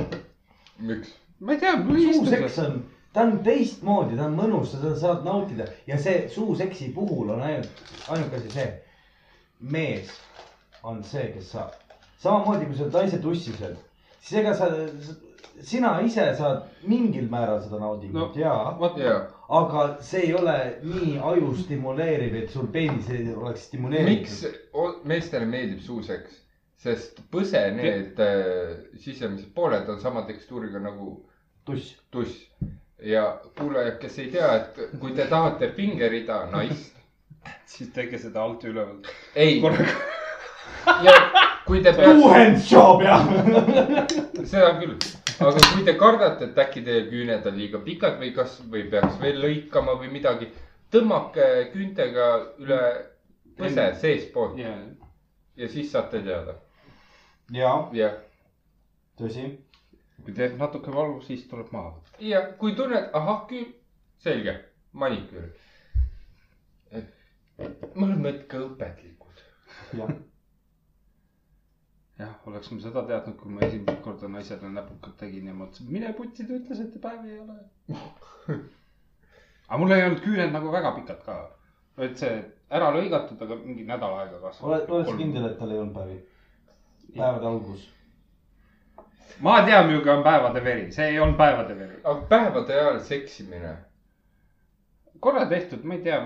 D: miks ?
C: ma ei tea , mul ei istu
A: suuseks on , ta on teistmoodi , ta on mõnus , sa seda saad nautida ja see suuseksi puhul on ainult , ainuke asi see , mees on see , kes saab . samamoodi kui sa oled naise tussi seal , siis ega sa , sina ise saad mingil määral seda
C: No.
A: naudingut no. ja ,
C: vot
D: jaa ,
A: aga see ei ole nii aju stimuleeriv , et sul peenis ei oleks
D: miks
A: stimuleeritud .
D: o- meestele meeldib suuseks , sest põse , need äh, sisemised pooled on sama tekstuuriga nagu
A: tuss ,
D: tuss ja kuulajad , kes ei tea , et kui te tahate pingerida naist ,
C: siis tehke seda alt ja ülevalt .
D: ei .
C: Korraga.
D: ja kui te peaks ,
A: handjob
C: [laughs]
A: jah .
D: seda küll , aga kui te kardate , et äkki teie küüned on liiga pikad või kas , või peaks veel lõikama või midagi , tõmmake küüntega üle põse seestpoolt
C: ja ,
D: ja siis saate teada .
A: ja ,
D: jah ,
A: tõsi ,
C: kui teeb natuke valu , siis tuleb maha võtta .
D: ja kui tunned , ahah , küün , selge , maniküür . me oleme ikka õpetlikud .
A: jah ,
C: jah , oleks ma seda teadnud , kui ma esimest korda naisele näpukad tegin ja mõtlesin , mine putsi , ta ütles , et päevi ei ole .
A: [laughs]
C: aga mul ei olnud küüned nagu väga pikad ka , et see ära lõigatud , aga mingi nädal aega
A: oled ,
C: kasvanud .
A: oled sa ? kindel , et tal ei olnud päevi ? päevade algus .
C: ma tean , millega on päevade veri , see ei olnud päevade veri .
D: aga päevade ajal seksimine
C: korra tehtud , ma ei tea ,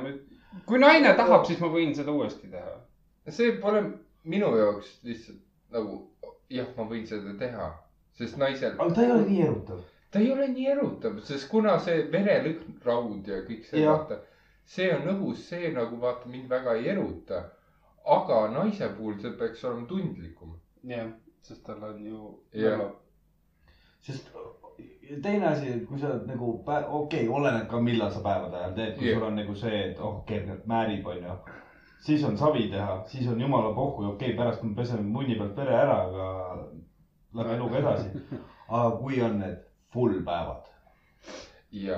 C: kui naine tahab , siis ma võin seda uuesti teha .
D: see pole minu jaoks lihtsalt nagu jah , ma võin seda teha , sest naisel ,
A: aga ta ei ole nii erutav .
D: ta ei ole nii erutav , sest kuna see verelõhn , raud ja kõik see ,
A: Jah.
D: vaata , see on õhus , see nagu vaata mind väga ei eruta . aga naise puhul see peaks olema tundlikum .
C: jah , sest tal on ju
D: Jah.
A: sest äh, teine asi , kui sa oled nagu , okei , oleneb ka , millal sa päevade ajal teed , kui
D: Jah.
A: sul on nagu see , et oh , kergelt määrib , onju . siis on savi teha , siis on jumala pohhu , okei okay, , pärast me peseme munni pealt vere ära , aga lähme eluga edasi . aga kui on need full päevad ,
D: ja ,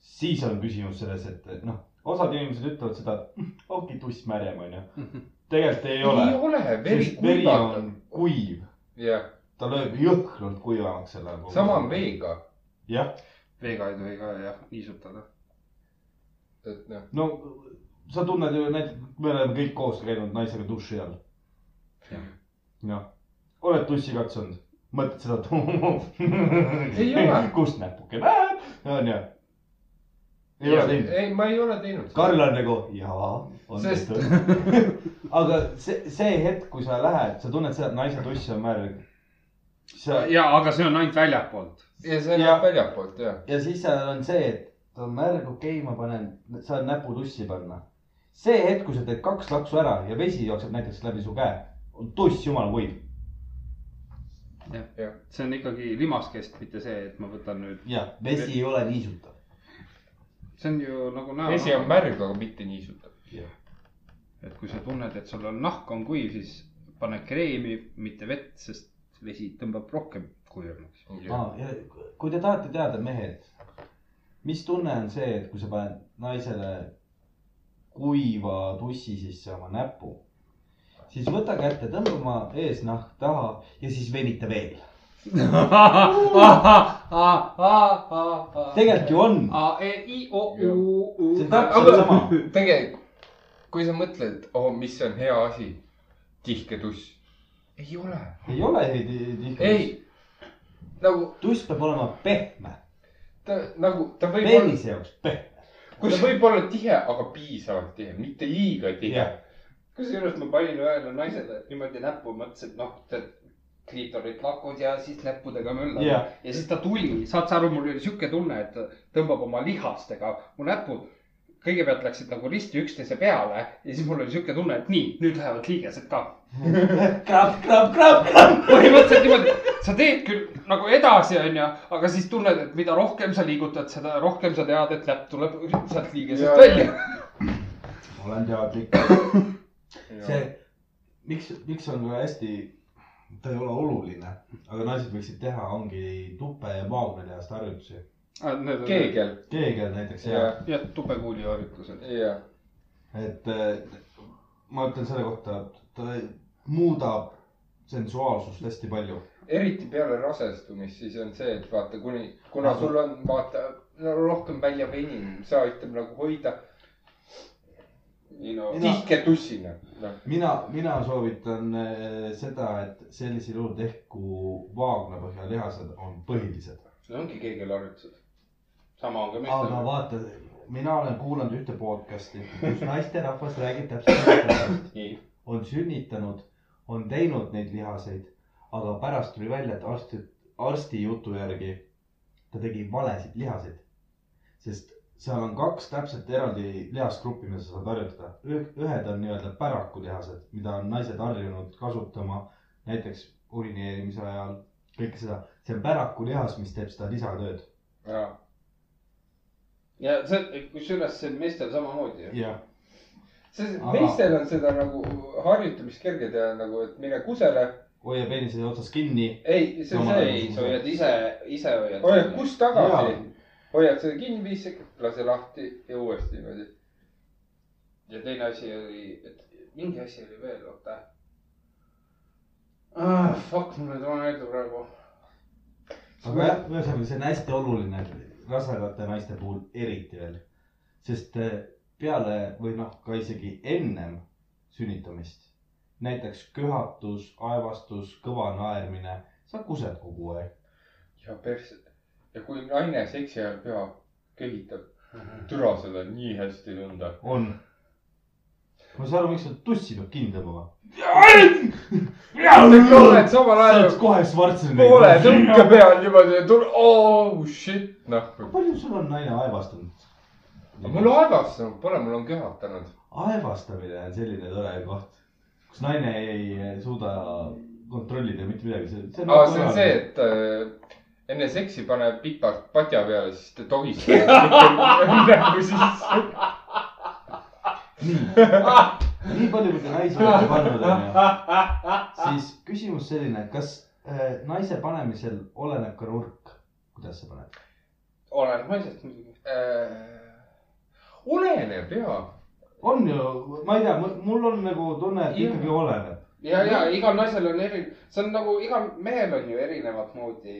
A: siis on küsimus selles , et et noh , osad inimesed ütlevad seda , et okei , tuss märjem , onju . tegelikult ei
D: ei
A: ole ,
D: ole , veri
A: sest veri
D: kuivatab
A: on . kuiv ,
D: jah ,
A: ta lööb jõhkralt kuivamaks selle .
D: sama on . veega ,
A: jah ,
C: veega ei tohi ka jah niisutada .
D: et noh ,
A: no sa tunned ju näiteks , me oleme kõik koos käinud naisega duši all .
C: Jah.
A: noh , oled tussi katsunud , mõtled seda , et
D: Ei ole.
A: [laughs] kust näpuke näeb , onju . ei ole teinud .
D: ei , ma ei ole teinud .
A: Karl on nagu jaa , on
D: Sest-
A: tehtud . [laughs] aga see , see hetk , kui sa lähed , sa tunned seda , et naise tuss on märg . sa
C: ja , aga see on ainult väljapoolt .
D: ja see
A: Jah.
D: läheb väljapoolt jah ,
A: ja siis seal on see , et ta on märg , okei okay, , ma panen , saan näpu tussi panna . see hetk , kui sa teed kaks laksu ära ja vesi jookseb näiteks läbi su käe , on tuss jumala võim .
C: see on ikkagi limaskest , mitte see , et ma võtan nüüd ,
A: jah , vesi ei ole niisutav .
C: see on ju nagu näo .
D: vesi on . märg , aga mitte niisutav .
C: et kui sa tunned , et sul on nahk on kuiv , siis pane kreemi , mitte vett , sest vesi tõmbab rohkem kuivemaks .
A: aa , ja kui te tahate teada , mehed , mis tunne on see , et kui sa paned naisele kuiva tussi sisse oma näpu , siis võta kätte , tõmba oma eesnahk taha ja siis venita veel . tegelikult ju on ,
C: A , E , I , O , U ,
A: see on
C: U .
A: täpselt sama
D: tegelikult , kui sa mõtled , oh , mis on hea asi , tihke tuss . ei ole .
A: ei ole heidi .
D: ei , nagu
A: tuss peab olema pehme ,
D: ta , nagu ta võib olla ,
A: peenise jaoks pehme .
D: kui ta võib olla tihe , aga piisavalt tihe , mitte liiga tihe
A: Jah. .
C: kusjuures ma panin ühele naisele niimoodi näppu , mõtlesin , et noh , tead , kliitorit lakud ja siis näppudega möllad
A: Jah. [laughs]
C: ja siis ta tuli , saad sa aru , mul oli sihuke tunne , et ta tõmbab oma lihastega mu näppu kõigepealt läksid nagu risti üksteise peale ja siis mul oli sihuke tunne , et nii , nüüd lähevad liigesed ka .
A: krab , krab , krab , krab .
C: põhimõtteliselt niimoodi , sa teed küll nagu edasi , onju , aga siis tunned , et mida rohkem sa liigutad , seda rohkem sa tead , et näpp tuleb sealt liigesest
D: Jaa.
C: välja .
A: olen teadlik . see , miks , miks on ka hästi , ta ei ole oluline , aga naised võiksid teha , ongi tupe ja maaküljast harjutusi .
C: keegi .
D: keegel .
A: keegel näiteks ja,
D: ja ,
C: jah , tubekuuli harjutused .
D: ja ,
A: ja. , et eh, ma ütlen selle kohta , et ta muudab sensuaalsust hästi palju .
D: eriti peale rasestumist , siis on see , et vaata , kuni , kuna
A: Nagu-
D: sul on , vaata , no rohkem välja venim , see aitab nagu hoida . nii no ,
A: Mina-
D: tihke tussina , noh .
A: mina , mina soovitan eh, seda , et sellisel juhul tehku vaagnapõhja lihased on põhilised .
D: no ongi keegel harjutused . sama on ka
A: aga
D: meestel .
A: vaata , mina olen kuulanud ühte podcast'i , kus naisterahvas räägib täpselt sellest asjast.
D: Nii.
A: on sünnitanud , on teinud neid lihaseid , aga pärast tuli välja , et arsti , arsti jutu järgi ta tegi valesid lihaseid . sest seal on kaks täpselt eraldi lihasgruppi , mida sa saad harjutada . ühed on nii-öelda pärakulihased , mida on naised harjunud kasutama näiteks urineerimise ajal , kõike seda . see on pärakulihas , mis teeb seda lisatööd .
D: ja , ja see , kusjuures see on meestel samamoodi ju .
A: jah .
D: see ,
A: Aga-
D: meestel on seda nagu harjutamist kerge teha nagu , et mine kusele .
A: hoia peenise otsas kinni .
D: ei , see on
A: Samal ajal
D: see ,
A: kui
D: sa hoiad
C: ise , ise hoiad .
D: hoiad kust tagasi
A: Jaa. ,
D: hoiad seda kinni viis sekundit , lase lahti ja uuesti niimoodi . ja teine asi oli , et mingi asi oli veel , oota ah, . Fuck , mul ei tule meelde praegu .
A: aga jah , ühesõnaga see on hästi oluline rasedate naiste puhul eriti veel , sest eh, peale või noh , ka isegi ennem sünnitamist , näiteks köhatus , aevastus , kõva naermine , sa kused kogu aeg .
D: ja persse , ja kui naine seksi ajal pea köhitab , türa seda on nii hästi tunda .
A: on . ma ei saa aru , miks nad tussi peab kinni tõmbama .
D: sa oled samal
A: sa
D: ajal
A: oled kohe Schwarzeneggi .
D: poole tõmke peal niimoodi , et oh shit , noh .
A: palju sul on naine aevastanud ?
D: mul aevastanud pole , mul on köhatanud .
A: aevastamine on selline tore koht , kus naine ei suuda kontrollida mitte midagi . see nagu
D: aa , see on see , et äh, enne seksi pane pikalt patja peale , siis ta tohistab nägu sisse .
A: nii palju , kui te naisi olete pannud , onju . siis küsimus selline , kas äh, naise panemisel oleneb ka nurk , kuidas sa paned ?
C: olen naisest muidugi .
D: Äh, oleneb ja ,
A: on ju , ma ei tea , mul on nagu tunne , et ikkagi oleneb .
C: ja , ja igal naisel on eri , see on nagu igal mehel on ju erinevat moodi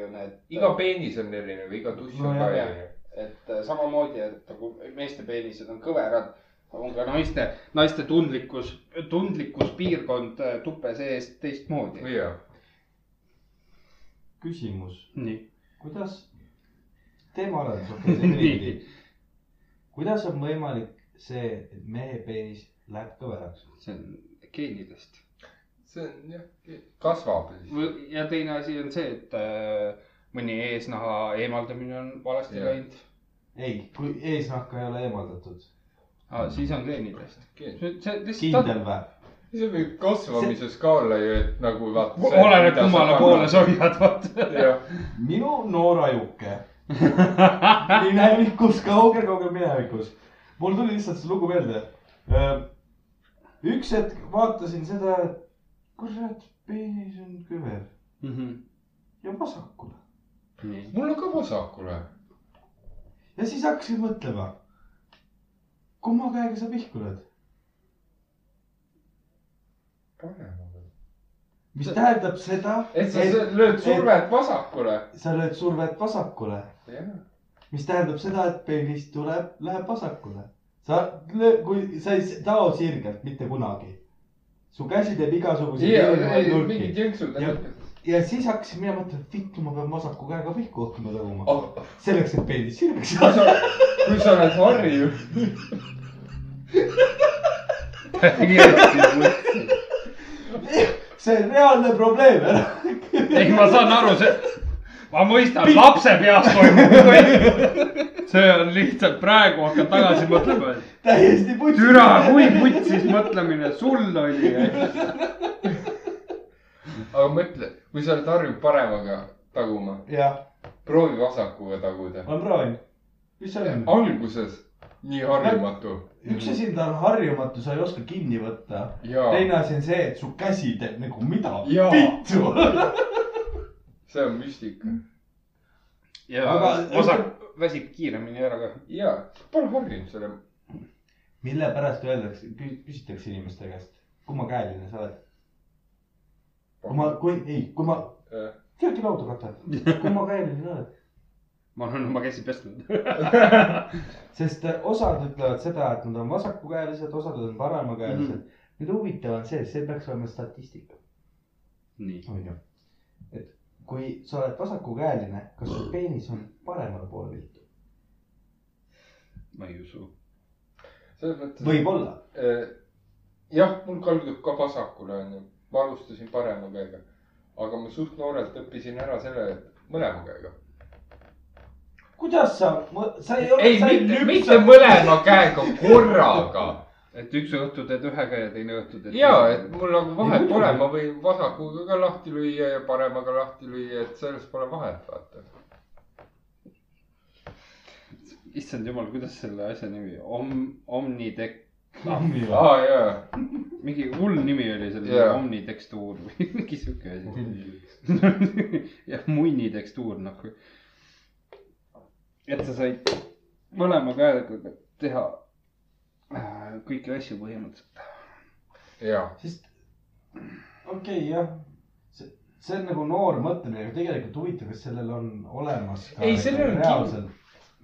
C: ju need .
D: iga peenis on erinev , iga tuss on
A: Nojah.
D: ka erinev .
C: et äh, samamoodi , et nagu meeste peenised on kõverad , on ka naiste , naiste tundlikkus , tundlikkuspiirkond äh, tuppe sees teistmoodi .
D: jaa ,
A: küsimus ,
C: nii .
A: kuidas , teeme arenduse , okei ,
D: [laughs]
A: see on nii . kuidas on võimalik see , et mehe peenis läheb kõveraks ?
C: see on geenidest .
D: see on jah , kasvab .
C: ja teine asi on see , et äh, mõni eesnaha eemaldamine on valesti
D: Jah.
C: läinud ,
A: ei , kui eesnahka ei ole eemaldatud ,
C: Ah, siis on geenidest .
D: see
C: see see lihtsalt
A: kindel või ?
D: on mingi kasvamise skaala ju , et nagu vaata .
C: oleneb , kummale poole sa hoiad , [laughs] vaata .
D: jah ,
A: minu noor ajuke
D: [laughs]
A: minevikus , kaugel , kaugel minevikus . mul tuli lihtsalt see lugu meelde . üks hetk vaatasin seda , et kurat , peenis on küver
D: Mhm.
A: ja vasakule
D: mul on ka vasakule .
A: ja siis hakkasin mõtlema . kumma käega sa pihku lööd , mis tähendab seda ,
D: et sa sa lööd survet vasakule .
A: sa lööd survet vasakule ,
D: jah ,
A: mis tähendab seda , et peenis tuleb , läheb vasakule . sa löö- , kui sa ei tao sirgelt mitte kunagi . su käsi teeb igasuguseid erinevaid nurki
D: mingid jõnksud
A: Jah. . ja siis hakkasin mina mõtlema , et vittu , ma pean vasaku käega pihku hakkama tõmbama
C: Ah.
A: oh. .
D: Oh,
A: selleks , et peenis sirgeks
D: kui
A: saada . [laughs]
D: sa , kui sa oled harjunud .
A: see on reaalne probleem , ära .
C: ei , ma saan aru , see , ma mõistan , lapse peas toimub [laughs] kõik . see on lihtsalt praegu hakkad tagasi mõtlema , et
A: täiesti putsi .
C: türa , kui putsis mõtlemine sul oli .
D: aga mõtle , kui sa oled harjunud paremaga taguma ,
A: jah ,
D: proovi vasakuga taguda .
A: ma proovin . mis see
C: Ah.
A: on ?
D: alguses nii harjumatu
A: üks asi on , ta on harjumatu , sa ei oska kinni võtta .
C: Ah.
D: ja
A: teine asi on see , et su käsi teeb nagu mida
D: Jaa.
A: pittu . [laughs]
D: see on müstika .
C: ja
A: Aga-
C: osak väsib kiiremini ära ka .
D: ja pole harjunud selle ,
A: mille pärast öeldakse , küsitakse inimeste käest , kummakäeline sa oled ? kui ma , kui , ei , kui ma ,
D: Äh,
A: teadki lauda katta , kummakäeline sa oled ?
C: ma olen oma käsi pesnud .
A: sest äh, osad ütlevad seda , et nad on vasakukäelised , osad on paremakäelised mm . -hmm. nüüd huvitav on see , see peaks olema statistika ,
C: [laughs] nii ,
A: on ju . et kui sa oled vasakukäeline , kas su peenis on paremale poole viltu ?
C: ma ei usu .
D: selles mõttes .
A: võib-olla .
D: jah , mul kaldub ka vasakule onju , ma alustasin parema käega , aga ma suht noorelt õppisin ära selle , et mõlema käega .
A: kuidas sa , sa ei ole .
D: ei , mitte , mitte mõlema käega korraga
C: et üks õhtu teed ühega ja teine õhtu teed .
D: ja , et mul nagu vahet pole , ma võin vasakuga ka lahti lüüa ja paremaga lahti lüüa , et selles pole vahet , vaata .
C: issand jumal , kuidas selle asja nimi , om- , omnitek- ,
A: mõtle .
D: aa jaa ,
C: mingi hull nimi oli sellel
D: Jaa.
C: yeah. omnitekstuur või [laughs] mingi siuke asi . jah , munnitekstuur nagu . et sa said mõlema käega teha äh, kõiki asju põhimõtteliselt .
D: jaa ,
A: sest , okei okay, , jah see see on nagu noor mõtlemine , aga tegelikult huvitav , kas sellel on olemas ka
D: Ei, sellel
A: nagu
D: on
A: reaalselt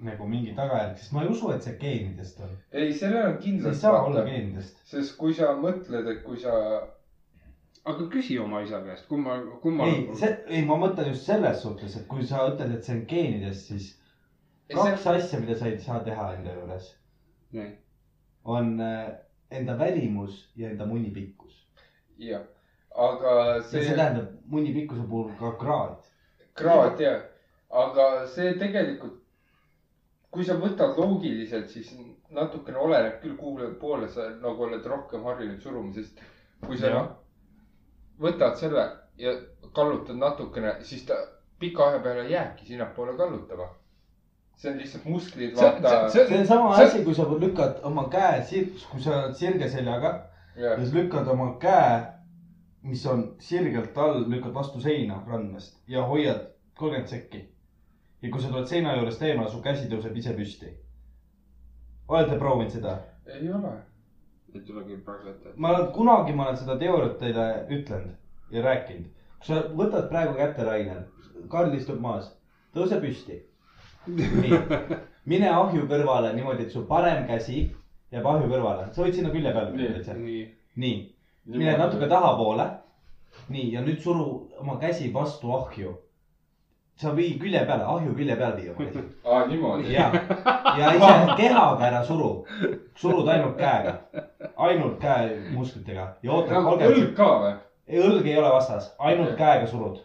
A: nagu mingi tagajärg , sest ma ei usu , et see geenidest on .
D: ei , sellel on
A: see ei
D: kindlasti
A: saa olla
D: vaata ,
A: geenidest .
D: sest kui sa mõtled , et kui sa ,
C: aga küsi oma isa käest , kumma , kumma .
A: ei , see , ei , ma mõtlen just selles suhtes , et kui sa ütled , et see on geenidest , siis
D: ei see
A: kaks asja , mida sa ei saa teha enda juures ,
C: Nii.
A: on äh, enda välimus ja enda munni pikkus .
D: jah , aga
A: see
D: see
A: tähendab munni pikkuse puhul ka kraad .
D: kraad ja , aga see tegelikult , kui sa võtad loogiliselt , siis natukene oleneb küll , kuhu poole sa nagu oled rohkem harjunud suruma , sest kui sa
C: Jah.
D: võtad selle ja kallutad natukene , siis ta pika aja peale jääbki sinnapoole kallutama . see on lihtsalt musklid ,
C: See-
D: vaata .
C: see-
A: see on sama
C: See-
A: asi , kui sa lükkad oma käe sirg , kui sa oled sirge seljaga ja
D: jah ,
A: siis lükkad oma käe , mis on sirgelt all , lükkad vastu seina randmest ja hoiad kolmkümmend sekki . ja kui sa tuled seina juurest eemale , su käsi tõuseb ise püsti . olete proovinud seda ?
D: ei ole .
C: ei tule küll praegu ette .
A: ma olen kunagi , ma olen seda teooriat teile ütlenud ja rääkinud . kui sa võtad praegu kätte , Rainer , Karl istub maas , tõuse püsti . nii , mine ahju kõrvale niimoodi , et su parem käsi jääb ahju kõrvale , sa võid sinna külje peale panna .
C: nii ,
A: nii , mine natuke tahapoole . nii , ja nüüd suru oma käsi vastu ahju . sa vii külje peale , ahju külje peale vii oma käsi .
D: aa , niimoodi .
A: ja , ja ise kehaga ära suru , surud ainult käega , ainult käemusklitega ja oota
D: nagu
A: kolmkümmend ,
D: õlg ka või ?
A: õlg ei ole vastas , ainult käega surud .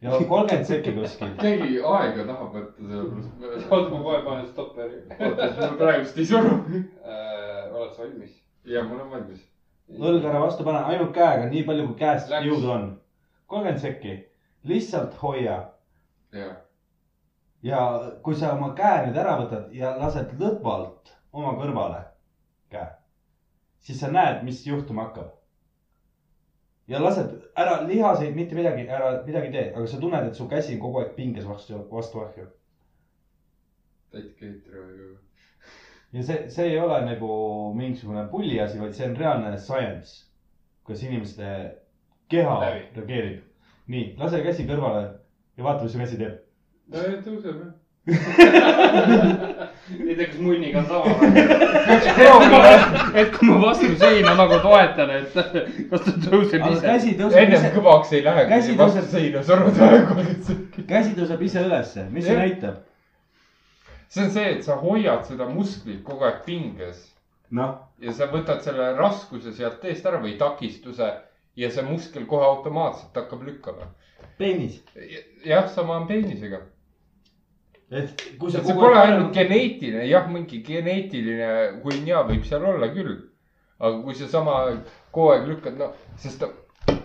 A: ja kolmkümmend sekki kuskil .
D: keegi aega tahab võtta sellepärast .
C: oota , ma kohe panen stopperi .
D: oota , siis ma praegust ei suru .
C: Äh, oled sa valmis ?
D: ja ma olen valmis .
A: õlg ära vastu pane , ainult käega , nii palju kui käest
C: Läks.
A: jõudu on . kolmkümmend sekki , lihtsalt hoia
D: ja ,
A: ja kui sa oma käe nüüd ära võtad ja lased lõdvalt oma kõrvale käe , siis sa näed , mis juhtuma hakkab . ja lased ära lihaseid , mitte midagi , ära midagi tee , aga sa tunned , et su käsi on kogu aeg pinges vastu , vastu ahju .
D: täit keetri või ?
A: ja see , see ei ole nagu mingisugune pulli asi , vaid see on reaalne science , kuidas inimeste keha
C: Läbi.
A: reageerib . nii , lase käsi kõrvale ja vaata , mis su käsi teeb .
D: nojah , tõuseb jah .
C: ei tea , kas munniga on sama või ? et kui ma vastu seina nagu toetan , et kas ta tõuseb
A: aga
C: ise .
A: käsi tõuseb
D: ennem
A: ise ,
D: kõvaks ei lähe , kui
A: Käsi
D: sa vastu
A: tõuseb-
D: seina surud aeg-ajalt .
A: käsi tõuseb ise ülesse , mis see
D: Jah.
A: näitab ?
D: see on see , et sa hoiad seda musklit kogu aeg pinges
A: noh ,
D: ja sa võtad selle raskuse sealt eest ära või takistuse ja see muskel kohe automaatselt hakkab lükkama .
F: peenis .
D: jah , sama on peenisega .
F: et kui sa
D: see pole ainult
A: [laughs]
D: geneetiline , jah , mingi geneetiline hunnia võib seal olla küll . aga kui sa sama kogu aeg lükkad , no , sest ta-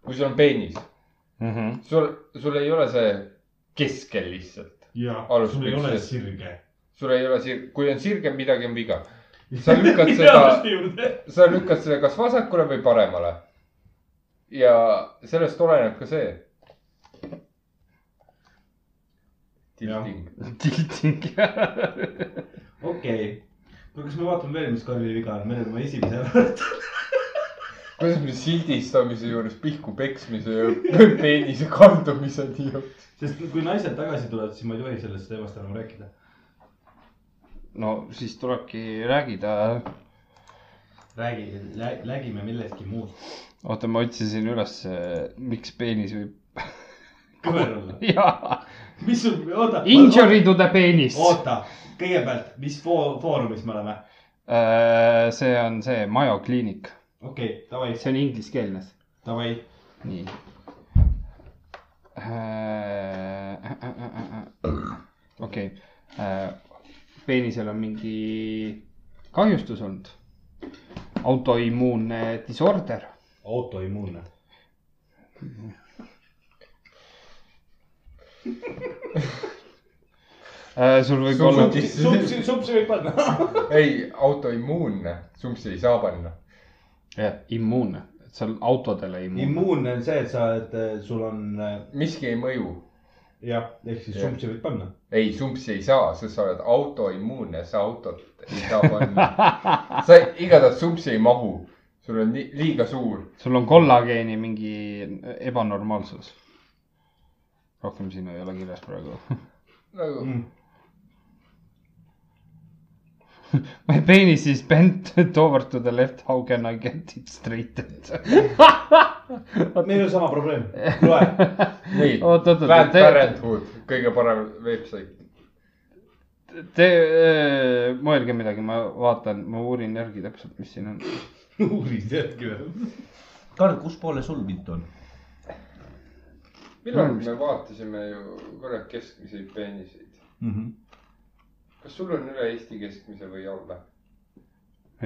D: kui sul on peenis ,
C: -hmm.
D: sul , sul ei ole see keskel lihtsalt .
B: ja
D: Alus
B: sul ei
D: püksis.
B: ole sirge .
D: sul ei ole sir- , kui on sirgem , midagi on
B: [laughs]
D: viga . sa lükkad seda , sa lükkad seda kas vasakule või paremale . ja sellest oleneb ka see . tilting .
C: tilting .
A: okei okay. , no kas me vaatame veel , mis Kalvi viga on , me oleme esimese ära võtnud .
D: kuidas me sildistamise juures pihku peksmise ja [laughs] peenise kaldumiseni jõuame ?
A: [laughs] sest kui naised tagasi tulevad , siis ma ei tohi sellest teemast enam rääkida .
C: no siis tulebki räägida .
A: räägi , räägime millestki muust .
C: oota , ma otsisin üles , miks peenis võib .
A: kõver olla .
C: jaa ,
A: mis sul , oota .
C: injury to the peenis .
A: oota , kõigepealt , mis foo- , foorumis me oleme ?
C: Äh, see on see Mayo kliinik ,
A: okei okay, , davai ,
C: see on ingliskeelne .
A: davai .
C: nii . Äh, okei , peenisel on mingi kahjustus olnud , autoimmuunne disorder .
A: autoimmuunne .
C: Äh, sul võib olla ,
A: sumpsi , sumpsi võib panna . [laughs]
D: ei , autoimmuunne , sumpsi ei saa panna .
C: jah , immuunne , see on autodele immuunne .
A: immuunne on see , et sa oled , sul on äh,
D: miski ei mõju .
A: jah , ehk siis
D: Jah.
A: sumpsi võib panna .
D: ei , sumpsi ei saa , sest sa oled autoimmuunne , sa autot ei saa [laughs] panna . sa igatahes sumpsi ei mahu , sul on nii, liiga suur .
C: sul on kollageeni mingi ebanormaalsus . rohkem siin ei ole kirjas praegu . [laughs]
D: nagu mm.
A: Mm.
C: My penis is bent [laughs] over to the left , how can I get it straightened ?
A: meil on sama probleem , loe .
D: nii ,
C: oot , oot ,
D: Planned
C: oot , te ,
D: Parenthood , kõige parem veebsait .
C: te öö, mõelge midagi , ma vaatan , ma uurin järgi täpselt , mis siin on .
A: uuris järgi veel .
F: Karl , kus poole sul vint on ?
D: millal
C: Mm.
D: me vaatasime ju korra keskmisi peeniseid ?
C: Mhm.
D: kas sul on üle Eesti keskmise või alla ?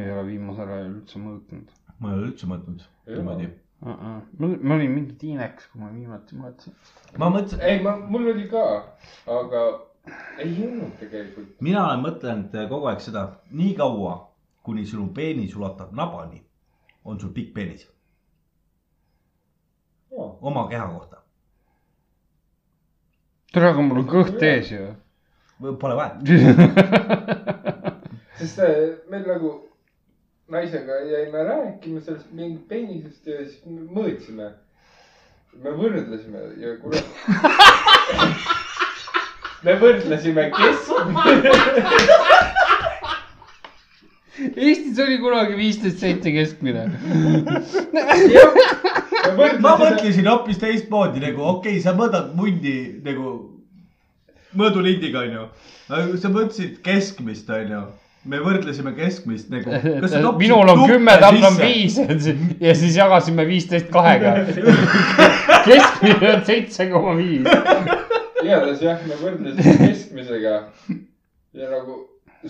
C: ei ole viimasel ajal üldse mõõtnud
F: ma ei ole üldse mõelnud
D: Ei
F: niimoodi .
C: uh . -uh. ma , ma olin mingi tiinekas , kui ma viimati mõõtsin .
F: ma mõtlesin ,
D: ei , ma , mul oli ka , aga ei olnud tegelikult .
F: mina olen mõtlenud kogu aeg seda , nii kaua , kuni sinu peenis ulatab nabani , on sul pikk peenis
D: Aa.
F: oma keha kohta .
C: tere , aga mul on kõht ees ju . [laughs]
F: Pole vaja .
D: sest äh, meil nagu naisega jäime rääkima sellest mingit peenisest ja siis me mõõtsime . me võrdlesime ja kurat . [laughs] me võrdlesime keskmine ,
C: Eestis oli kunagi viisteist senti keskmine .
D: me
F: ma
D: võrdlesime ,
F: mõtlesin hoopis teistmoodi nagu , okei okay, , sa mõõdad mundi nagu mõõdulindiga , onju . sa mõtlesid keskmist , onju . me võrdlesime keskmist nagu .
C: [laughs] minul on kümme , tal on . viis ja siis jagasime viisteist kahega . [laughs] keskmine on seitse koma viis .
D: igatahes jah , me võrdlesime keskmisega ja nagu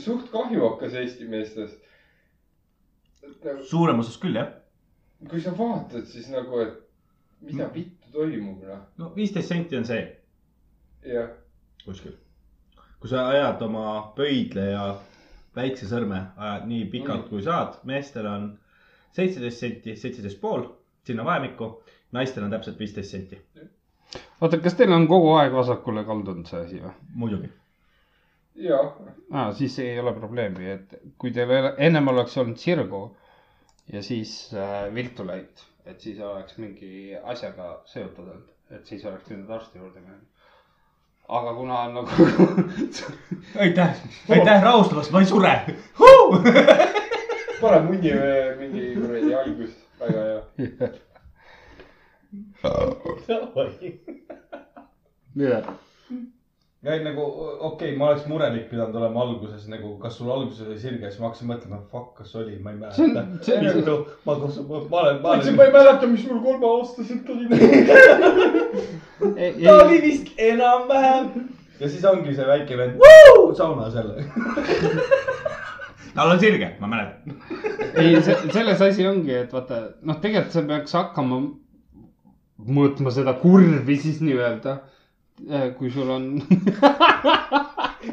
D: suht kahju hakkas Eesti meestest . et nagu ,
F: suurem osas küll , jah .
D: kui sa vaatad , siis nagu , et mida
F: Mm.
D: vittu toimub , noh ,
F: no viisteist senti on see
D: jah .
F: kuskil . kui sa ajad oma pöidla ja väikse sõrme , ajad nii pikalt kui saad , meestel on seitseteist senti , seitseteist pool , sinna vahemikku , naistel on täpselt viisteist senti ,
C: oota , kas teil on kogu aeg vasakule kaldunud see asi või ?
F: muidugi .
D: ja ,
C: aa , siis ei ole probleemi , et kui teil ele- ennem oleks olnud sirgu ja siis äh, viltu läinud , et siis oleks mingi asjaga seotud olnud , et siis oleks pidanud arsti juurde minema . aga kuna on nagu
F: aitäh , aitäh rahustamast , ma ei sure .
D: pane munni või mingi kuradi haigus , väga hea .
C: mida ?
A: ja ei nagu okei okay, , ma oleks murelik pidanud olema alguses nagu , kas sul alguses oli sirge , siis ma hakkasin mõtlema , fuck , kas oli , ma ei
C: See
A: mäleta
C: on- . see on
A: nagu ma , ma , ma olen , ma
B: ma ei
A: olen .
B: mäleta , mis mul kolmeaastaselt oli .
A: ta oli vist enam-vähem . ja siis ongi see väike vend saunas jälle .
F: tal on sirge , ma mäletan . [laughs]
C: ei , selles asi ongi , et vaata , noh , tegelikult sa peaks hakkama mõõtma seda kurvi siis nii-öelda , kui sul on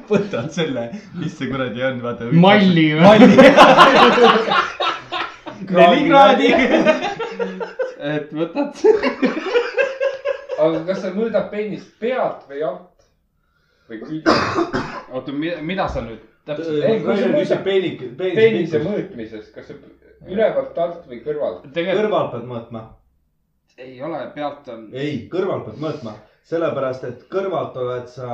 F: võtad selle , mis see kuradi on , vaata .
C: [laughs] malli või ,
F: [laughs] malli . neli kraadi .
C: et võtad .
D: aga kas sa mõõdad peenist pealt või alt või küljest ?
C: oota , mida sa nüüd täpselt ,
D: Ei, kui sa
A: küsib
D: mõõdad-
A: peenik ,
D: peenise
A: peenik .
D: mõõtmises , kas see ülevalt alt või kõrvalt ?
C: tegelikult
A: kõrvalt pead mõõtma .
C: ei ole , pealt on ,
A: ei , kõrvalt pead mõõtma , sellepärast et kõrvalt oled sa ,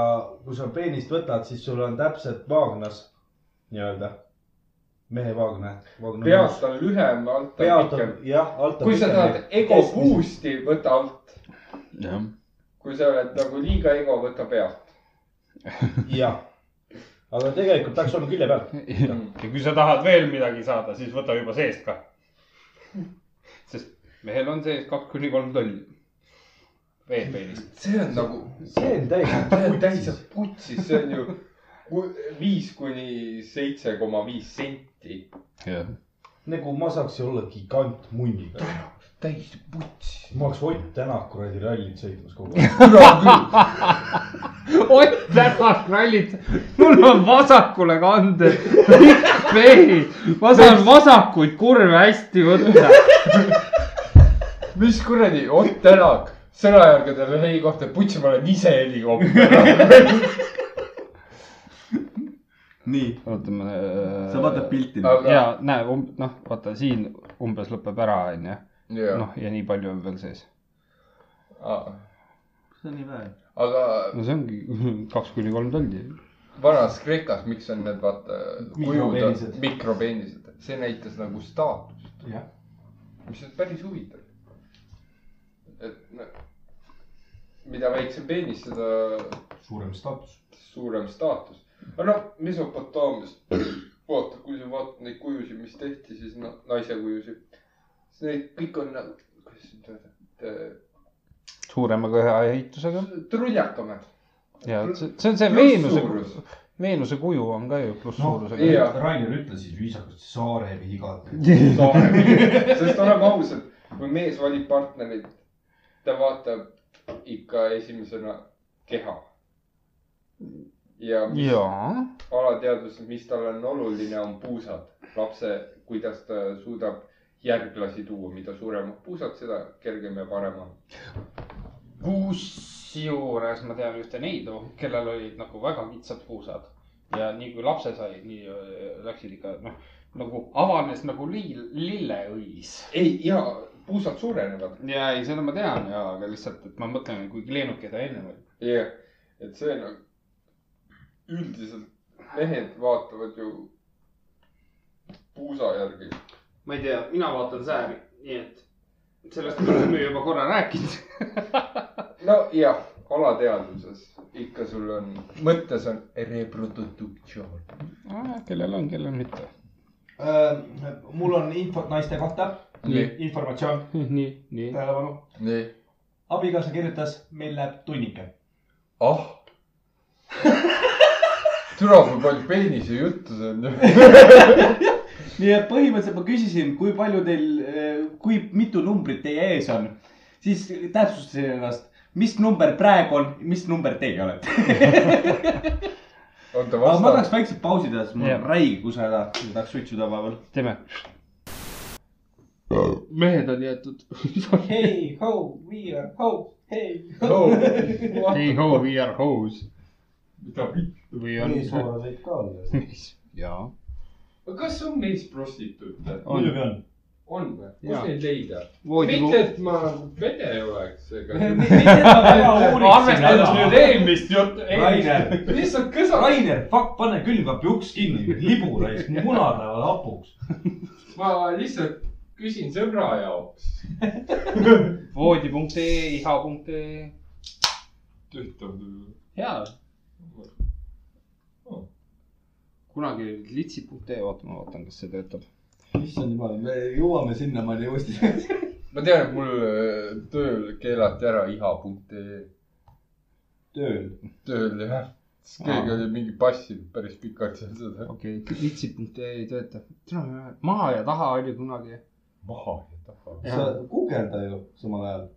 A: kui sa peenist võtad , siis sul on täpselt vaagnas nii-öelda , mehe vaagna .
D: pealt on lühem , alt on
A: pealt on
D: pikem .
A: jah , alt on .
D: kui sa tahad ego . boost'i , võta alt .
L: jah .
D: kui sa oled nagu liiga ego , võta pealt .
A: jah , aga tegelikult peaks olema külje peal .
C: ja kui sa tahad veel midagi saada , siis võta juba seest ka . sest mehel on sees kaks kuni kolm tolli veepeenist .
D: see on nagu ,
A: see on täiesti
D: kui täis on putsis , see on ju ku- viis kuni seitse koma viis senti .
L: jah .
A: nagu ma saaks ju olla gigant munniga .
D: täis putsis .
A: ma oleks Ott Tänak kuradi rallit sõitmas kogu aeg .
C: Ott Tänak rallit , mul on vasakule kanded , pikk vehi , ma saan vasakuid kurve hästi võtta .
D: mis kuradi , Ott Tänak , sõnajärgedel on helikopter , putsi , ma olen ise helikopter .
L: nii ,
C: oota , ma .
A: Äh,
L: sa vaatad . pilti .
D: Aga-
C: ja näe , noh , vaata siin umbes lõpeb ära , onju ,
D: jah ,
C: noh ja nii palju on veel sees .
L: see on nii vähe .
D: aga
C: no see ongi [laughs] kaks kuni kolm tolli .
D: vanas Kreekas , miks on need vaata
A: Mikropeenised.
D: kujud , mikropeenised , see näitas nagu staatust , mis on päris huvitav . et no, mida väiksem peenis , seda
A: suurem staatus .
D: suurem staatus . aga noh , Mesopotaamias , vaata , kui sa vaatad neid kujusid , mis tehti , siis noh , naise kujusid , siis neid kõik on nagu , kuidas nüüd öelda ,
C: suurema köhaehitusega
D: et trunjakamad .
C: ja see see on see Veenuse , Veenuse kuju on ka ju
L: Noh,
C: plusssuurusega
D: Jaa.
A: Rainer ütles siis viisakalt saare vigad . [laughs]
D: Saare , [laughs] sest oleme ausad , kui mees valib partnerit , ta vaatab ikka esimesena keha . ja mis
C: ja
D: alateadvuses , mis talle on oluline , on puusad , lapse , kuidas ta suudab järglasi tuua , mida suuremad puusad , seda kergem ja parem on .
C: kusjuures ma tean ühte neidu , kellel olid nagu väga kitsad puusad ja nii kui lapse said , nii öö, läksid ikka noh , nagu avanes nagu liil , lilleõis .
D: ei ja puusad suurenevad ,
C: ja ei , seda ma tean ja , aga lihtsalt , et ma mõtlen , kui kleenuke ta enne oli .
D: jah , et see on , üldiselt mehed vaatavad ju puusa järgi .
C: ma ei tea , mina vaatan sääri , nii et sellest me oleme juba korra rääkinud . [laughs]
D: nojah , alateadvuses ikka sul on , mõttes on reproduktsioon .
C: Ah, kellel on , kellel mitte .
A: Äh, mul on infot naiste kohta ,
D: nii ,
A: informatsioon ,
C: [laughs] nii , nii .
A: tähelepanu .
D: nii ,
A: abikaasa kirjutas , meil läheb tunnike .
D: ah . [laughs] türa , kui palju peenise juttu see on ju .
F: nii et põhimõtteliselt ma küsisin , kui palju teil , kui mitu numbrit teie ees on , siis täpsustasin ennast , mis number praegu on , mis number teie olete .
D: oota ,
F: aga ma
D: vasta
F: tahaks . väikselt pausi teha , sest mul
C: Jah.
F: on räige kuse häda , ma tahaks suitsuda vahepeal .
C: teeme . mehed on jäetud .
A: hei , ho , we are ho , hei .
C: ei ho , we are hoes . või on . [laughs]
A: meesooraseid ka on .
C: jaa .
D: kas on mees prostituut või ?
A: muidugi on .
D: on või ?
C: Jaa.
D: kus neid leida ? mitte ,
C: voodikuu .
D: et ma nagu vene oleks , aga
C: arvestades nüüd eelmist juttu .
A: Rainer ,
D: lihtsalt kõsa ,
A: Rainer , fuck , pane külmkapi uks kinni , libu täis , munad lähevad hapuks .
D: ma lihtsalt küsin sõbra jaoks .
C: E, voodi.ee , iha.ee .
D: töötab ju .
C: jaa , kunagi oli litsi.ee , oota , ma vaatan , kas see töötab .
A: issand jumal , me jõuame sinnamaani uuesti . [laughs]
D: ma tean , et mul äh, tööl keelati ära iha.ee ,
A: tööl .
D: tööl jah . siis keegi oli mingi passinud päris pikalt seal seda
C: okei okay, , litsi.ee ei tööta . maha ja taha oli kunagi .
D: maha ja taha .
A: sa guugelda ju samal ajal .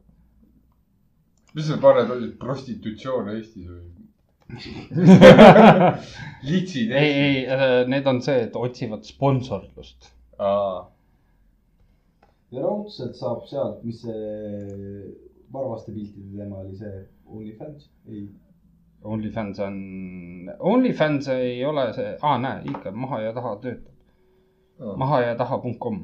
D: mis sa paned , oli prostitutsioon Eestis
F: [laughs]
D: või ? litsid
C: ei , ei , need on see , et otsivad sponsorlust .
D: Aa,
A: ja raudselt saab sealt , mis see varvaste piltide teema oli , see OnlyFans , ei .
C: OnlyFans on , OnlyFans ei ole see , aa näe , ikka maha ja taha töötab .
D: aa.
C: maha ja taha.com .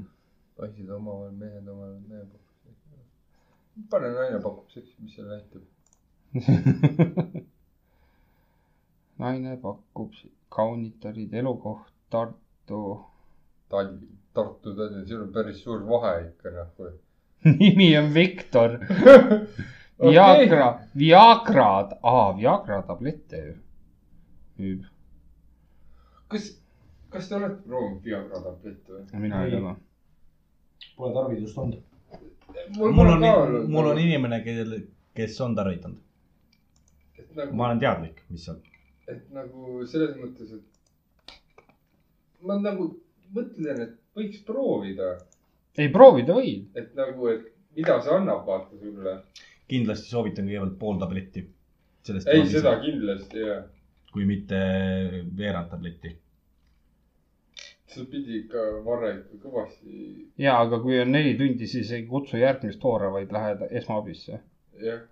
D: poisid omavahel , mehed omavahel , mehe pakub . pane naine pakub seksi , mis seal näitab .
C: naine pakub kaunitarid elukoht Tartu . [laughs]
D: Tallinn , Tartu , Tallinn , siin on päris suur vahe ikka noh .
C: nimi on Viktor . Viagra , Viagra , aa , Viagra tablette ju müüb .
D: kas , kas te olete proovinud Viagra tablette või ?
C: mina ei
A: Ei.
C: ole .
A: Pole tarvidust olnud .
F: mul on , mul on . inimene , kellel , kes on tarvitanud .
D: et nagu ,
F: ma olen teadlik , mis on .
D: et nagu selles mõttes , et ma nagu mõtlen , et võiks proovida ,
C: ei proovida võid .
D: et nagu , et mida see annab , vaata sulle .
F: kindlasti soovitan kõigepealt pool tabletti . sellest
D: ei , seda . kindlasti ja ,
F: kui mitte veerand tabletti .
D: see pidi ikka varre ikka kõvasti ,
C: ja , aga kui on neli tundi , siis ei kutsu järgmist hoore , vaid lähed esmaabisse .
D: jah .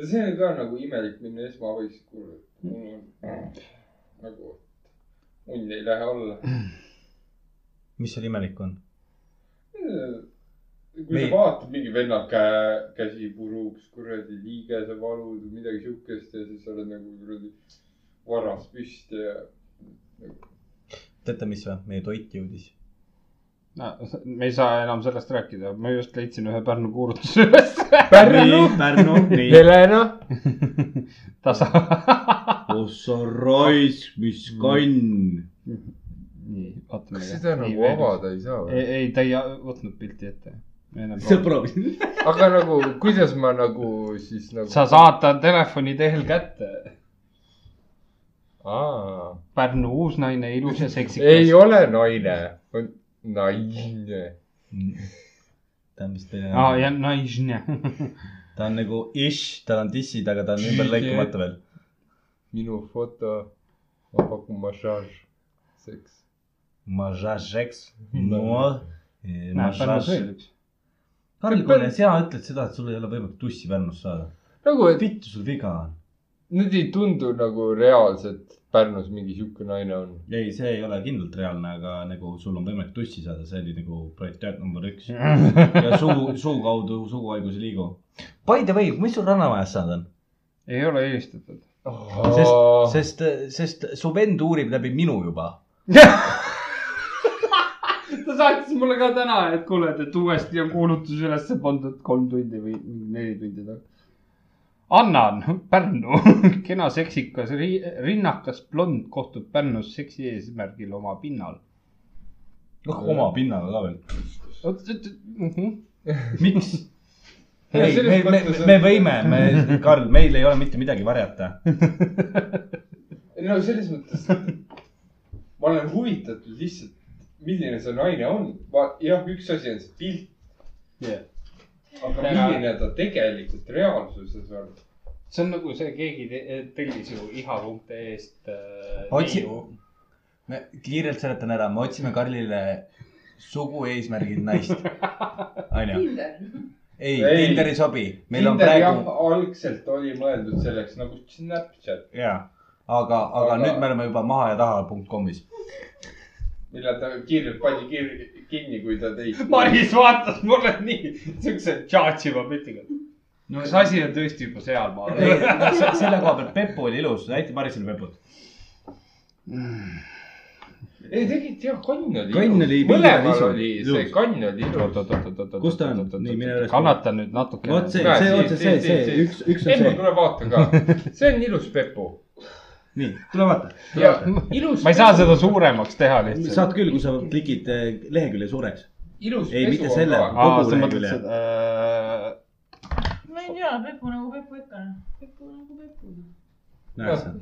D: see on ka nagu imelik minna esmaabiks , kuule , mul on nagu , und ei lähe alla
F: mis seal imelik on ?
D: kui
F: Me-
D: Me... sa vaatad mingi venna käe , käsi puruks , kuradi liigesevalud või midagi siukest ja siis sa oled nagu kuradi varas püsti ja .
F: teate , mis või ? meie toit jõudis .
C: no me ei saa enam sellest rääkida , ma just leidsin ühe Pärnu kuulutuse üles .
L: nii , Pärnu , nii .
C: Helena . tasa .
L: ossa raisk , mis kann .
C: [laughs] nii , vaatame .
D: kas seda nagu ? avada ei saa
C: ei
D: või ?,
C: ei , ta ei võtnud pilti ette .
L: sa proovisid ?
D: aga nagu , kuidas ma nagu siis nagu .
C: sa saad ta telefoni teel kätte .
D: aa ,
C: Pärnu uus naine , ilus ja seksikas .
D: ei ole naine , on naine .
F: ta on vist
C: aa , ja . naisne .
F: ta on nagu ish , tal on dissid , aga ta on ümber lõikamata veel .
D: minu foto , ma pakun massaaž , seks .
F: Mažažeks . no . eh,
C: näed , Pärnu sõeluks .
F: Karl , kuule , sina ütled seda , et sul ei ole võimalik tussi Pärnust saada .
D: nagu , et
F: vittu sul viga on ?
D: nüüd ei tundu nagu reaalselt Pärnus mingi sihuke naine on .
F: ei , see ei ole kindlalt reaalne , aga nagu sul on võimalik tussi saada , see oli nagu prioriteet number üks . ja suu , suu kaudu suuhaigus ei liigu . By the way , mis sul rannamajas saada on ?
C: ei ole eelistatud .
F: sest , sest , sest su vend uurib läbi minu juba .
C: ta saatis mulle ka täna , et kuule , et uuesti on kuulutus üles pandud kolm tundi või neli tundi tagasi . annan , Pärnu , [laughs] kena seksikas ri, rinnakas blond kohtub Pärnus seksi eesmärgil oma pinnal .
F: noh , oma pinnaga ka veel .
C: miks ?
D: Ja
F: ei , me
D: selles ,
F: me
D: mõttes , on-
F: me võime , me , Karl , meil ei ole mitte midagi varjata .
D: ei no selles mõttes , ma olen huvitatud lihtsalt , milline see naine on . ma , jah , üks asi on see pilt .
C: Jah.
D: aga
C: Täna-
D: milline ta tegelikult reaalsuses on ?
C: see on nagu see , keegi te- tellis ju iha.ee-st äh, .
F: otsi , me kiirelt seletan ära , me otsime Karlile sugu eesmärgil [laughs] naist , onju .
E: kindel .
F: ei, ei ,
D: Ei.
F: Tinder ei sobi , meil on
D: Tinder jah
F: praegu ,,
D: algselt oli mõeldud selleks nagu Snapchat ,
F: jaa , aga , aga
D: Aga-
F: nüüd me oleme juba maha ja taha punkt komis .
D: mille ta kirjalt pani kir- kinni , kui ta teid .
C: Maris vaatas mulle nii siukse tšaatšiva pildiga . no see asi on tõesti juba
F: ei , [laughs]
C: sealmaal .
F: selle koha pealt Pepu oli ilus , näita Marisele Peput .
D: ei tegelikult jah , kann oli .
L: Kann oli
D: mõlemal
L: piisavalt
D: oli
L: ilus.
D: see kann oli ilus .
L: Kus ta on? Nii, mine üles.
C: kannata nüüd natuke .
L: vot see , see , vot see , see , see , üks , üks on
D: Emma ,
L: see .
D: tule vaata ka , see on ilus Pepu .
F: nii , tule vaata , tule
C: Jah.
F: vaata . ilus
C: ma ei saa seda suuremaks teha
F: saad
C: lihtsalt .
F: küll , kui sa klikid eh, lehekülje suureks .
D: ilus
F: Ei, mitte selle.
D: ka .
C: aa ,
F: kogu
C: sa mõtled
F: lehekülje.
C: seda äh,
I: ma ei tea , Pepu nagu Pepu ikka on . Pepu nagu Pepu .
F: näed sa .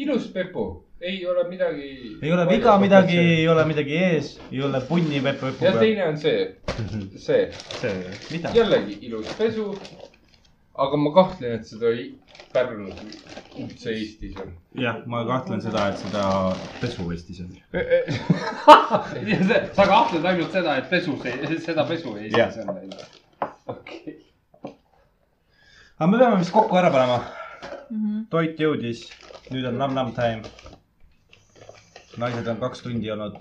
D: ilus pepu , ei ole midagi .
F: ei ole viga midagi , ei ole midagi ees , ei ole punni pepu
D: ja
F: pepu peal .
D: teine on see , see
C: see ,
F: mida ?
D: jällegi ilus pesu . aga ma kahtlen , et seda ei pärnud , üldse Eestis on .
F: jah , ma kahtlen seda , et seda pesu Eestis on .
C: sa kahtled ainult seda , et pesu , seda pesu
F: Jah.
C: Eestis on meil . okei ,
F: aga me peame vist kokku ära panema .
I: Mm -hmm.
F: toit jõudis , nüüd on nam-nam time . naised on kaks tundi olnud .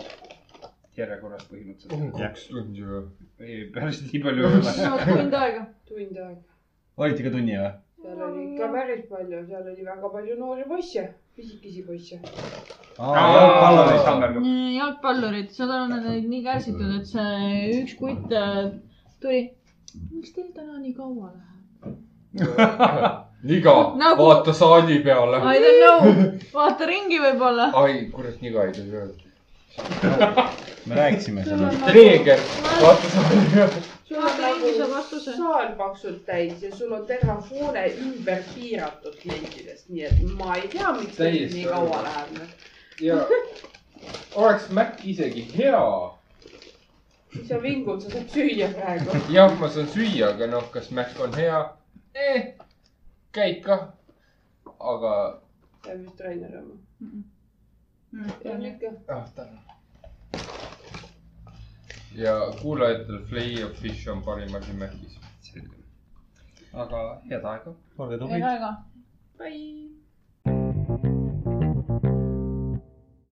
C: järjekorras põhimõtteliselt .
D: kaks tundi või ?
C: ei , päris nii palju ei ole .
P: no tund aega .
E: [laughs] tund aega .
F: olite ka tunni või ?
E: seal oli ikka päris palju , seal oli väga palju noori poisse , pisikesi poisse .
C: Kallar
I: Nii, jalgpallurid , seal on nad olid nii kärsitud , et see üks kutt äh, tuli . miks teil täna nii kaua läheb ?
D: [laughs] niga
I: Nagu-
D: nagu... , vaata saali peale .
I: I don't know , vaata ringi võib-olla .
D: ai , kurat , niga ei tohi öelda .
F: me rääkisime sellest .
D: reeger , vaata saali peale .
E: sul on
I: Eelmise
E: nagu
I: vastuse.
E: saal paksult täis ja sul on terve hoone ümber piiratud klientidest , nii et ma ei tea , miks teil
D: Täiesti
E: nii kaua
D: aru.
E: läheb .
D: ja oleks Mac isegi hea .
E: sa vingud , sa saad süüa praegu .
D: jah , ma saan süüa , aga noh , kas Mac on hea eh, ? käid kah . aga ,
E: peab vist Rainer olema . on
P: ma
E: ikka .
D: ah tänan . ja kuulajatel , Flay of Fish on parim asi Macis .
C: aga head aega .
F: olge
P: ei
F: tublid .
P: ole ka .
E: Bye .